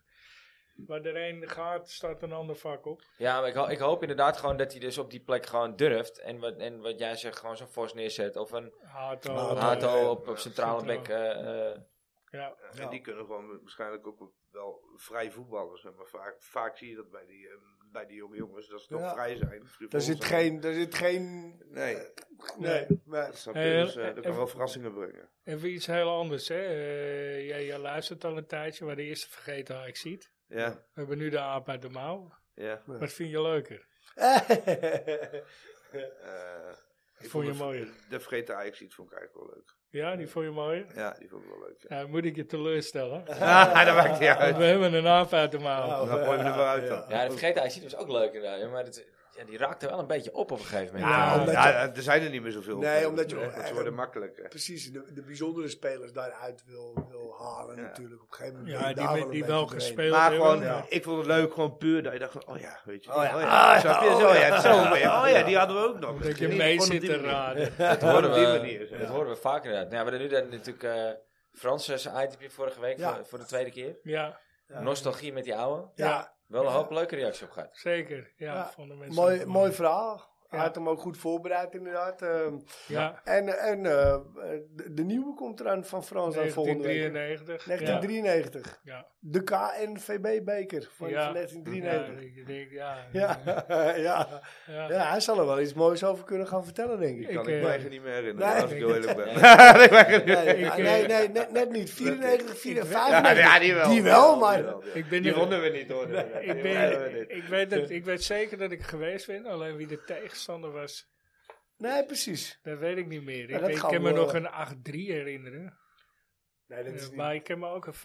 S2: Waar de een gaat, staat een ander vak op.
S1: Ja, maar ik, ho- ik hoop inderdaad gewoon dat hij dus op die plek gewoon durft. En wat, en wat jij zegt, gewoon zo'n Vos neerzet. Of een
S2: Hato.
S3: Hato.
S1: Hato op, op centrale
S2: Centraal.
S1: bek. eh, eh,
S2: Ja,
S4: En die kunnen gewoon waarschijnlijk ook wel vrij voetballen. zeg Maar vaak, vaak zie je dat bij die, eh, bij die jonge jongens. Dat ze toch
S3: Ja.
S4: vrij zijn. frivol
S3: Daar zit
S4: zijn.
S3: geen... Daar zit geen
S4: Nee.
S3: nee.
S2: Nee.
S3: nee.
S4: Snap je?
S2: Eh,
S4: Dus eh, dat
S2: eh,
S4: kan wel verrassingen brengen.
S2: even iets heel anders. Hè. Eh, jij, jij luistert al een tijdje, maar de eerste vergeten ik ziet.
S4: Ja,
S2: We hebben nu de aap uit de mouw.
S4: ja.
S2: Wat vind je leuker?
S4: Eh, ik
S2: Vond je
S4: de-
S2: mooier?
S4: De vergeten Ajax iets vond ik eigenlijk wel leuk.
S2: Ja, die vond je mooier?
S4: Ja, die vond ik wel leuk. Ja.
S2: Nou, moet ik je teleurstellen.
S4: Ah, dat maakt niet
S2: Want
S4: uit.
S2: we hebben een aap uit de mouw.
S3: Nou,
S4: Dan gooi je hem er maar uit dan.
S1: ja, dat vergeten hij ziet was ook leuk inderdaad. Maar dat, ja, die raakte wel een beetje op op een gegeven moment.
S2: Ja,
S4: Nou,
S3: omdat
S4: ja, er zijn er niet meer zoveel.
S3: Nee, omdat je eh,
S4: Want
S3: wel echt-
S4: Ze worden makkelijker.
S3: Precies, de, de bijzondere spelers daaruit wil, wil halen natuurlijk. Op een gegeven moment ben
S2: Ja,
S3: je daar
S2: die,
S3: een
S2: die
S3: beetje
S2: wel
S3: doorheen.
S2: gespeeld
S4: Maar
S2: hebben.
S4: gewoon,
S2: ja.
S4: ik vond het leuk, gewoon puur dat je dacht, van, oh ja, weet je.
S3: Oh ja.
S4: ja.
S3: Ah,
S4: Snap je?
S3: ja,
S4: Zo,
S3: oh
S4: ja,
S3: ja.
S4: zo ben je. Oh ja, die hadden we ook nog.
S2: Dat je
S4: Gewoon
S2: mee
S4: op die
S2: zit te
S4: manier.
S2: raden.
S1: dat,
S4: Gewoon
S1: horen
S4: op die
S1: we,
S4: manier.
S1: dat
S4: zeg.
S1: horen we vaak inderdaad. Nou, we hebben nu dan natuurlijk eh Franses ITP vorige week
S3: Ja.
S1: voor, voor de tweede keer.
S2: Ja,
S3: Ja.
S1: Nostalgie met die oude.
S3: Ja,
S1: Wel een hoop leuke reacties op gehad.
S2: zeker. Ja,
S3: Ja,
S2: vonden mensen
S3: mooi,
S2: ook
S3: mooi
S2: wel.
S3: verhaal. Hij had hem ook goed voorbereid inderdaad. Ehm,
S2: Ja,
S3: en en eh, de, de nieuwe komt eraan van Frans aan volgende week.
S2: 1993.
S3: 1993.
S2: Ja.
S3: De KNVB-beker van
S2: Ja.
S3: van 1993.
S2: Ja, ik denk, ja,
S3: Ja. Ja. Ja.
S2: ja.
S3: hij zal er wel iets moois over kunnen gaan vertellen, denk ik.
S2: Ik,
S4: kan ik
S2: eh,
S4: me eigenlijk niet meer herinneren,
S3: nee.
S4: als ik heel eerlijk ben.
S3: Nee,
S2: Ik, eh,
S3: nee, nee, net, net niet. 94, 54.
S4: ja, die wel.
S3: Die wel, maar...
S2: Ik ben
S4: Die
S2: er-
S4: wonnen we niet hoor.
S2: Ik, ben, ik, weet dat, ik weet zeker dat ik geweest ben, alleen wie de tegenstander was,
S3: Nee, precies.
S2: dat weet ik niet meer.
S3: Ja,
S2: Ik,
S3: dat
S2: ik
S3: gaan
S2: kan
S3: we
S2: me nog
S3: horen.
S2: een 8-3 herinneren,
S3: Nee, dat is
S2: Eh,
S3: niet,
S2: maar ik kan me ook een 5-0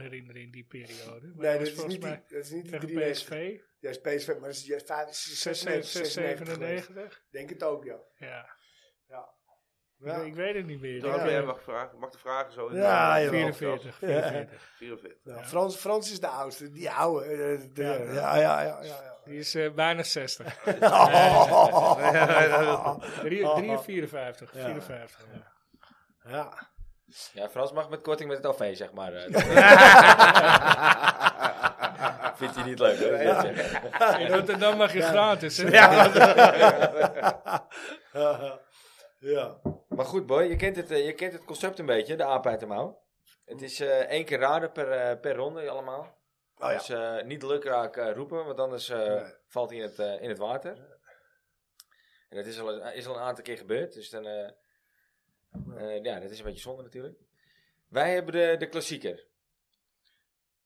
S2: herinneren in die periode. Maar dat
S3: nee, dat
S2: was
S3: is
S2: volgens
S3: niet, die,
S2: mij
S3: dat is niet die
S2: tegen
S3: 93.
S2: PSV,
S3: Ja, is PSV, maar dat is juist 5, 96, 96 geweest.
S2: 697.
S3: Denk het ook, ja.
S2: Ja.
S3: Ja.
S2: Ja. Ik, ik weet het niet meer.
S4: Dan
S2: Ik,
S4: had
S2: eh,
S4: jij mag vragen, mag de vragen zo in
S3: Ja,
S4: de-
S3: jawel.
S2: 44. 44.
S4: 44.
S3: Ja, Frans, Frans is de oudste, die oude. eh, de-
S2: Ja.
S3: ja, ja, ja. ja, ja. Ah,
S2: Die is eh, bijna 60. Drie- 53, 54. ja.
S3: Ja.
S1: Ja, Frans mag met korting met het OV, zeg maar. eh. Vindt hij niet leuk, hè? Dat eh. is het, hè?
S2: In Rotterdam mag je gratis. Hè?
S3: ja.
S1: Maar goed, boy, je kent het, eh, je kent het concept een beetje, de aap uit de mouw. Het is eh, één keer raden per, eh, per ronde allemaal.
S3: Oh ja.
S1: Dus eh, niet lukraak eh, roepen, want anders eh,
S3: Nee.
S1: valt hij in het, eh, in het water. En dat is al, een- is al een aantal keer gebeurd, dus dan... eh, eh, ja, dat is een beetje zonde natuurlijk. Wij hebben de, de klassieker.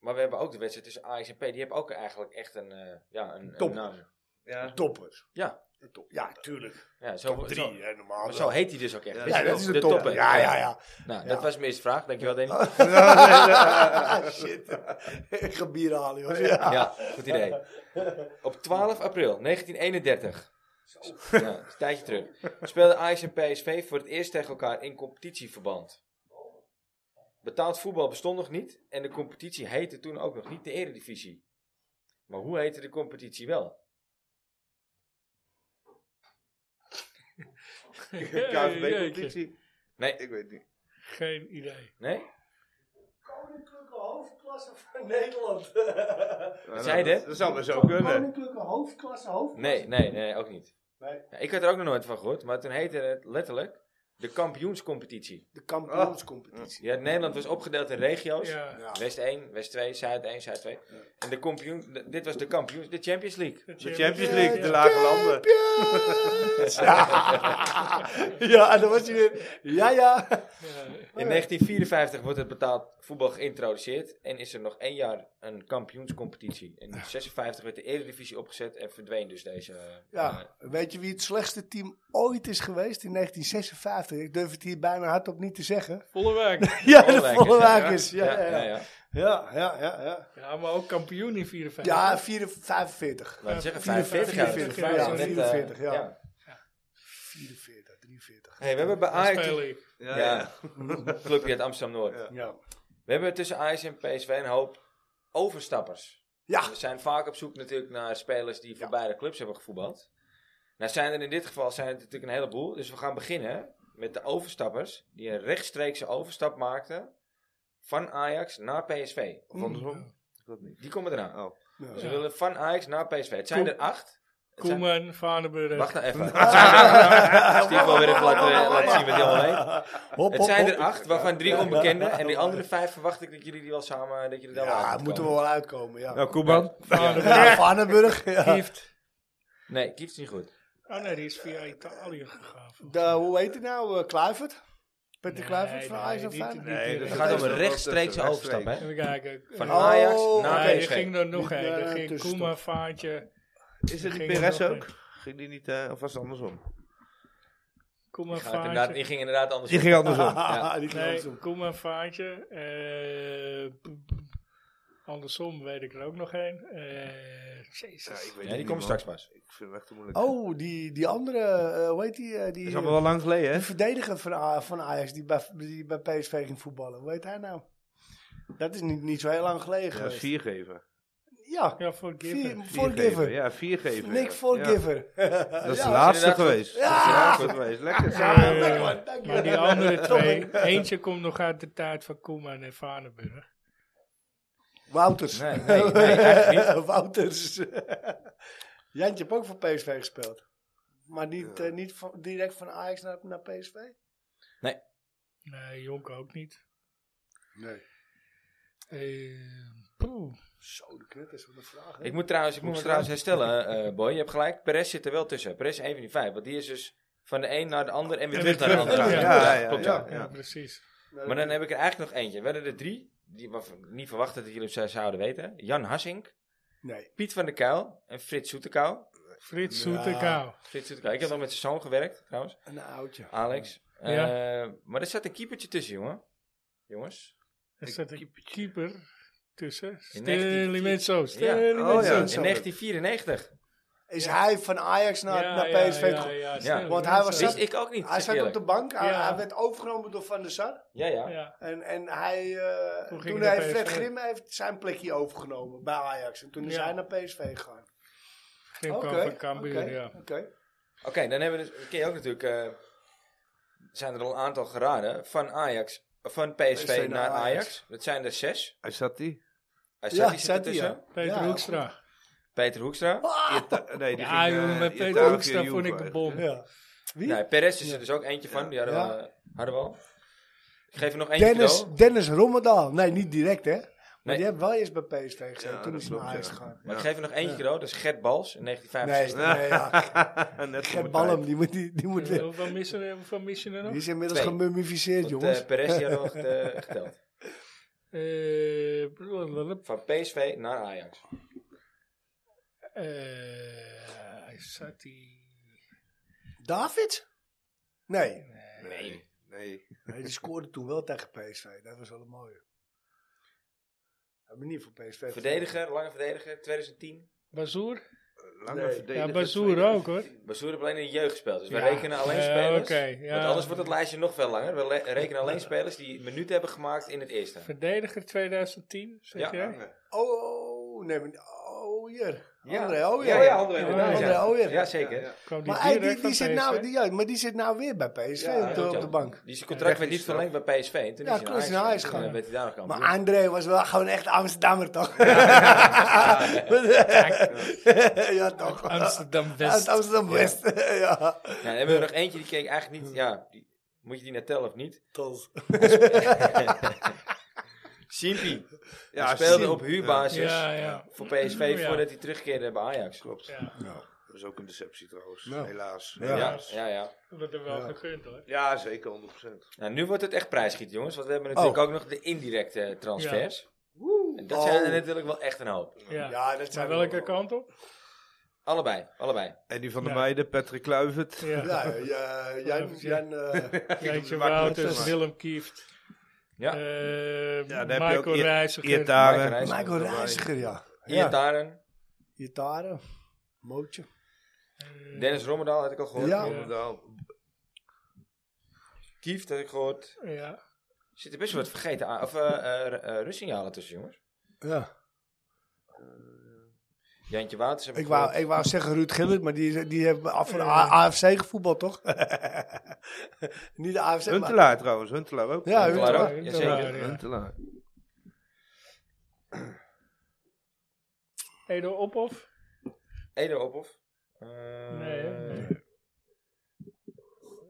S1: Maar we hebben ook de wedstrijd tussen Ajax en P. Die hebben ook eigenlijk echt een, eh, ja, een,
S3: Top.
S1: een naam.
S4: Ja.
S3: Topper.
S1: Ja,
S3: Top- Ja, tuurlijk.
S1: ja zo,
S3: Top
S1: zo,
S3: drie, hè, normaal. eh.
S1: maar zo heet hij dus ook echt.
S3: ja, dat is de,
S1: top.
S3: topper. Ja, ja, ja.
S1: Nou,
S3: Ja.
S1: dat was mijn eerste vraag. Dankjewel, Danny.
S3: Ah, Shit. Ik ga bier halen, joh. Ja.
S1: Ja, goed idee. Op 12 april 1931. Ja, dat is een tijdje terug. Speelden Ajax en PSV voor het eerst tegen elkaar in competitieverband. Betaald voetbal bestond nog niet en de competitie heette toen ook nog niet de Eredivisie. Maar hoe heette de competitie wel?
S4: KVB
S2: Jeetje.
S4: competitie.
S1: Nee.
S4: Ik weet het niet.
S2: Geen idee.
S1: Nee?
S3: Koninklijke hoofdklasse van Nederland.
S4: Nou,
S1: Zij
S4: dat-
S1: dit?
S4: Dat zou maar zo kunnen.
S3: Koninklijke hoofdklasse, hoofdklasse.
S1: Nee, nee, nee, ook niet.
S3: Nee.
S1: Ja, ik had er ook nog nooit van gehoord, maar toen heette het letterlijk de kampioenscompetitie.
S3: De kampioenscompetitie.
S1: Ja, Nederland was opgedeeld in regio's.
S2: Oh. Ja.
S3: Ja.
S1: West 1, West 2, Zuid 1, Zuid 2. En de kampioen, de- dit was de kampioen, de Champions League.
S4: De Champions League, de lage landen.
S3: Champions! ja, en dan was hij weer. Ja, ja.
S1: In 1954 wordt het betaald voetbal geïntroduceerd en is er nog één jaar een kampioenscompetitie. In 56 werd de Eredivisie opgezet en verdween dus deze. eh, eh,
S3: Ja, weet je wie het slechtste team ooit is geweest in 1956? Ik durf het hier bijna hardop niet te zeggen.
S2: Volle werk.
S3: Ja, de
S1: Vollenwijkers,
S3: Vollenwijkers.
S1: ja.
S3: Ja, ja, ja.
S1: ja.
S3: Ja, ja, ja, ja.
S2: Ja, maar ook kampioen in 54.
S3: Ja, 44, 45.
S1: Laten we zeggen 45
S3: 44,
S1: jaar.
S3: 44,
S1: Ja,
S2: ja,
S1: net, eh,
S3: 44, ja. 44, 43.
S1: Hey, we hebben bij
S2: Daar
S1: Ajax.
S2: speel ik.
S1: Ja,
S4: Ja, ja.
S1: clubje uit Amsterdam Noord.
S3: Ja.
S1: We hebben tussen Ajax en PSV een hoop overstappers.
S3: Ja,
S1: We zijn vaak op zoek natuurlijk naar spelers die voor beide clubs hebben gevoetbald. Nou zijn er in dit geval zijn het natuurlijk een heleboel. Dus we gaan beginnen met de overstappers. Die een rechtstreekse overstap maakten van Ajax naar PSV.
S4: Of andersom? Dat niet.
S1: Die komen eraan.
S4: Oh.
S3: Ja.
S1: Ze willen van Ajax naar PSV. Het zijn
S2: Kom.
S1: er acht. Het zijn-
S2: Koeman, Vaneburg.
S1: Wacht nou even. Het zijn er- Steve wil weer even laten, laten zien wat hij allemaal weet.
S3: hop,
S1: Het
S3: hop,
S1: zijn
S3: hop.
S1: er acht, waarvan drie onbekenden. En die andere vijf verwacht ik dat jullie die wel samen... Dat jullie daar wel uit
S3: Ja,
S1: moeten
S3: moeten we
S1: komen.
S3: wel uitkomen, ja.
S4: Nou, Koeman.
S3: Ja, Vanenburg. Ja.
S2: Kieft.
S1: Nee, Kieft is niet goed.
S2: Oh nee, die is via Italië gegaan.
S3: De, hoe heet het nou? eh, Kluivert? Peter
S2: Nee,
S3: Kluivert van
S2: nee,
S3: Ajax of
S2: niet-
S3: Feyenoord?
S2: niet-
S4: Nee, dat
S1: Het gaat om
S4: is
S1: een
S4: wel-
S1: rechtstreekse
S4: dat is een
S1: overstap, hè?
S2: Even kijken.
S1: Van
S2: Eh,
S1: Ajax
S3: Oh,
S1: naar
S2: nee, er
S1: PSV.
S2: ging er nog
S3: Niet
S2: één. Er
S3: naar
S2: ging
S3: tussenstop.
S2: Koeman, Vaartje.
S4: Is het
S2: Ging
S4: niet
S2: er
S4: Perez
S2: nog
S4: ook?
S2: een.
S4: Ging die niet, eh, of was het andersom?
S2: Koeman,
S1: Gaat inderdaad,
S2: Vaartje.
S1: die ging inderdaad anders.
S4: Die ging andersom.
S1: Ja.
S3: die ging
S2: Nee,
S3: andersom.
S2: Koeman, Vaartje. eh, p- p- andersom weet ik er ook nog één. Eh, Jezus.
S1: Ja, die komt straks pas.
S4: Ik vind hem echt te moeilijk.
S3: Oh, die, die andere, eh, hoe heet die? eh,
S4: Dat
S3: die,
S4: is allemaal wel lang geleden, hè?
S3: die verdediger van, A- van Ajax die bij, die bij PSV ging voetballen. Hoe heet hij nou? Dat is niet, niet zo heel lang geleden
S4: Ja,
S3: geweest.
S4: vier geven.
S3: Ja,
S2: Ja, voor Gibbon.
S3: vier- Forgiver.
S4: Ja, vier geven.
S3: Nick
S4: Ja.
S3: Forgiver.
S4: Dat is
S3: Ja,
S4: de laatste
S1: inderdaad
S4: geweest. Dat is de
S3: Ja.
S4: laatste geweest. Lekker.
S2: Eh,
S3: lekker man, dank je.
S2: maar die andere
S3: Toch
S2: twee,
S3: een-
S2: eentje komt nog uit de tijd van Koeman en Vaneburg.
S3: Wouters.
S1: Nee, nee, nee, echt niet.
S3: Wouters. Jantje heeft ook voor PSV gespeeld. Maar niet, eh, niet van- direct van Ajax naar, naar PSV?
S2: Nee, Jonk ook niet.
S3: Nee.
S2: Eh, poeh.
S3: Zo, de knetters van de vraag. hè?
S1: Ik moet trouwens, ik moet me trouwens herstellen, eh, Boy. Je hebt gelijk, Perez zit er wel tussen. Perez is één van die vijf. Want die is dus van de een naar de ander en weer
S2: En
S1: terug
S2: weer
S1: naar de
S2: terug.
S1: ander.
S2: Ja,
S4: ja, ja,
S1: klopt,
S4: ja.
S2: Ja, precies.
S3: Nou,
S1: Maar
S3: dat-
S1: dan heb ik er eigenlijk nog eentje. We hadden er drie, die we niet verwacht hadden dat jullie ze zouden weten. Jan Hassink,
S3: Nee.
S1: Piet van der Kuil en Frits Soetekou.
S2: Frits
S3: Ja.
S2: Soetekau.
S1: Frits Soetekou. Ik heb nog met zijn zoon gewerkt, trouwens.
S3: Een oudje.
S1: Alex.
S2: Ja.
S1: Eh, maar er zat een keepertje tussen, jongen. Jongens.
S2: Er zat een keeper tussen.
S1: 19
S2: Stanley Menzo.
S1: Ja.
S2: Stanley
S4: Oh, ja.
S2: Menzo.
S1: In 1994.
S3: Is hij van Ajax naar,
S2: Ja,
S3: naar
S2: ja,
S3: PSV
S2: ja,
S3: gekomen?
S2: ja, Stanley
S3: Want hij was
S2: Menzo.
S1: Wist ik ook niet.
S3: Hij
S1: zeg
S3: zat op
S1: eerlijk.
S3: de bank. Hij,
S2: Ja.
S3: hij werd overgenomen door Van der Sar.
S1: Ja, ja.
S2: Ja.
S3: En, en hij, eh,
S2: Toen ging
S3: toen
S2: hij naar
S3: heeft Fred
S2: PSV.
S3: Grim heeft zijn plekje overgenomen bij Ajax. En toen is
S2: Ja.
S3: hij naar PSV gegaan.
S2: Grimko van Cambuur,
S3: oké,
S2: ja.
S3: oké.
S1: Oké, dan hebben we dus, dat ken je ook natuurlijk, eh, zijn er al een aantal geraden van Ajax, van PSV,
S3: PSV
S1: naar
S3: naar
S1: Ajax.
S3: Ajax.
S1: Dat zijn er zes.
S4: Hij zat die?
S1: Hij
S3: Ja,
S1: staat die zit
S3: staat die, Oh,
S1: ertussen.
S3: ja.
S2: Peter
S3: Ja.
S2: Hoekstra.
S1: Peter Hoekstra.
S4: Ieta- nee, die
S2: Ja,
S4: ging, eh,
S2: jongen, met Peter
S4: Italië
S2: Hoekstra
S4: Juve
S2: vond ik de
S4: eigenlijk.
S2: bom.
S3: Ja. Wie?
S1: Nee, Perez is er dus ook eentje van. Die hadden,
S3: Ja.
S1: we, eh, hadden we al. Ik geef er nog eentje
S3: Dennis,
S1: cadeau.
S3: Dennis Rommedaal. Nee, niet direct hè. Maar
S1: Nee.
S3: die heeft wel eens bij PSV gezeten.
S4: Ja,
S3: toen
S4: dat
S3: is hij naar
S4: klopt,
S3: Ajax
S4: ja.
S3: gegaan.
S1: Maar ik geef er nog eentje cadeau. Dat is Gert Bals in
S3: Nee,
S1: 1965.
S3: nee ja.
S4: Net voor
S3: Gert
S4: mijn tijd.
S3: Ballum, die moet... Die, die, moet die
S2: Hoeveel missen we- hoeveel missen er nog?
S3: is inmiddels
S1: Twee. Want
S3: gemummificeerd, jongens.
S1: eh Perez die hadden we nog, eh, geteld.
S2: Eh, blablabla.
S1: Van PSV naar Ajax.
S2: Eh, hij zat die...
S3: David? Nee.
S1: Nee.
S4: Nee.
S3: nee, die scoorde toen wel tegen PSV. Dat was wel een mooie. Hij ben niet voor PSV. gespeeld.
S1: Verdediger, lange verdediger, 2010.
S2: Bazoer?
S4: Lange
S3: Nee.
S4: verdediger.
S2: Ja, Bazoer ook hoor.
S1: Bassoer hebben alleen in de jeugd gespeeld. Dus we
S2: Ja.
S1: rekenen alleen
S2: Ja,
S1: spelers.
S2: oké, ja.
S1: Want anders wordt het lijstje nog veel langer. We le- rekenen alleen spelers die minuten hebben gemaakt in het eerste.
S2: Verdediger 2010, zeg
S1: Ja.
S2: jij?
S3: Oh, oh, nee, maar... Oh, hier.
S1: Ja.
S3: André Ooyer.
S1: Ja, ja, André
S2: Ja,
S1: Ooyer,
S2: André
S1: ja.
S3: Ooyer.
S1: Ja, zeker.
S2: Kwam die
S3: Maar, hey, die,
S2: direct
S3: die
S2: van
S3: zit nou,
S2: PSV?
S3: die, ja, maar die zit nou weer bij PSV
S1: Ja,
S3: op,
S1: klopt,
S3: de,
S1: ja.
S3: op de bank.
S1: Die zijn contract werd niet verlengd bij PSV. En toen
S3: Ja,
S1: is hij naar
S3: klopt,
S1: Ajax
S3: is naar Ajax
S1: gegaan. En
S3: gegaan.
S1: werd hij daar nog kampioen.
S3: Maar André was wel gewoon echt Amsterdammer, toch? ja, toch.
S2: Amsterdam
S3: Uit
S2: West.
S3: Amsterdam West. ja.
S1: Ja, dan hebben we nog eentje die keek eigenlijk niet... Ja, die- moet je die net tellen of niet?
S3: Tot.
S1: Simpie.
S4: Ja,
S1: die speelde
S4: Siem.
S1: op huurbasis
S2: Ja, ja.
S1: voor PSV
S2: Ja.
S1: voordat hij terugkeerde bij Ajax.
S4: Klopt.
S2: Ja,
S4: Dat is ook een deceptie trouwens.
S3: Ja.
S4: Helaas.
S3: Ja.
S1: Ja,
S4: Helaas.
S1: ja, ja.
S2: dat wordt hem wel
S3: Ja.
S2: gegund hoor.
S4: Ja, zeker 100%.
S1: Nou, nu wordt het echt prijsschiet, jongens. Want we hebben natuurlijk
S3: Oh.
S1: ook nog de indirecte transfers. En dat
S3: Oh.
S1: zijn er natuurlijk wel echt een hoop.
S2: Ja.
S3: Ja, dat
S2: Maar
S3: zijn
S2: welke
S3: wel-
S2: kant op?
S1: Allebei, allebei.
S4: En die van de
S2: Ja.
S4: meiden, Patrick Kluivert.
S2: Ja,
S3: Ja, ja, Jan, Jan, eh,
S2: Rijntje
S4: wakker
S2: Wouters,
S4: tussen.
S2: Willem Kieft,
S1: Ja.
S2: eh,
S4: Ja, daar heb je ook
S2: Michael
S4: Iet-
S2: Reiziger.
S1: Michael
S4: Ietaren.
S1: Reis-
S3: Michael Reiziger, ja.
S1: Ian
S3: ja.
S1: Taren,
S3: Itaren, Mootje.
S1: Dennis Rommedaal had ik al gehoord.
S4: Nou,
S3: Ja.
S4: Rommedaal.
S1: Kieft had ik gehoord.
S2: Ja.
S1: Er zitten best wel wat vergeten aan. Of eh eh, eh, rustsignalen tussen, jongens.
S3: Ja.
S1: Jantje Waters heb ik,
S3: Ik wou,
S1: gehoord.
S3: ik wou zeggen Ruud Gillet, maar die, die heeft af van A- AFC gevoetbald, toch? Niet de AFC, maar...
S4: Huntelaar trouwens, Huntelaar ook.
S3: Ja,
S1: Huntelaar
S3: Huntelaar.
S1: ook,
S2: Huntelaar,
S1: jazeker.
S2: ja.
S4: Huntelaar.
S2: Edo Ophoff?
S1: Edo Ophoff. Eh,
S2: Nee, hè? nee.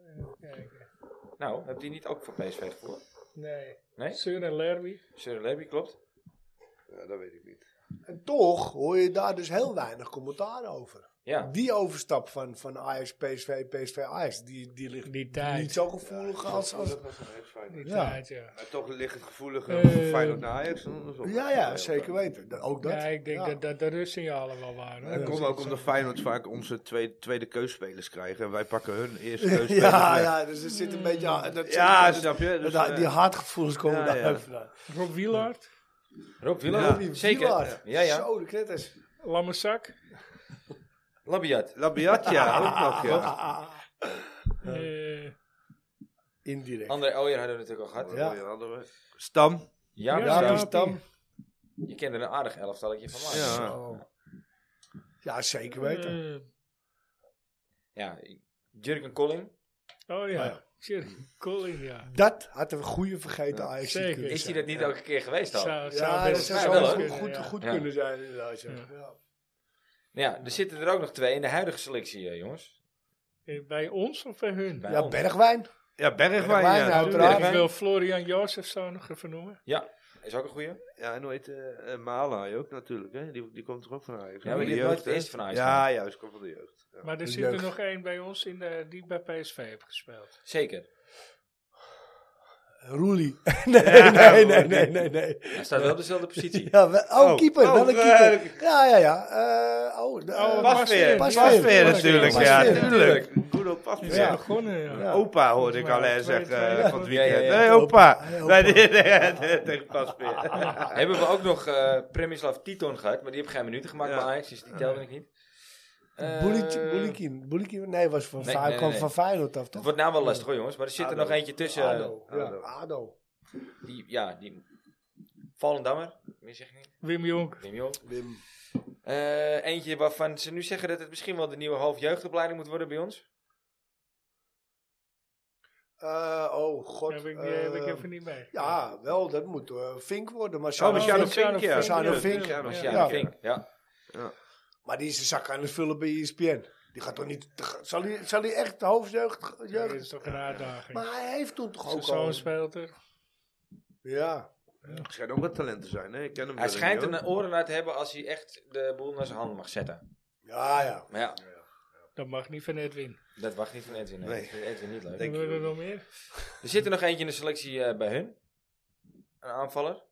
S2: Even kijken.
S1: Nou, heb die niet ook voor PSV gehoord?
S2: Nee.
S1: Nee?
S2: Sur en Lerby.
S1: Sir Levy, klopt.
S4: Ja, dat weet ik niet.
S3: En toch hoor je daar dus heel weinig commentaar over.
S1: Ja.
S3: Die overstap van, van Ajax, PSV, PSV, Ajax, die, die ligt
S2: Die tijd.
S3: niet zo gevoelig als... als
S4: was een headfight.
S2: Die
S3: Ja.
S2: tijd, ja.
S4: Maar toch ligt het gevoeliger
S2: Eh,
S4: voor Feyenoord naar Ajax dan andersom.
S3: ja, ja, zeker weten. Da- Ook dat.
S2: Ja, ik denk
S3: Ja.
S2: dat dat de rustsignalen wel waren.
S4: Dat
S2: hoor.
S4: komt ook omdat Feyenoord vaak onze tweede, tweede keusspelers krijgen. En wij pakken hun eerste keusspelers
S3: Ja,
S4: weg.
S3: ja, dus er zit een beetje... aan- Dat
S4: Ja,
S3: dat-
S4: snap je? Dus,
S3: dat-
S4: eh,
S3: die haatgevoelens komen
S4: Ja,
S3: daar
S4: ja.
S3: ook vandaan.
S2: Rob Wielaert,
S1: Rob Wieler.
S4: Ja.
S3: Die
S1: Zeker.
S3: Wielaert.
S1: Ja, ja.
S3: Zo, de knetters.
S2: Lammerzak.
S1: Labiat.
S4: Labiat, ja, ook nog, ja.
S3: Ah,
S2: eh,
S3: indirect.
S1: André Ooyer hadden we natuurlijk al gehad.
S3: Ja.
S4: Mooie hadden we. Stam.
S1: Ja,
S2: Ja, dus-
S1: Stam.
S3: ja,
S2: Jaapie.
S3: Stam.
S1: Je kende een aardig elftalletje van mij.
S4: Ja.
S1: Ja.
S3: Zo. Oh. Ja, zeker weten.
S2: eh,
S1: Jurgen Colling.
S2: oh ja,
S3: Ah, ja.
S2: Jerry Colling, ja.
S3: Dat had een goede vergeten Ajax
S2: zeker.
S3: kunnen
S1: Is hij
S3: zijn.
S1: dat niet elke keer geweest al?
S2: Zou,
S3: Ja, dat
S2: best
S3: zou
S1: Ja,
S3: zo
S1: wel,
S3: goed,
S2: kunnen,
S3: goed,
S2: ja.
S3: goed
S1: Ja.
S3: kunnen zijn inderdaad. Ja.
S2: Ja.
S3: Ja.
S1: Ja, er zitten er ook nog twee in de huidige selectie, eh, jongens.
S2: Eh, Bij ons of bij hun?
S1: Bij
S3: Ja,
S1: ons.
S3: Bergwijn.
S4: Ja, Bergwijn.
S3: Bergwijn,
S4: ja.
S3: nou.
S2: Ik
S3: Uiteraard.
S2: wil Florian Jozefzoon nog even noemen.
S1: Ja, is ook een goeie.
S4: ja, en hoe heet eh, eh, Mahalai ook natuurlijk. Hè? Die, die komt toch ook van Ajax?
S1: Ja, maar
S4: Van
S1: die
S4: de
S1: heeft nooit
S4: jeugd,
S1: het eerste van
S4: hè?
S1: Ajax
S4: Ja, juist, komt van de jeugd. Ja.
S2: Maar er
S3: De
S2: zit er
S3: jeugd.
S2: nog één bij ons in de, die bij PSV heeft gespeeld.
S1: Zeker.
S3: Roelie. nee, nee, nee, nee, nee, nee.
S1: Hij staat wel op dezelfde positie.
S3: Ja, we- oh,
S4: Oh,
S3: keeper.
S4: oh,
S3: wel een
S4: eh,
S3: keeper. ja, ja, ja. Eh, oh, de-
S2: Bas
S3: eh,
S4: Pasveer,
S2: Pasveer.
S4: Pasveer
S3: Pasveer.
S4: natuurlijk.
S3: Pasveer,
S4: Ja,
S3: natuurlijk.
S4: natuurlijk. Goed op
S2: Die
S4: Pasveer.
S2: zijn begonnen, ja.
S3: Ja. Oh.
S4: Opa hoorde ik
S2: Ja, twee,
S4: alleen zeggen
S2: twee,
S4: eh,
S2: ja.
S4: van het weekend.
S1: Ja, ja, ja.
S4: Hey, opa.
S3: Hey, opa.
S4: Nee, nee, nee, nee, tegen Pasveer.
S1: Hebben we ook nog eh Premislav Titon gehad, maar die heeft geen minuten gemaakt
S4: Ja.
S1: bij Ajax, dus die telde ik niet. Eh,
S3: Bulik- Bulikin. Bulikin. Nee, was van,
S1: Nee,
S3: Fey-
S1: nee,
S3: kwam
S1: nee. eh,
S3: van Feyenoord af,
S1: Het
S3: toch?
S1: wordt nou wel lastig hoor jongens, maar er zit er
S4: Ado.
S1: nog eentje tussen. eh,
S3: Ado. Ja,
S4: Ado.
S3: Ado.
S1: Die, ja, die... Vallendammer, meer zeg ik niet.
S2: Wim Jonk.
S1: Wim Jong. Eh, eentje waarvan ze nu zeggen dat het misschien wel de nieuwe hoofdjeugdopleiding moet worden bij ons.
S3: Eh, oh, god.
S2: Heb ik, die heb ik
S3: eh,
S2: even niet mee.
S3: Ja, wel, dat moet eh, Fink worden. Maar
S4: Oh,
S3: Sjaan-
S4: Marciano
S2: Marciano
S4: Fink, ja.
S2: Fink,
S3: Marciano Fink.
S4: Marciano
S1: Ja,
S2: Ja.
S1: ja,
S3: Ja.
S1: Vink, ja.
S3: Maar die is zijn zak aan het vullen bij E ESPN. Die gaat toch niet... Zal hij, zal hij echt de hoofdjeugd...
S2: Ja, dat
S3: jeugd-
S2: is toch een uitdaging.
S3: Maar hij heeft toen toch
S2: Zijn
S3: ook al...
S2: zoon speelt er.
S3: Ja.
S4: Het schijnt ook wat talent te zijn, hè? Ik ken hem
S1: Hij
S4: verder
S1: schijnt
S4: niet,
S1: een
S4: hoor.
S1: oren naar te hebben als hij echt de boel naar zijn handen mag zetten.
S3: Ja, ja.
S1: Maar ja,
S2: Dat mag niet van Edwin.
S1: dat wacht niet van Edwin. Nee.
S4: Nee.
S1: Dat vindt Edwin niet leuk.
S4: Denk
S2: Hebben
S4: je
S2: we er
S4: wel.
S2: nog meer?
S1: Er zit er nog eentje in de selectie eh, bij hun. Een aanvaller.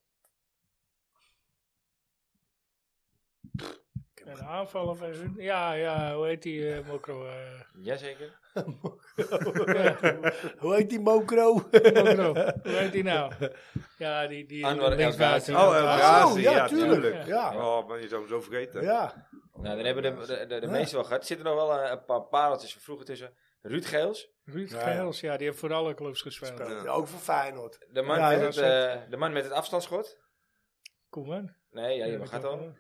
S2: Een aanvallen van hun? Ja, ja, hoe heet die eh Mokro? eh,
S1: Jazeker.
S3: Hoe heet die mokro? Oh,
S2: Mokro, hoe heet die nou? Ja, die... die eh,
S1: Anwar El
S2: linksbuiten.
S1: Ghazi.
S4: Oh, El
S3: Oh,
S4: Ghazi,
S3: ja,
S4: ja,
S3: tuurlijk.
S4: tuurlijk.
S3: Ja.
S4: Oh, ben je zou hem zo vergeten.
S3: Ja.
S1: Nou, dan hebben de, de, de, de meeste wel gehad. Er zitten nog wel eh, een paar pareltjes van vroeger tussen. Ruud Geels.
S2: Ruud
S3: Ja.
S2: Geels, ja, die heeft voor alle clubs gespeeld.
S3: Ja, Ook voor Feyenoord.
S1: De man,
S3: Ja,
S1: met,
S3: ja,
S1: het, eh, de man met het afstandsschot.
S2: Koeman.
S1: Nee, ja, je
S2: Ja,
S1: mag het
S2: dat-
S1: al.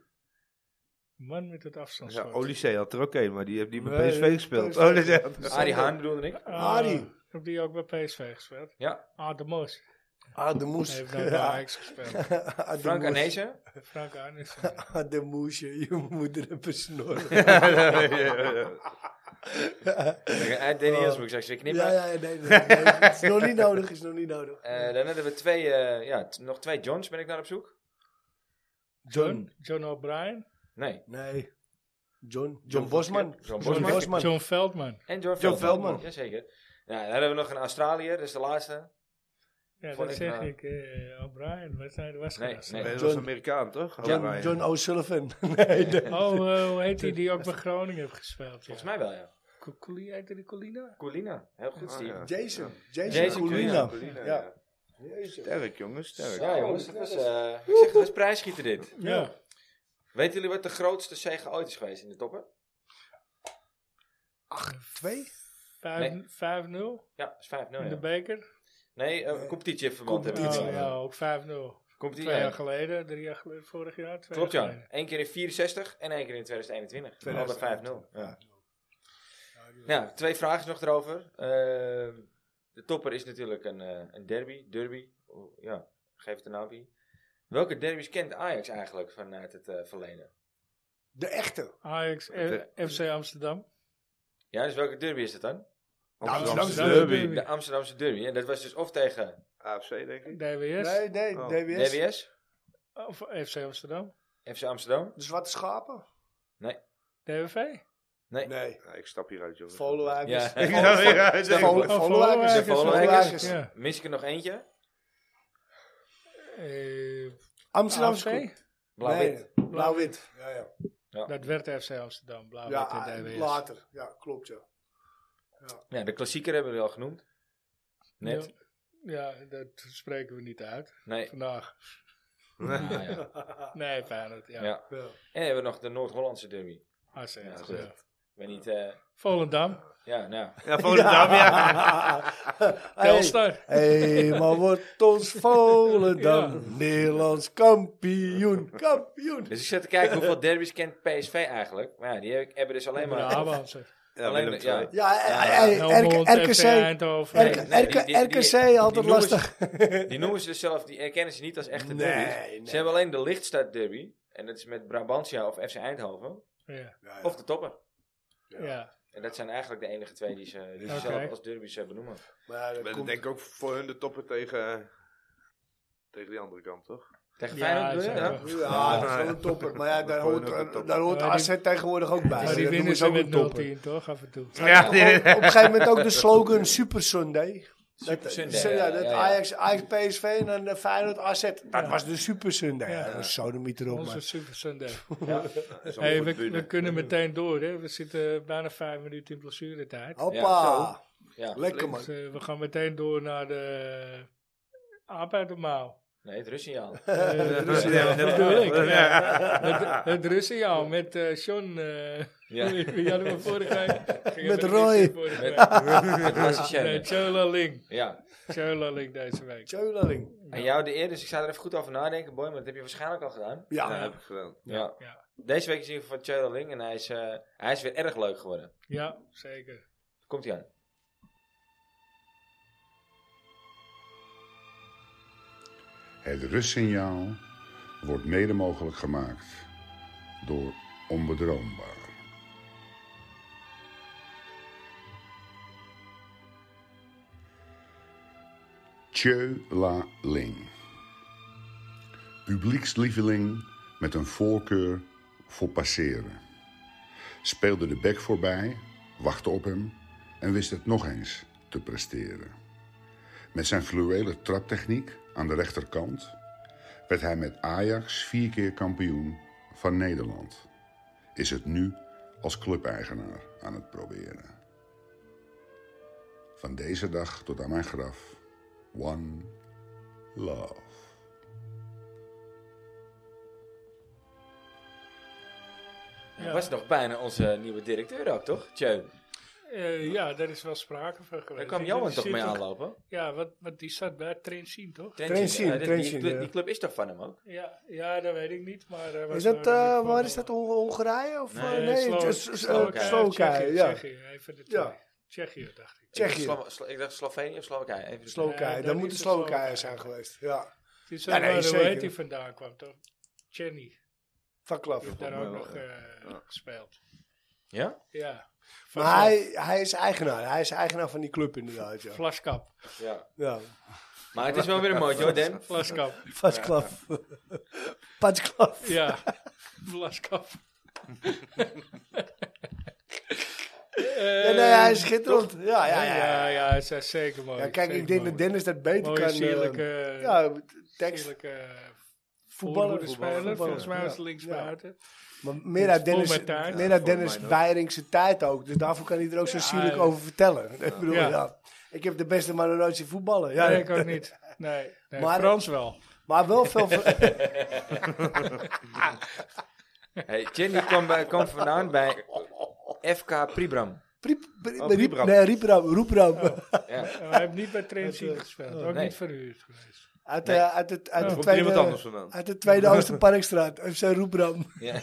S2: Man met het afstand.
S4: Ja, Olysee had er ook een, maar die heeft niet bij
S3: Nee,
S4: PSV
S3: dat-
S4: gespeeld.
S3: dat-
S4: Oh, dat is echt-
S1: Arie Haan bedoelde ik.
S2: Ah.
S3: Arie.
S2: Heb die ook bij PSV gespeeld?
S1: Ja.
S2: Ah, de Moos.
S3: Ah, de moes.
S2: Hij heeft nou nooit bij Ajax gespeeld.
S3: Ah, de
S1: Frank
S3: moes.
S1: Arnezen.
S2: Frank Arnes.
S3: Ah, de moesje. Je moeder hebt een snor.
S1: Uit Danny Hilsbroek, zeg ze knippen.
S3: Ja, ja, nee, nee, nee, Het Is nog niet nodig, is nog niet nodig.
S1: Eh, dan hebben we twee, eh, ja, t- nog twee Johns ben ik naar op zoek.
S3: John.
S2: John O'Brien.
S1: Nee.
S3: Nee. John. John Bosman.
S1: John
S3: John
S1: Bosman.
S3: Bosman.
S2: John Veldman.
S1: En John,
S3: John Veldman.
S1: Jazeker. Nou, dan hebben we nog een Australiër, dat is de laatste.
S2: Ja,
S1: Vond
S2: dat
S1: ik,
S2: zeg
S1: eh,
S2: ik. eh, O'Brien. Wat zijn was
S1: Nee,
S2: dat?
S1: nee.
S4: Nee, dat was
S3: John-
S4: Amerikaan, toch?
S3: John,
S4: Allebei.
S3: John O'Sullivan. Nee, nee.
S2: Oh, eh, hoe heet die die ook bij Groningen heeft gespeeld?
S1: Volgens mij wel, ja.
S2: mij. Colina, heette die Colina?
S1: Colina. Heel goed,
S4: Ah,
S1: Steve.
S4: ja.
S3: Jason. Jason,
S1: Jason
S3: Jason
S1: Colina.
S4: Colina,
S3: Ja.
S4: ja. Sterk, jongens, sterk.
S1: Ja, jongens, dat was, eh, ik zeg, dat is prijsschieten dit.
S2: Ja.
S1: Weten jullie wat de grootste zege ooit is geweest in de toppen?
S3: Twee?
S2: Vijf- 5-0
S1: Ja, dat is 5-0.
S2: in de
S1: Oh, Ja.
S2: beker.
S1: Nee, eh, competitie heeft verband hebben we
S3: Competitie.
S2: Oh,
S1: gedaan.
S2: ja, ook 5-0.
S1: Competitie.
S2: Twee jaar
S1: ja.
S2: geleden, drie jaar geleden, vorig jaar. Twee
S1: Klopt,
S2: jaar
S1: ja.
S2: geleden.
S1: Eén keer in 64 en één keer in 2021. Alle 5-0. Ja. Nou, twee vragen nog erover. Ehm, de topper is natuurlijk een, eh, een derby. Derby. Oh, ja, geef het een naampje. Welke derbies kent Ajax eigenlijk vanuit het eh, verleden?
S3: De echte.
S2: Ajax, eh, FC Amsterdam.
S1: Ja, dus welke derby is dat dan?
S4: Amsterdamse
S2: Amsterdamse
S4: derby.
S2: derby.
S1: De Amsterdamse derby. En dat was dus of tegen
S4: AFC, denk ik.
S2: DWS.
S3: Nee, nee,
S4: Oh.
S3: DWS.
S1: DWS,
S2: Of FC Amsterdam.
S1: FC Amsterdam.
S3: De Zwarte Schapen?
S2: DWV.
S3: Nee.
S4: Ja, ik stap hieruit, jongens.
S3: Volwijkers.
S1: Ja.
S4: Ik stap hieruit,
S3: De
S4: jongens.
S2: Oh,
S3: Volwijkers.
S1: De
S2: Volwijkers,
S1: Volwijkers.
S2: Ja.
S1: Mis ik er nog eentje?
S2: Eh,
S3: Amsterdamse
S2: AFC?
S3: Koek.
S1: Blauw-wit.
S3: Nee, Blauw-wit. Ja, ja.
S2: Dat werd FC Amsterdam, blauw
S3: Ja, eh,
S2: en DWS.
S3: later. Ja, klopt ja.
S1: Ja, de klassieker hebben we al genoemd. Net.
S2: Ja. Ja, dat spreken we niet uit
S1: Nee.
S2: vandaag.
S1: Ah, ja.
S2: Nee, Feyenoord, ja.
S1: Ja.
S2: ja.
S3: Ja.
S1: En hebben we nog de Noord-Hollandse derby. Ik
S2: AC,
S1: Ja,
S2: ja.
S1: goed. weet niet... eh,
S2: Volendam,
S1: ja, nou.
S4: Ja, Volendam, ja.
S3: Hey.
S2: Telstar.
S3: hey, maar wordt ons Volendam Nederlands kampioen. Kampioen.
S1: Dus ik zit te kijken hoeveel derbies kent PSV eigenlijk. Maar ja, die heb- hebben dus alleen maar...
S2: Brabantse.
S4: Ja,
S1: Alleen-
S4: Willem
S1: ja.
S4: II.
S3: Ja, hey, hey,
S2: Helmond,
S3: RK-
S2: FC
S3: RKC.
S2: Eindhoven.
S1: Nee,
S3: RK-
S1: nee, die- die- die-
S3: RKC altijd
S1: die noemen ze-
S3: lastig.
S1: Die noemen ze dus zelf, die erkennen ze niet als echte
S3: Nee,
S1: derbies.
S3: nee.
S1: Ze hebben alleen de Lichtstad derby. En dat is met Brabantia of FC Eindhoven.
S2: Ja,
S1: Of de topper.
S2: ja.
S1: En dat zijn eigenlijk de enige twee die ze, die ze
S2: Oké.
S1: zelf als derby zou benoemen.
S3: Maar dat
S4: Maar dat
S3: komt-
S4: denk ik ook voor hun de toppen tegen, eh, tegen die andere kant, toch?
S1: Tegen
S2: Ja,
S1: Feyenoord bedoel
S2: ze
S1: je?
S2: hebben-
S1: Ja.
S3: Ja, dat is wel een topper. Maar ja, daar
S4: Gewoon
S3: hoort,
S4: ook een topper.
S3: daar hoort
S2: Maar die-
S3: AZ tegenwoordig ook bij.
S2: Maar die
S3: Dat
S2: winnen
S3: noemen
S2: ze
S3: ook een topper.
S2: met 0-10 toch, af en toe.
S4: Ja,
S3: Op, op een gegeven moment ook de slogan Super Sunday. dat,
S1: Sunday,
S3: ja,
S1: ja,
S3: dat
S1: ja, ja.
S3: Ajax, Ajax, PSV en dan de Feyenoord AZ. Dat was de Super Sunday.
S2: Ja.
S3: Ja, dat was sodemiet erop,
S2: Onze
S3: man.
S2: Super Sunday.
S4: Zo'n
S2: Hey,
S4: goed
S2: we,
S4: winnen.
S2: we kunnen meteen door, hè. We zitten bijna vijf minuten in blessuretijd.
S3: Hoppa.
S1: Ja.
S3: Lekker, man.
S2: Dus, eh, we gaan meteen door naar de arbeidermaal.
S1: Nee, het Russiaal.
S2: Eh,
S4: Ja, ja,
S2: Dat bedoel ik.
S4: ja.
S2: Het, het Russiaal met eh John. eh
S1: Ja.
S2: die hadden we vorige week. gingen
S3: Met
S2: we
S3: Roy.
S2: niet vorige week.
S1: Het was een shame.
S2: Nee, Chola Ling.
S1: Ja.
S2: Chola Ling deze week.
S3: Tjeuleling.
S1: En jou de eer, dus ik zou er even goed over nadenken, boy. Maar dat heb je waarschijnlijk al gedaan.
S3: Ja.
S4: Ja, heb ik gedaan.
S1: Ja.
S2: Ja.
S1: Deze week is in ieder geval van Tjeureling Ling en hij is, eh, hij is weer erg leuk geworden.
S2: Ja, zeker.
S1: Komt hij aan.
S7: Het rustsignaal wordt mede mogelijk gemaakt door onbedroombaar. Tjeu La Ling. Publiekslieveling met een voorkeur voor passeren. Speelde de bek voorbij, wachtte op hem en wist het nog eens te presteren. Met zijn fluwele traptechniek aan de rechterkant werd hij met Ajax vier keer kampioen van Nederland. Is het nu als clubeigenaar aan het proberen. Van deze dag tot aan mijn graf. One love.
S1: Dat was nog bijna onze eh, nieuwe directeur ook, toch? Tjeu.
S2: Eh, ja, daar is wel sprake van geweest.
S1: Daar kwam
S2: Die-
S1: Johan
S2: die
S1: toch
S2: zit
S1: mee
S2: ook-
S1: aanlopen?
S2: Ja, want, want die zat bij Trentin, toch?
S3: Trentin,
S1: eh, dit- die,
S3: Trentin,
S1: club-
S3: ja.
S1: die club is toch van hem ook?
S2: Ja, ja, dat weet ik niet. Maar, eh, was
S3: Is dat,
S2: daar
S3: eh,
S2: nog niet
S3: waar
S2: van.
S3: is dat, Hon- Hongarije? Of, eh,
S1: Nee,
S3: nee,
S2: Slo-
S3: het is- is- eh, Slowakije.
S2: Tsjechië,
S3: Ja,
S2: Tsjechië, even de
S3: Ja.
S2: twee. Tsjechië, dacht ik.
S3: Tsjechië.
S1: Slo- Slo- ik dacht Slovenië of Slowakije. Even de-
S2: Ja,
S3: Slowakije.
S2: dat
S3: Dat moet
S2: is eh,
S3: de
S2: de
S3: Slowakije
S2: Slowakije.
S3: zijn geweest. Ja.
S2: Het is
S3: Ja,
S2: ook
S3: nee,
S2: waar, hoe
S3: zeker.
S2: heet die vandaan kwam, toch? Jenny.
S3: Vaklav.
S2: Die heeft daar
S4: mooi
S2: ook
S4: wel,
S2: nog
S4: ja.
S2: eh, gespeeld.
S1: Ja?
S2: Ja. Van
S3: Maar hij, hij is eigenaar. Hij is eigenaar van die club inderdaad, ja.
S2: Vlaskap.
S1: Ja.
S3: ja.
S1: Maar het is wel weer een mooi, hoor, Dan.
S2: Vlaskap.
S3: Vaklav. Vaklav.
S2: Ja. Vlaskap.
S3: Ja, nee, hij is schitterend. Ja, ja, ja. ja.
S2: Eh, ja, ja, hij is eh, zeker mooi.
S3: Ja, kijk,
S2: zeker
S3: ik denk
S2: mooi.
S3: dat Dennis dat beter
S2: Mooie
S3: kan. eh,
S2: sierlijke,
S3: ja, tekst.
S2: sierlijke eh,
S3: Voetballer.
S2: speler.
S3: Voetballer,
S2: Volgens mij
S3: ja.
S2: was het linksbuiten.
S3: Maar meer uit
S2: Vol
S3: Dennis,
S2: met taart.
S3: meer uit Dennis Weiringse tijd ook. Dus daarvoor kan hij er ook zo sierlijk
S2: ja.
S3: over vertellen. Ik bedoel,
S2: Ja.
S3: ja. Ik heb de beste maar nog nooit zien voetballen. Ja,
S2: Ja, ik ook niet. Nee, nee
S3: Maar-
S2: Frans wel.
S3: Maar wel veel... ver-
S1: Hey, Jenny kwam, bij, kwam vandaan bij FK Pribram.
S3: Priep- pri-
S4: Oh,
S3: riep-
S4: Riepram.
S3: Nee, Riepram. Roepram.
S2: Oh.
S1: Ja.
S2: Hij heeft niet bij Trentin
S3: eh,
S2: gespeeld.
S3: oh,
S2: Ook niet verhuurd geweest.
S3: Uit,
S1: Nee.
S3: de, uit, het, uit, de
S4: Komt er iemand anders
S3: tweede,
S4: vandaan?
S3: uit de Tweede Oosterparkstraat. FC Roepram.
S1: Ja.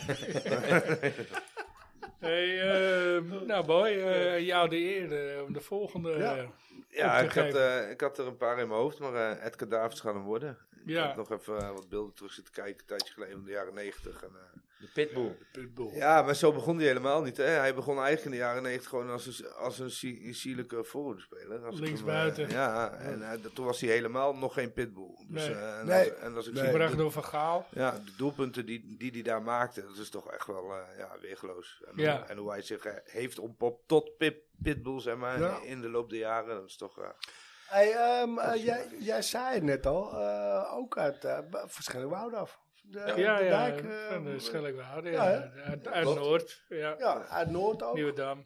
S2: Hey, ehm, nou boy, eh, jou de eer eh, om de volgende...
S3: Ja.
S2: eh,
S4: Ja,
S2: te
S4: ik had,
S2: geven.
S4: eh, ik had er een paar in mijn hoofd, maar eh Edgar Davids gaan hem worden. Ik
S2: Ja.
S4: heb nog even eh, wat beelden terug zitten kijken, een tijdje geleden, van de jaren negentig. eh,
S1: De Pitbull.
S4: Ja, maar zo begon hij helemaal niet. Hè? Hij begon eigenlijk in de jaren negentig gewoon als een, als een sie- een sierlijke voorhoedspeler. Als ik
S2: Linksbuiten.
S4: hem, eh, ja, en eh, dat- toen was hij helemaal nog geen pitbull. Dus,
S2: Nee.
S4: eh, en
S3: Nee.
S4: Als, en als ik
S3: Nee.
S4: zie-
S2: gebracht door Van Gaal.
S4: Ja, de doelpunten die hij die die daar maakte, dat is toch echt wel eh ja, weergeloos. En,
S2: Ja.
S4: en hoe hij zich eh, heeft ontpopt tot pip, pitbull, zeg maar,
S3: Ja.
S4: in de loop der jaren. Dat is toch... eh,
S3: Hey, ehm, eh, jij, jij zei het net al. eh, ook uit uh, Verschillingwoud af. De,
S2: Ja, ja,
S3: de
S2: ja
S3: dijk, eh,
S2: van de Schellekwade.
S3: ja,
S2: Ja, uit, uit Noord. Ja.
S3: ja, uit Noord ook.
S2: Nieuwedam.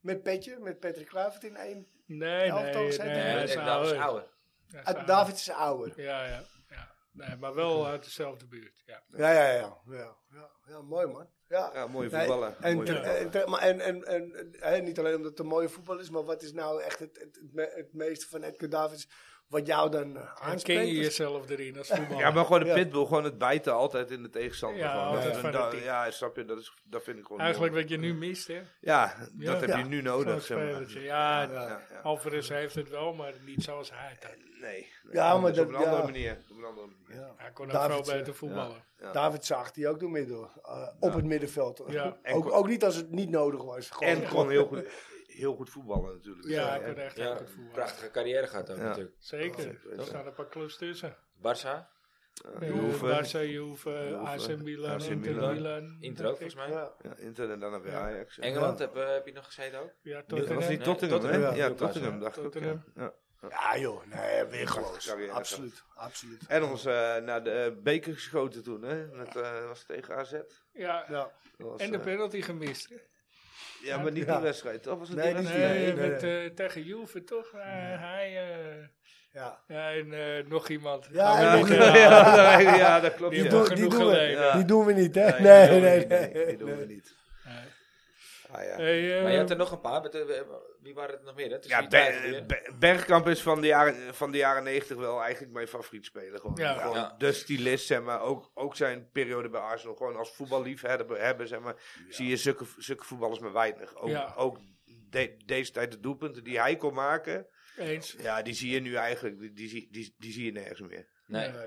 S3: Met Petje, met Patrick Kluivert in één.
S2: Nee,
S3: Elftal
S2: nee,
S3: is
S2: nee.
S3: hij
S1: Nee,
S2: hij is
S1: dat was
S2: ouder.
S1: ouder.
S2: Hij is
S3: Uit
S2: ouder.
S3: David is ouder.
S2: Ja, ja, ja. Nee, maar wel uit dezelfde buurt. Ja.
S3: Ja, ja, ja. Ja, ja, ja mooi man. Ja,
S4: ja, mooie
S3: Nee,
S4: voetballen.
S3: En, eh,
S4: mooie
S3: ter-
S4: voetballer.
S3: en, ter- maar en, en, en, eh, niet alleen omdat het een mooie voetbal is, maar wat is nou echt het, het, het me- het meeste van Edgar Davids? wat jou dan eh,
S2: En ken je
S3: aanspreekt.
S2: jezelf erin als voetballer.
S4: Ja, maar gewoon de
S3: Ja.
S4: pitbull, gewoon het bijten altijd in de tegenstander.
S2: Ja,
S4: gewoon.
S2: altijd
S4: En
S2: van
S4: dat-
S2: dat-
S4: ja, snap je, dat, is, dat vind ik gewoon...
S2: Eigenlijk wat je nu mist, hè?
S4: Ja, Oh, dat
S2: Ja.
S4: heb
S3: Ja.
S4: je nu
S2: Zo'n
S4: nodig, zeg maar.
S2: spelertje. Ja,
S4: Ja, ja.
S2: Alvarez heeft het wel, maar niet zoals hij het had.
S4: Nee, nee.
S3: Ja, maar
S4: is op
S3: dat-
S4: een andere
S3: ja.
S4: manier. Op een andere manier.
S3: Ja.
S2: Hij kon ook veel
S3: Davidson.
S2: beter voetballen.
S4: Ja.
S3: David zag die ook door middel. eh, Op het middenveld. eh,
S2: Ja.
S4: En
S3: Ook,
S4: kon-
S3: ook niet als het niet nodig was. Gewoon-
S4: En kon heel goed, heel goed voetballen natuurlijk.
S2: Ja,
S4: Zo,
S2: hij kon
S4: hè.
S2: echt heel
S1: Ja,
S2: goed voetballen.
S1: prachtige carrière gehad ook
S4: Ja.
S1: natuurlijk.
S2: Zeker.
S4: Zeker.
S2: Er staan een paar clubs tussen.
S1: Barça,
S2: Eh,
S4: Oh, Juve.
S2: Barca, Juve,
S4: Juve,
S2: AC Milan,
S4: AC
S2: Inter
S4: Milan.
S2: Milan.
S1: Inter
S2: denk
S1: ook
S2: ik.
S1: volgens mij.
S3: Ja.
S4: Ja, Inter en daarna weer
S2: Ja.
S4: Ajax. ja.
S1: Engeland heb, eh, heb je nog gezeten ook?
S2: Ja,
S4: Dat was
S2: Tottenham.
S1: Nee,
S4: niet Tottenham, hè?
S1: Tottenham.
S4: Ja,
S1: Newcastle.
S4: Tottenham, dacht ik ook, ja.
S2: Tottenham.
S4: Ja.
S3: Ja joh, nee, weergeloos.
S4: Carrière.
S3: Absoluut, absoluut.
S4: En ons eh, naar de eh, beker geschoten toen, hè? Met, eh, was het tegen AZ?
S2: Ja,
S3: Ja.
S4: Dat was,
S2: en de
S4: eh,
S2: penalty gemist.
S4: ja, maar niet
S3: Ja.
S4: die wedstrijd. Dat was het
S3: Nee,
S4: die
S3: niet die-
S4: wedstrijd?
S2: Nee,
S3: nee,
S2: met,
S3: nee.
S2: eh, tegen Juve toch? Eh, Hij eh,
S3: Ja.
S2: ja, en eh, nog iemand.
S3: Ja,
S2: Nou,
S3: en nog-
S4: Ja,
S2: eh,
S4: ja, dat- ja, dat klopt.
S2: Die
S4: ja.
S3: doen-
S2: hebben
S3: die
S2: genoeg
S3: doen we.
S2: geleden.
S4: Ja.
S3: Die doen we niet, hè?
S4: Nee,
S3: Nee, nee,
S4: die doen we
S3: nee.
S4: niet, nee, Die doen we niet.
S2: Nee.
S4: Ah, ja.
S2: Hey, eh,
S1: Maar je had er nog een paar. maar, eh, Wie waren het nog meer? Hè? Tussen
S4: Ja,
S1: die tijd
S4: Ber-
S1: weer.
S4: Ber- Bergkamp is van de, jaren, van de jaren 90 wel eigenlijk mijn favoriet speler. Gewoon.
S2: Ja.
S4: Gewoon
S1: Ja.
S4: de stylist, zeg maar. Ook, ook zijn periode bij Arsenal. Gewoon als voetballiefhebber hebben, zeg maar. Zie je zulke, zulke voetballers maar weinig. Ook,
S2: Ja.
S4: ook de- deze tijd de doelpunten die hij kon maken.
S2: eens.
S4: Ja, die zie je nu eigenlijk. Die, die, zie- die, die zie je nergens meer.
S1: Nee.
S2: Nee.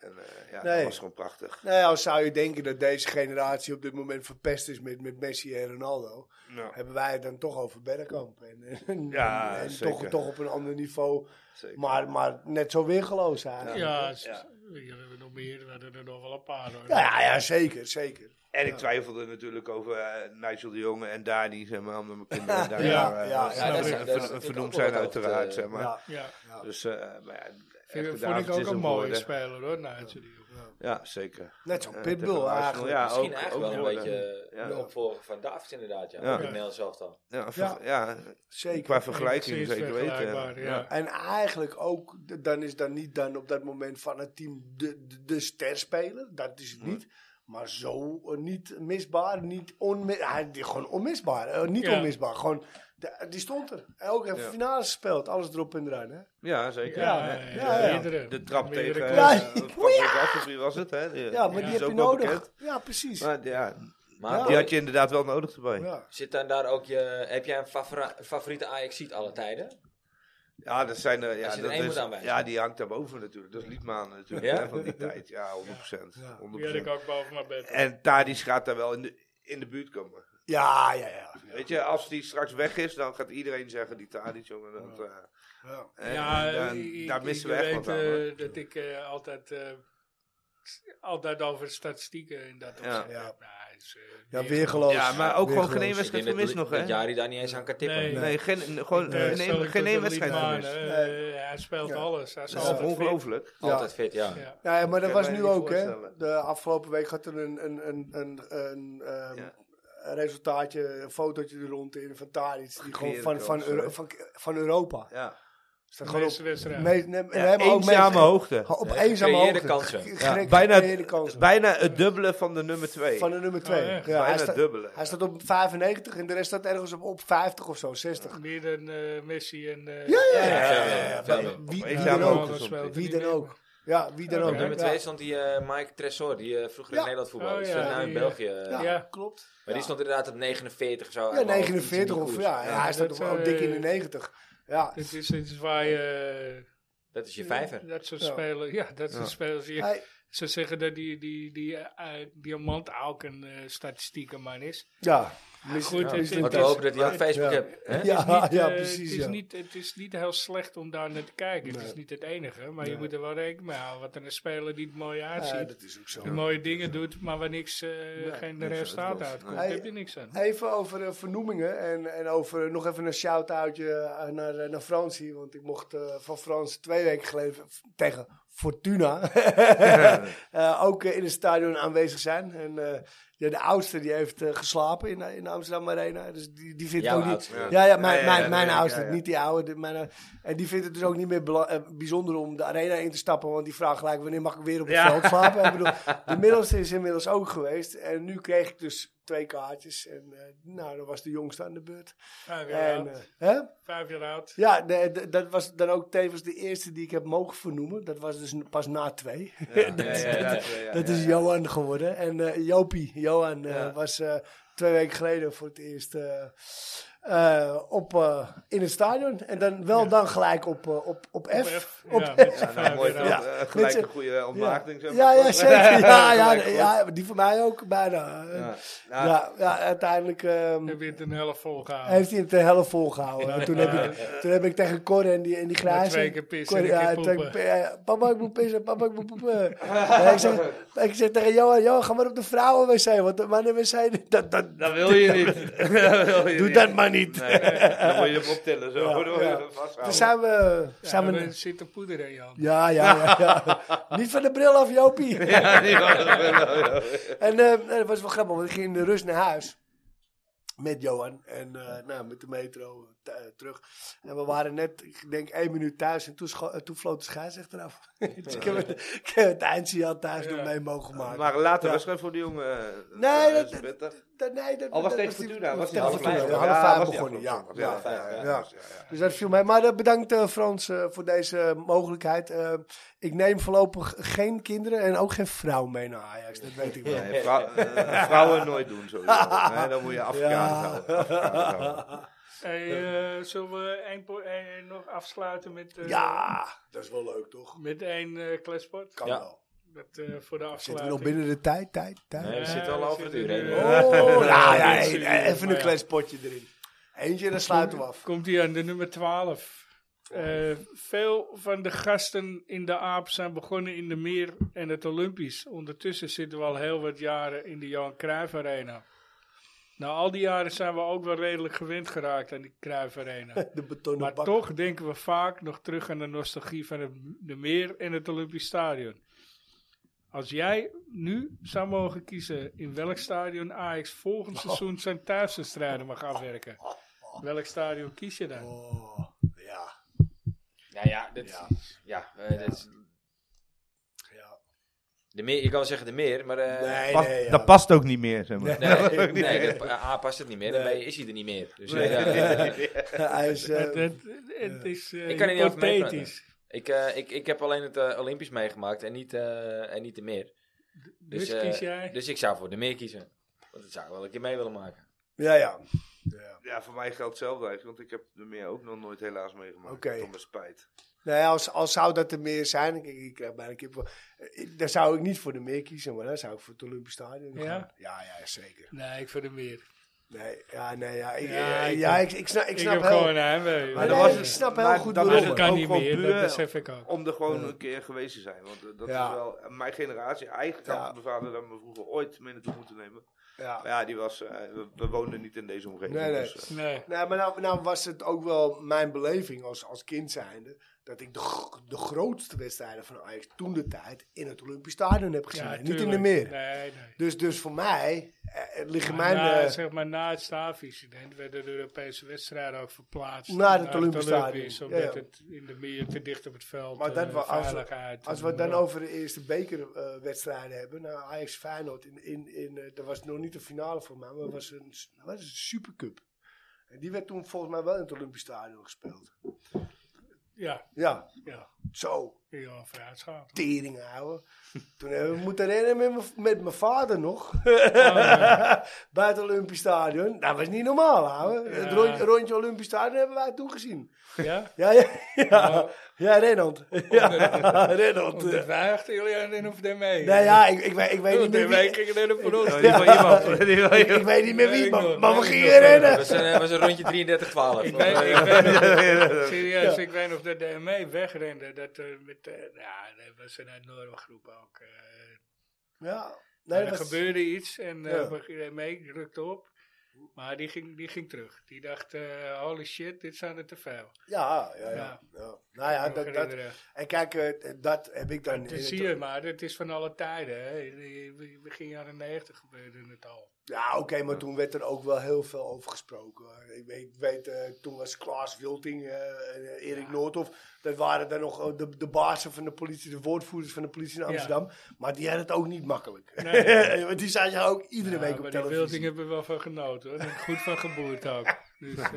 S4: En, eh, ja,
S3: Nee.
S4: dat was gewoon prachtig.
S3: Nou ja, al zou je denken dat deze generatie op dit moment verpest is met, met Messi en Ronaldo,
S4: Ja,
S3: hebben wij het dan toch over Bergkamp. En, en,
S4: Ja,
S3: en
S4: zeker.
S3: toch, toch op een ander niveau,
S4: zeker.
S3: maar, maar net zo weergeloos eigenlijk. Ja.
S2: Ja, s- we hebben nog meer, we hadden er nog wel een paar hoor.
S3: Ja, ja, zeker, zeker.
S4: en ik twijfelde natuurlijk over eh, Nigel de Jonge en Dani, zeg maar. Omdat mijn kinderen daar
S3: ja,
S4: eh,
S3: ja,
S4: eh,
S3: ja, dat is-
S4: ver-
S1: dat is
S4: ver-
S1: natuurlijk
S4: vernoemd
S1: ook
S4: zijn
S1: wel wat,
S4: uiteraard,
S1: eh,
S4: zeg maar.
S3: Ja.
S2: Ja.
S4: Dus, eh maar ja,
S2: Vind,
S4: echte
S2: vond ik
S4: Davids
S2: ook
S4: is
S2: een
S4: een
S2: mooie
S4: woorden.
S2: speler hoor, Nou, Nigel de Jong.
S4: Ja, zeker.
S3: Net zo'n
S4: Eh, tegen
S3: pitbull
S4: Arsenal,
S3: eigenlijk.
S4: Ja,
S1: Misschien
S4: ook-
S1: eigenlijk
S4: ook
S1: wel een
S4: worden.
S1: beetje eh,
S4: Ja.
S1: de opvolger van Davids inderdaad. Ja,
S4: Ja.
S1: ja. in Nederland zelf dan.
S4: Ja, ver- ja.
S3: Zeker.
S4: qua vergelijking
S2: Enigszins
S4: zeker weten.
S2: vergelijkbaar,
S4: Ja.
S2: ja.
S3: En eigenlijk ook, d- dan is dan niet dan op dat moment van het team de, de, de sterspeler. Dat is het niet. Maar zo eh, niet misbaar, niet onmisbaar. Hij die- gewoon onmisbaar. eh, niet
S2: Ja.
S3: onmisbaar. Gewoon, de- die stond er. En ook even
S4: Ja.
S3: finale gespeeld. Alles erop en eraan. Hè?
S4: Ja, zeker.
S2: Ja,
S4: Ja.
S3: ja, ja.
S2: meerdere-
S4: De trap
S2: meerdere
S4: tegen
S2: clubs.
S4: eh,
S3: Ja.
S4: Van Gastelfree was het, hè?
S3: Ja, maar die
S4: is
S3: heb je
S4: ook wel
S3: nodig.
S4: bekend.
S3: Ja, precies.
S4: Maar ja,
S1: Maar
S3: Ja.
S4: die had je inderdaad wel nodig erbij. Ja,
S3: ja.
S1: Zit dan daar ook je, heb jij een favora- favoriete ajax alle tijden?
S4: dat zijn er, ja,
S1: Als je er
S4: dat
S1: één moet
S4: is,
S1: aanwijzen.
S4: ja, die hangt daarboven natuurlijk. Dat is Liedman natuurlijk,
S1: Ja?
S4: hè, van die tijd. Ja, 100%.
S3: Ja.
S4: 100%.
S2: Die had ik ook boven mijn bed.
S4: En Tadis gaat daar wel in de, in de buurt komen.
S3: ja, ja, ja.
S4: Weet je, als die straks weg is, dan gaat iedereen zeggen die Tadic, jongen. Dat, eh,
S3: Ja.
S4: eh,
S2: ja,
S4: daar,
S2: ik-
S4: daar
S2: ik-
S4: missen
S2: je
S4: we echt
S2: weet,
S4: wat aan. hoor.
S2: eh, dat ik eh, altijd, eh, s- altijd over statistieken in dat
S4: Ja.
S2: opzicht
S3: Ja.
S2: heb. Nou, hij is, eh,
S3: Ja,
S2: weer-
S3: weergeloos.
S4: Ja, maar ook gewoon geen één
S3: Weergeloos.
S1: Ik denk
S4: wedstrijd
S1: dat
S4: gemist
S1: Li-
S4: nog, hè?
S1: Dat Jari daar niet eens aan kan tippen.
S2: Nee.
S4: Nee, geen, gewoon
S2: Ik, eh,
S4: geen
S2: stel
S4: één-
S2: ik
S4: geen
S2: dat
S4: één
S2: een
S4: wedstrijd
S2: Liedman,
S4: gemist.
S2: eh, Hij speelt
S3: Ja.
S2: alles. Hij is
S4: Dat is
S2: altijd fit.
S4: ongelooflijk.
S1: Altijd fit, ja.
S2: Ja.
S3: Ja, ja, maar dat
S4: kan
S3: was
S4: mij
S3: nu
S4: niet
S3: ook, hè?
S4: voorstellen.
S3: De afgelopen week had er een, een, een, een, een ehm,
S4: Ja.
S3: resultaatje, een fotootje er rond in van Tadic, die gewoon
S4: Gekeerde
S3: van, van,
S4: kansen,
S3: Euro-
S4: hè?
S3: van, van Europa.
S4: Ja.
S3: Dus dan
S2: De
S3: gewoon
S2: meeste
S3: op,
S2: wedstrijden.
S3: meest- nee, nee,
S4: Ja,
S3: maar ook
S4: eenzame
S3: meest-
S4: hoogte.
S3: Op
S1: Ja,
S3: eenzame
S1: gecreëerde
S3: hoogte.
S1: kansen.
S3: Ge-
S1: Ja,
S3: gecreëerde
S4: Bijna,
S3: kansen.
S4: bijna het dubbele van de nummer 2.
S3: Van de nummer 2.
S2: Oh, echt?
S3: ja, hij,
S4: bijna het
S3: staat,
S4: dubbele.
S3: hij staat op 95 en de rest staat ergens op, op 50 of zo, 60.
S2: Meer dan eh, Messi en... eh,
S3: Ja, ja,
S1: Ja,
S3: ja.
S1: ja, ja, ja,
S3: Bij-
S1: ja.
S3: Wie,
S4: Op
S3: wie
S4: eenzame
S3: dan
S2: Ronaldo
S4: hoogte.
S3: ook.
S4: soms
S2: speelt er
S3: Wie
S2: niet
S3: dan
S2: meer.
S3: ook. Ja, wie dan
S2: Ja,
S3: ook.
S1: Op nummer
S3: Ja.
S1: 2 stond die eh, Mike Tressor, die eh, vroeger
S3: Ja.
S1: in Nederland voetbalde.
S2: Oh,
S1: Die
S2: ja,
S1: speelt nu in
S2: die, eh,
S1: België.
S3: Ja,
S2: Ja.
S3: klopt.
S1: Maar die
S3: Ja.
S1: stond inderdaad op 49 of zo. uit
S3: Ja,
S1: mijn hoofd, iets in die
S3: 49 of
S1: koers.
S3: ja, ja, hij staat
S2: dat,
S3: toch ook
S2: eh,
S3: dik in de 90. Ja,
S2: Dit is, dit is waar je... eh,
S1: Dat is je vijver.
S2: Dat soort
S3: Ja.
S2: spelen. Ja, dat soort
S4: Ja.
S2: spelers. Je-
S3: Hij-
S2: Ze zeggen dat die, die, die eh, eh, diamant ook een eh, statistiekenman is.
S3: ja. Mis-
S2: Goed, het is-
S1: Laten we
S2: is-
S1: hopen dat hij ook
S2: het-
S1: Facebook
S3: ja.
S1: hebt. hè?
S3: Ja,
S2: het is niet,
S3: ja,
S2: eh,
S3: precies.
S2: Het is,
S3: ja.
S2: niet, het is niet heel slecht om daar naar te kijken. Het
S3: Nee.
S2: is niet het enige. Maar je
S3: Nee.
S2: moet er wel rekening mee houden. Wat een speler die het mooi
S3: Ja,
S2: uitziet.
S3: dat is ook zo.
S2: die mooie dingen doet. Maar waar niks, eh, geen
S4: niks
S2: resultaat
S4: uitkomt.
S2: uitkomt.
S3: Nee.
S2: Daar heb je niks aan.
S3: Even over eh, vernoemingen en, en over nog even een shout-outje eh, naar, eh, naar Fransie. Want ik mocht eh, van Frans twee weken geleden f- tegen Fortuna eh, ook eh, in het stadion aanwezig zijn. En eh, ja, de oudste die heeft eh, geslapen in, eh, in de Amsterdam Arena. Dus die, die vindt
S1: Jouw
S3: ook niet,
S1: oudste, ja.
S3: Ja, ja, mijn,
S4: Ja, ja,
S3: mijn,
S4: dat
S3: mijn
S4: weet ik,
S3: oudste,
S4: ja, ja.
S3: niet die oude. de- mijn, eh, en die vindt het dus ook niet meer bela- eh, bijzonder om de arena in te stappen. Want die vraagt gelijk, wanneer mag ik weer op het veld slapen? Ik bedoel, de middelste is inmiddels ook geweest. En nu kreeg ik dus twee kaartjes. En eh, nou, dan was de jongste aan de beurt.
S2: Vijf jaar
S3: En,
S2: oud.
S3: eh, hè?
S2: Vijf jaar oud.
S3: Ja, nee, d- dat was dan ook tevens de eerste die ik heb mogen vernoemen. Dat was dus n- pas na twee. dat dat is Johan geworden. En eh, Jopie, Johan, eh,
S1: Ja.
S3: was eh, twee weken geleden voor het eerst eh, eh, op, eh, in het stadion. En dan wel dan gelijk op, eh, op, op F.
S2: F.
S3: Op
S2: Ja,
S3: F.
S2: met z'n
S4: Ja, nou, mooi.
S2: vijf jaar
S3: Ja.
S2: oud.
S4: eh, gelijk
S3: Weet
S4: een
S3: je-
S4: goede ontmaagding. zeg
S3: Ja,
S4: maar.
S3: ja, zeker. Ja, ja,
S4: Gelijk
S3: ja,
S4: goed.
S3: die van mij ook bijna.
S4: Ja.
S3: Ja,
S4: Nou,
S3: ja, uiteindelijk ehm,
S2: Heb je het een helft volgehouden?
S3: heeft hij het de helft volgehouden. En toen, heb ik, toen heb ik tegen Cor en die, en die grijze...
S2: twee keer pissen
S3: Cor-
S2: en een keer
S3: twee
S2: poepen.
S3: keer pi- ja, Papa, ik moet pissen. Papa, ik moet poepen. Ja, ik, zeg, ik zeg tegen Johan, Johan, ga maar op de vrouwenwc. Want de mannenwc, dat, dat,
S4: Dat wil je niet. Dat wil je
S3: doe
S4: niet.
S3: dat maar niet.
S4: Nee, dan moet je hem optillen. Zo.
S3: Ja,
S4: Dan moet je
S3: ja.
S4: hem vasthouden.
S3: Toen zijn we...
S2: Ja,
S3: zijn we-
S2: er zit een poeder in, Jan.
S3: ja, ja, ja, ja. Niet van de bril af, Jopie.
S4: Ja, die was het wel, ja.
S3: En eh, nee, dat was wel grappig, want ik ging in de rust naar huis. Met Johan en eh, nou, met de metro t- eh, terug. En we waren net, ik denk, één minuut thuis en toen, scho- eh, toen floot de scheidsrechter af. dus ik heb het, ik heb het eindje al thuis
S2: Ja.
S3: nog mee mogen maken.
S4: Maar later wedstrijd voor die jongen. eh,
S3: Nee,
S4: eh,
S3: dat-
S4: is pittig.
S3: Dat- nee, dat,
S4: Al was
S3: dat
S4: tegen
S3: die-
S4: Fortuna.
S3: was
S4: Was
S3: tegen Fortuna.
S1: half
S3: Ja,
S1: vijf?
S3: half vijf
S4: was die
S3: begonnen, ja.
S4: afgelopen.
S3: ja,
S1: vijf,
S3: ja,
S1: ja.
S3: ja. Dus dat viel mij. Maar eh, bedankt eh, Frans eh, voor deze mogelijkheid. Eh, ik neem voorlopig geen kinderen en ook geen vrouw mee naar Ajax. Dat weet ik wel.
S4: Nee, vrou- eh, vrouwen nooit doen sowieso. Nee, dan moet je Afrikaans houden. Afrikaans houden.
S2: Hey, eh, zullen we één po- één- nog afsluiten met, eh,
S3: Ja, dat is wel leuk toch?
S2: met één eh kletspot?
S3: Kan
S1: Ja.
S3: wel.
S2: Dat, eh, voor de
S3: Zitten we nog
S2: afsluiting.
S3: binnen de tijd? Tijd, tijd.
S1: Nee, we
S2: Ja,
S1: zitten al
S2: we
S1: over het uur
S2: zitten
S1: heen.
S2: nu,
S1: hoor.
S2: eh,
S3: Oh, nou ja,
S2: dat is-
S3: e- e- even
S2: maar
S3: een
S2: ja.
S3: klein spotje erin. Eentje en dan sluiten we af.
S2: Komt hij aan de nummer 12. Eh, veel van de gasten in de AAP zijn begonnen in de Meer en het Olympisch. Ondertussen zitten we al heel wat jaren in de Johan Cruijff Arena. Na al die jaren zijn we ook wel redelijk gewend geraakt aan die Cruijff Arena.
S3: De betonnen
S2: Maar
S3: bak.
S2: toch denken we vaak nog terug aan de nostalgie van het, de meer en het Olympisch Stadion. Als jij nu zou mogen kiezen in welk stadion Ajax volgend
S3: Oh.
S2: seizoen zijn thuiswedstrijden mag afwerken, welk stadion kies je dan?
S3: Oh, ja,
S1: Nou ja, dat, ja. eh, dat is-
S3: ja.
S1: de meer, je kan wel zeggen de meer, maar... eh,
S3: Nee,
S4: Past-
S3: nee, ja.
S4: Dat past ook niet meer, zeg maar.
S1: Nee, nee, de- A past het niet meer, en B is hij er niet meer. Dus, eh, ja.
S3: Hij is, eh,
S2: Het, het, het is eh,
S1: Ik kan er niet over
S2: hypothetisch.
S1: ik, eh, ik, ik heb alleen het eh, Olympisch meegemaakt en niet, eh, en niet de meer.
S2: Dus,
S1: eh,
S2: kies jij.
S1: Dus ik zou voor de meer kiezen. Want dat zou ik wel een keer mee willen maken.
S3: ja, ja.
S4: Ja, voor mij geldt hetzelfde eigenlijk, want ik heb de meer ook nog nooit helaas meegemaakt.
S3: Oké.
S4: Tot mijn spijt.
S3: Nou ja, als, als zou dat er meer zijn, ik, ik krijg bijna kippenvel. Eh, ik- Dan zou ik niet voor de meer kiezen, maar dan zou ik voor het Olympisch Stadion
S2: Ja?
S3: gaan. Ja, ja, zeker.
S2: Nee, ik voor de meer.
S3: Nee, ja, nee, ja. Ik, eh,
S2: Ja,
S3: ja,
S2: ik-
S3: ik, ik snap, ik
S2: Ik,
S3: snap
S2: heb
S3: heel...
S2: gewoon eh, een heimwee.
S3: Maar
S4: dat
S3: nee,
S4: was
S3: ik
S4: het-
S3: snap
S4: maar
S3: heel goed
S4: dat was
S2: Maar
S3: waarom.
S2: dat
S4: het
S2: kan
S4: ook
S2: niet
S4: wel
S2: meer, dat
S4: puur
S2: besef ik ook.
S4: Om er gewoon een keer geweest te zijn. Want eh, dat
S3: Ja.
S4: is wel mijn generatie. Eigenlijk had
S3: Ja.
S4: mijn vader dan me vroeger ooit mee naartoe moeten nemen.
S3: Ja.
S4: Maar ja, die was, eh, we, we woonden niet in deze omgeving.
S3: Nee, nee.
S4: Dus, eh,
S2: Nee.
S3: Nee, maar nou, nou was het ook wel mijn beleving als, als kind zijnde. Dat ik de, gro- de grootste wedstrijden van Ajax toen de tijd in het Olympisch Stadion heb gezien.
S2: Ja,
S3: en niet in de
S2: tuurlijk.
S3: meer.
S2: Nee, nee.
S3: Dus, dus voor mij eh, liggen mijn...
S2: na,
S3: eh,
S2: zeg maar, na het staafincident werden de Europese wedstrijden ook verplaatst.
S3: Naar het Olympisch
S2: Olympisch,
S3: Stadion.
S2: Omdat
S3: Ja, ja.
S2: het in de meer te dicht op het veld.
S3: Maar dat
S2: eh,
S3: wel- als-
S2: veiligheid. eh,
S3: als we het dan over de eerste bekerwedstrijden hebben. Nou, Ajax Feyenoord. In, in, in, eh, dat was nog niet de finale voor mij. Maar dat was een, s- wat is het, supercup. En die werd toen volgens mij wel in het Olympisch Stadion gespeeld.
S2: Ja,
S3: Ja,
S2: ja.
S3: zo.
S2: Ja, vooruitschaat.
S3: tering houden. Toen hebben we moeten rennen met mijn- met mijn vader nog.
S2: Oh,
S3: Bij het Olympisch Stadion. Dat was niet normaal,
S2: Ja.
S3: ouwe. Het rond- rondje Olympisch Stadion hebben wij toen gezien.
S2: Ja?
S3: Ja, ja, ja. Ja, Renand. Ja, Renand.
S2: Dat wij achter jullie aan in of daarmee.
S3: Nou ja, ik, ik, weet- ik weet niet
S2: Toen
S3: meer
S2: wij
S3: wie...
S2: gingen naar de
S4: oh,
S2: verloren.
S4: die wil iemand. Die wil
S3: Ik,
S4: iemand.
S3: ik weet niet meer
S2: Weet
S3: wie,
S2: ik nog,
S3: maar, maar
S2: weet
S3: we
S2: ik
S3: gingen
S2: nog.
S1: Het
S3: rennen.
S1: was, een- eh, was een rondje 33-12.
S2: Ik weet, ik weet nog- serieus, ik weet nog dat de ME wegrende. Dat, eh, met, eh, ja, dat was een enorme groep ook. eh,
S3: Ja,
S2: En
S3: nee,
S2: er
S3: dat was-
S2: gebeurde iets en
S3: Ja.
S2: eh mee rukte op. Maar die ging, die ging terug. Die dacht, eh, holy shit, dit zijn er te veel.
S3: ja, ja,
S2: Ja.
S3: ja, ja. Nou ja,
S2: Ik kan me
S3: dat, dat,
S2: herinneren.
S3: en kijk, eh, dat heb ik dan...
S2: Dat zie je maar, het is van alle tijden. Hè. In- in- in Begin jaren negentig gebeurde het al.
S3: Ja, oké, maar toen werd er ook wel heel veel over gesproken. hoor. Ik weet, weet eh, toen was Klaas Wilting, eh, en, eh, Erik Noordhoff, dat waren dan nog eh, de, de bazen van de politie, de woordvoerders van de politie in Amsterdam. Maar die hadden het ook niet makkelijk.
S2: Nee, nee.
S3: Want die zaten ook iedere
S2: Ja,
S3: week op
S2: maar die Wilding
S3: televisie.
S2: hebben we wel van genoten. Hoor. Goed van geboerd ook. Dus, eh,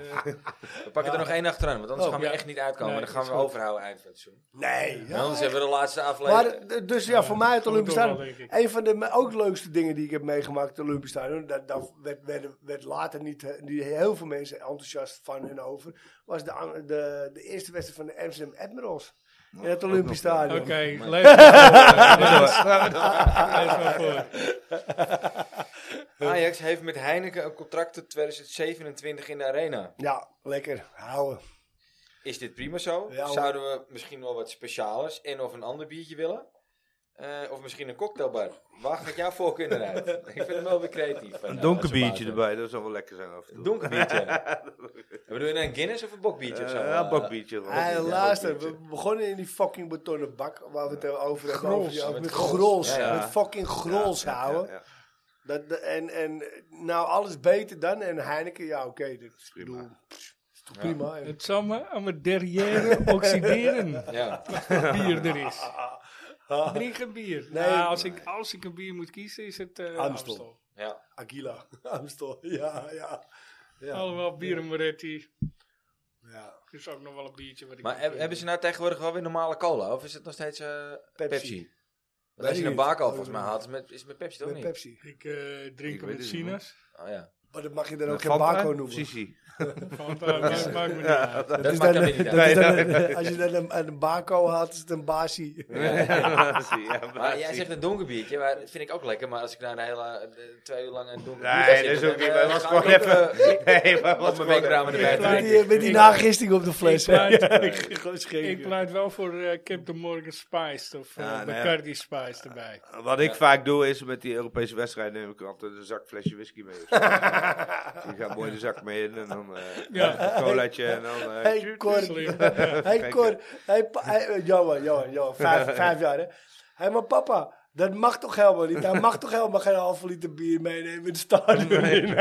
S1: We pakken er nog één achteraan, want anders
S2: Oh,
S1: gaan we
S2: ja.
S1: echt niet uitkomen.
S2: Nee,
S1: dan gaan we
S2: dat is goed.
S1: overhouden eind van het seizoen.
S3: Nee,
S1: En
S3: ja.
S1: anders hebben we de laatste aflevering.
S3: Maar d- dus ja, voor mij het
S2: goed
S3: Olympisch
S2: toch wel,
S3: Stadion.
S2: denk ik.
S3: Een van de me- ook leukste dingen die ik heb meegemaakt, het Olympisch Stadion. Daar, daar werd, werd, werd later niet, eh, niet heel veel mensen enthousiast van en over. Was de, an- de, de eerste wedstrijd van de Amsterdam Admirals. In het Olympisch Stadion.
S2: Oké, lees maar voor. Lees maar voor.
S1: Ajax heeft met Heineken een contract tot 2027 in de arena.
S3: Ja, lekker. Houden.
S1: Is dit prima zo?
S3: Ja, hoor.
S1: Zouden we misschien wel wat specialers en of een ander biertje willen? Eh, of misschien een cocktailbar. Waar gaat jouw voorkeur naar uit? Ik vind hem wel weer creatief. eh, nou,
S4: Een donker biertje erbij, dat zou wel lekker zijn af en
S1: Een
S4: toe.
S1: donker biertje. Bedoel je nou een Guinness of een bokbiertje? of zo?
S4: Eh, ja, bakbiertje. wel.
S3: Hey,
S1: ja,
S3: eh, luister,
S1: ook
S3: we begonnen in die fucking betonnen bak waar we het over hebben.
S2: Grols,
S3: over die- over
S1: met
S3: met
S1: grols.
S3: grols.
S1: Ja,
S4: ja.
S3: Met fucking grols
S4: Ja, ja,
S3: houden.
S4: ja, ja.
S3: Dat, de- en, en nou, alles beter dan. En Heineken, ja, oké. dat is
S4: Prima.
S3: bedoel, pff, is toch prima. hè?
S2: Het zal me aan mijn derrière oxideren.
S1: Ja.
S2: wat bier er is.
S3: Ah,
S2: Drink een bier.
S3: Nee.
S2: Nou, als, ik, als ik een bier moet kiezen, is het eh
S3: Amstel.
S2: Amstel.
S1: ja.
S3: Aquila, Amstel. Ja, ja. Ja.
S2: Allemaal bieren Moretti.
S3: ja.
S2: Er is ook nog wel een biertje wat ik eh,
S1: Maar
S2: niet
S1: heb-
S2: ken.
S1: hebben ze nou tegenwoordig wel weer normale cola? Of is het nog steeds eh, Pepsi?
S3: Weet
S1: Want als je
S3: ik
S1: een
S3: niet.
S1: baak al volgens
S3: Oh,
S1: mij
S3: dat
S1: haalt, is het met, is het met Pepsi toch
S3: Met
S1: niet?
S3: Pepsi.
S2: Ik eh, drink
S4: Ik
S2: hem
S4: weet
S2: met
S4: het niet, man.
S2: sinaas.
S1: Oh, ja.
S3: Maar dat mag je dan ook geen
S4: Fanta?
S3: Baco noemen.
S4: Sisi.
S2: Want daar maakt maakt me niet uit.
S1: Dat,
S3: is
S1: maakt
S3: dan-
S1: dan weer niet uit.
S3: dat is dan een- Als je dan een, een Baco haalt, is het een Basi.
S4: Ja,
S1: Maar jij
S4: precies.
S1: zegt een donker biertje, maar dat vind ik ook lekker. Maar als ik naar een hele eh, twee uur lang een donker
S4: Nee,
S1: biertje
S4: dat is
S1: zit,
S4: ook
S1: dan,
S4: niet.
S1: eh,
S4: Wij was
S1: ga
S4: gewoon
S1: ik ook, eh,
S4: even. Nee, maar
S1: Wat
S4: was
S1: mijn
S4: gewoon even.
S1: wenkbrauwen erbij
S2: Ik
S1: te
S2: laat-
S3: Met
S1: doen.
S3: die, met die
S2: Ik-
S3: nagisting op de fles.
S2: Ik
S3: hè?
S2: pleit,
S3: Gewoon
S2: ik
S3: schenken.
S2: pleit wel voor eh, Captain Morgan Spice of eh,
S4: Ja, nou ja.
S2: Bacardi Spice erbij.
S4: Wat ik vaak doe is met die Europese wedstrijd neem ik altijd een zak flesje whisky mee. of zo. Je gaat mooi de zak mee in en dan eh
S2: Ja.
S4: een colaatje en dan. eh,
S3: Hey Cor,
S2: Slim.
S3: hey Cor, hey, pa- hey, eh, jongen, jongen, jongen, vijf, vijf jaar hè. Hé, maar papa, dat mag toch helemaal niet? Hij mag toch helemaal geen halve liter bier meenemen in het stadion? Nee,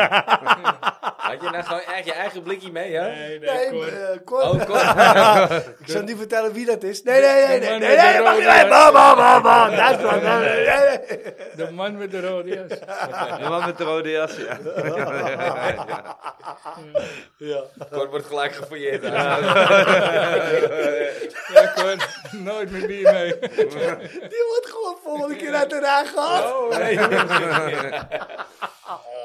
S1: Had je nou gewoon echt je eigen blikje mee, hè?
S2: Nee, nee,
S3: maar,
S2: Cor.
S3: eh, Cor,
S1: Oh, kom.
S3: ik zal niet vertellen wie dat is. Nee, nee, nee,
S2: de
S3: nee,
S2: man
S3: nee,
S2: met
S3: nee,
S2: de
S3: mag niet
S2: rode
S3: mee. Bam, bam, bam, bam, dat is wat, dat is- nee, nee.
S2: De man met de rode jas.
S4: De man met de rode jas, ja. Ja.
S3: Ja.
S1: Kort wordt gelijk gefouilleerd.
S2: Ja, Cor, nooit meer bier mee.
S3: Die Oh, wordt gewoon volgende keer uit de rij gehad.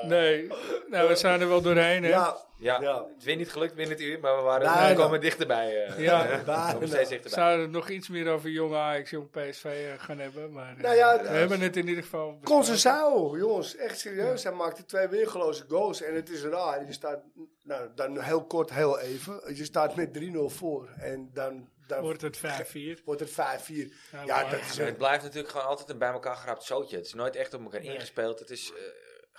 S2: Nee, nou, we zijn er wel doorheen, hè?
S3: Ja,
S1: Ja,
S3: Ja.
S1: het is weer niet gelukt binnen het uur, maar we waren
S3: Bijna.
S1: we komen dichterbij. eh
S2: Ja.
S1: we
S3: bijna.
S1: komen steeds dichterbij.
S2: Zouden we nog iets meer over jong Ajax, jong PSV eh, gaan hebben? Maar, eh,
S3: Nou ja,
S2: we hebben het in ieder geval. besproken.
S3: Concecao, jongens, echt serieus. Hij maakte twee weergeloze goals. En het is raar. Je staat, nou, dan heel kort, heel even. Je staat met 3-0 voor. En dan, dan
S2: Wordt het 5-4.
S3: wordt het 5-4. Ja,
S2: Ja,
S3: dat
S2: maar-
S3: is
S1: Maar Dus Het blijft natuurlijk gewoon altijd een bij elkaar geraapt zootje. Het is nooit echt op elkaar ingespeeld. Het is eh,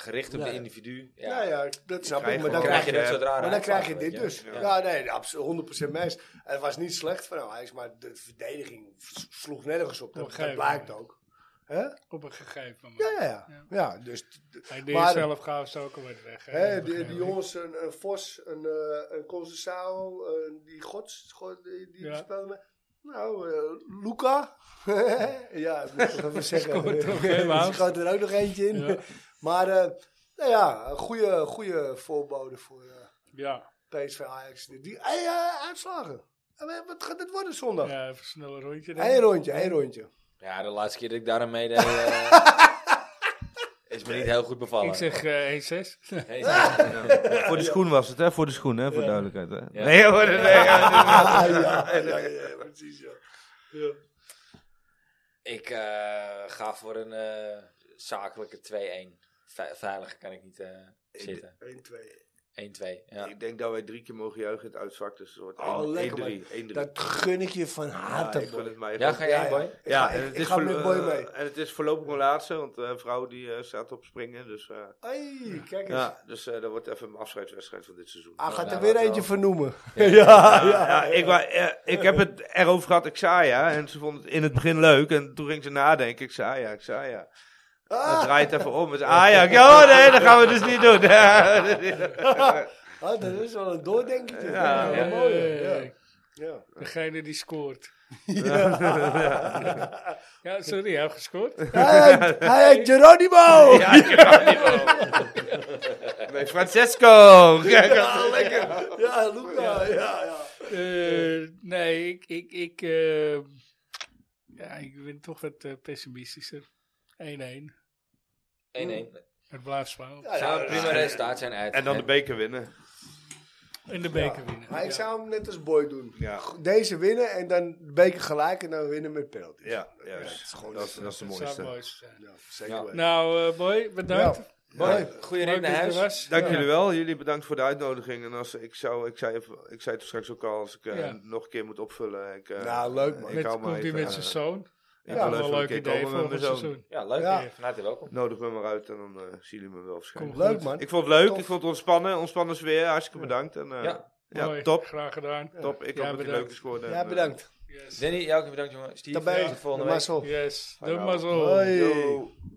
S1: gericht op
S3: Nee.
S1: de individu. Ja.
S3: Nou ja, dat snap ik.
S4: krijgt
S3: Maar dan
S4: gewoon-
S1: krijg
S3: krijg
S1: je
S3: je,
S1: dat soort rare
S3: maar dan krijg je
S1: uitslagen,
S3: dit
S1: weet
S3: dus.
S1: je.
S3: Ja,
S1: Ja.
S3: nee, absoluut 100% mes. Het was niet slecht van Ajax, maar de verdediging s- sloeg nergens op. Dat,
S2: Op een
S3: dat
S2: gegeven
S3: blijkt
S2: moment.
S3: ook. Hè?
S2: Op een gegeven moment.
S3: Ja, ja, ja. ja dus
S2: Hij deed
S3: Maar-
S2: zelf gauw ook al weer weg. hè,
S3: Hè,
S2: dat
S3: die,
S2: begrijp
S3: die
S2: ik.
S3: jongens, een, een Vos, een, eh een Concecao, eh, die Gods, God, die, die
S2: Ja.
S3: speelde met... Nou, eh, Luca. ja, dat moet ik even zeggen.
S2: Scoort toch
S3: Er
S2: helemaal.
S3: gaat er ook nog eentje in.
S2: Ja.
S3: Maar, eh, nou ja, een goede, goede voorbode voor eh,
S2: Ja,
S3: PSV Ajax. Die, die- hey, eh, uitslagen. Eh, wat- Wat gaat dit worden zondag? Eén
S2: ja even snel een rondje.
S3: rondje, één rondje.
S1: Ja, de laatste keer dat ik daar aan meedeed, eh, is me niet heel goed bevallen.
S2: Ik zeg eh 1-6.
S1: Nee, ja.
S4: Voor de schoen was het, hè? Voor de schoen, hè? Voor duidelijkheid, hè?
S1: Ja.
S4: Nee, hoor, nee, nee,
S3: Ah, ja, ja, ja, precies. Ja. Ja.
S1: Ik eh, ga voor een eh, zakelijke 2-1. Ve- veiliger kan ik niet eh, zitten.
S3: 1, 2.
S1: 1-2. Ja.
S4: Ik denk dat wij drie keer mogen juichen in het uitvak, dus het wordt
S3: Oh, lekker,
S4: 1-3. 1-3.
S3: Dat gun ik je van
S4: Ja,
S3: harte.
S4: ik gun
S3: man.
S4: het mij
S1: ja,
S4: gewoon.
S1: ga jij,
S3: ja.
S1: boy?
S3: Ik ga-
S4: Ja, en
S3: ik-
S4: het
S3: ik
S4: is
S3: ga met
S4: voorlo-
S3: Boy
S4: eh,
S3: mee.
S4: En het is voorlopig mijn laatste, want de vrouw die eh, staat op springen. Dus, eh,
S3: Hey, kijk eens.
S4: ja, dus eh, dat wordt even mijn afscheidswedstrijd van dit seizoen.
S3: Hij gaat
S1: Nou,
S3: er weer
S1: dat
S3: eentje
S1: wel.
S3: vernoemen. Ja, Ah, ja,
S4: Ja, ja, ik, wa- eh, ik heb het erover gehad, ik zei ja. En ze vond het in het begin leuk. En toen ging ze nadenken, ik zei ja, ik zei ja.
S3: Ah.
S4: Dat draait even om. Het is Ajax. Oh nee, dat gaan we dus niet doen.
S3: Ah, dat is wel een doordenkertje.
S4: Ja,
S3: Ja,
S2: ja.
S3: mooi. Ja. Ja.
S2: Nou, eh, Degene die scoort.
S4: Ja.
S2: Ja, sorry, hij heeft gescoord.
S3: Hij heet- Hij heet Geronimo!
S4: Ja, ik kan niet meer. Bij Francesco. Kijk,
S3: Ja, lekker. Ja, Luca. Ja, ja.
S2: Eh, nee, ik, ik, ik, eh, ja, ik ben toch wat eh, pessimistischer. 1-1.
S1: 1-1.
S2: Het blijft spannend.
S1: Zou een prima resultaat zijn uit.
S4: En dan de
S1: beker.
S4: beker winnen.
S2: En de beker winnen.
S3: Maar ik
S2: Ja.
S3: zou hem net als Boy doen.
S4: Ja.
S3: Deze winnen en dan de beker gelijk en dan winnen met penalty.
S4: Ja,
S3: dat
S4: juist.
S3: is gewoon
S4: dat, is, dat is de
S2: Dat zou
S4: mooiste.
S2: mooi zijn.
S3: Ja, zeker
S1: Ja.
S3: weten.
S2: Nou, eh boy, bedankt.
S3: Ja.
S1: Mooi, goede
S2: Leuk
S1: rit naar
S2: dat je er
S1: huis.
S2: was.
S4: Dank
S2: Ja.
S4: jullie wel. Jullie bedankt voor de uitnodiging. En als, ik, zou, ik, zei even, ik zei het straks ook al, als ik eh,
S2: Ja.
S4: nog een keer moet opvullen. Ik, eh,
S3: Nou, leuk, man.
S4: Ik
S2: Met,
S4: hou maar
S2: komt hij
S4: even,
S2: met zijn
S4: eh,
S2: zoon?
S4: ik
S2: Ja,
S4: wil
S2: wel
S4: even
S2: een
S4: een
S2: leuk
S4: keer
S2: idee
S4: komen met
S2: volgend
S4: mijn zoon.
S2: seizoen.
S1: Ja, leuk.
S3: Ja.
S1: Ja. Van harte welkom.
S4: Nodig me maar uit en dan eh, zien jullie me wel verschijnen.
S2: Kom.
S3: Leuk, man.
S4: Ik vond het leuk.
S3: Tof.
S4: Ik vond het ontspannen. Ontspannen sfeer. Hartstikke bedankt. En, eh,
S1: Ja.
S4: ja.
S2: Mooi,
S4: top.
S2: Graag gedaan.
S4: Top. Ik
S2: Ja,
S4: hoop dat je
S2: bedankt.
S4: leuk gescoord hebt.
S3: Ja, bedankt.
S2: Yes.
S1: Danny, jou ook bedankt jongen. Steve,
S3: Daarbij,
S1: tot volgende week.
S3: Marcel.
S2: Yes. Doe
S4: Hallo.
S2: maar zo.
S3: Hoi.
S4: Yo.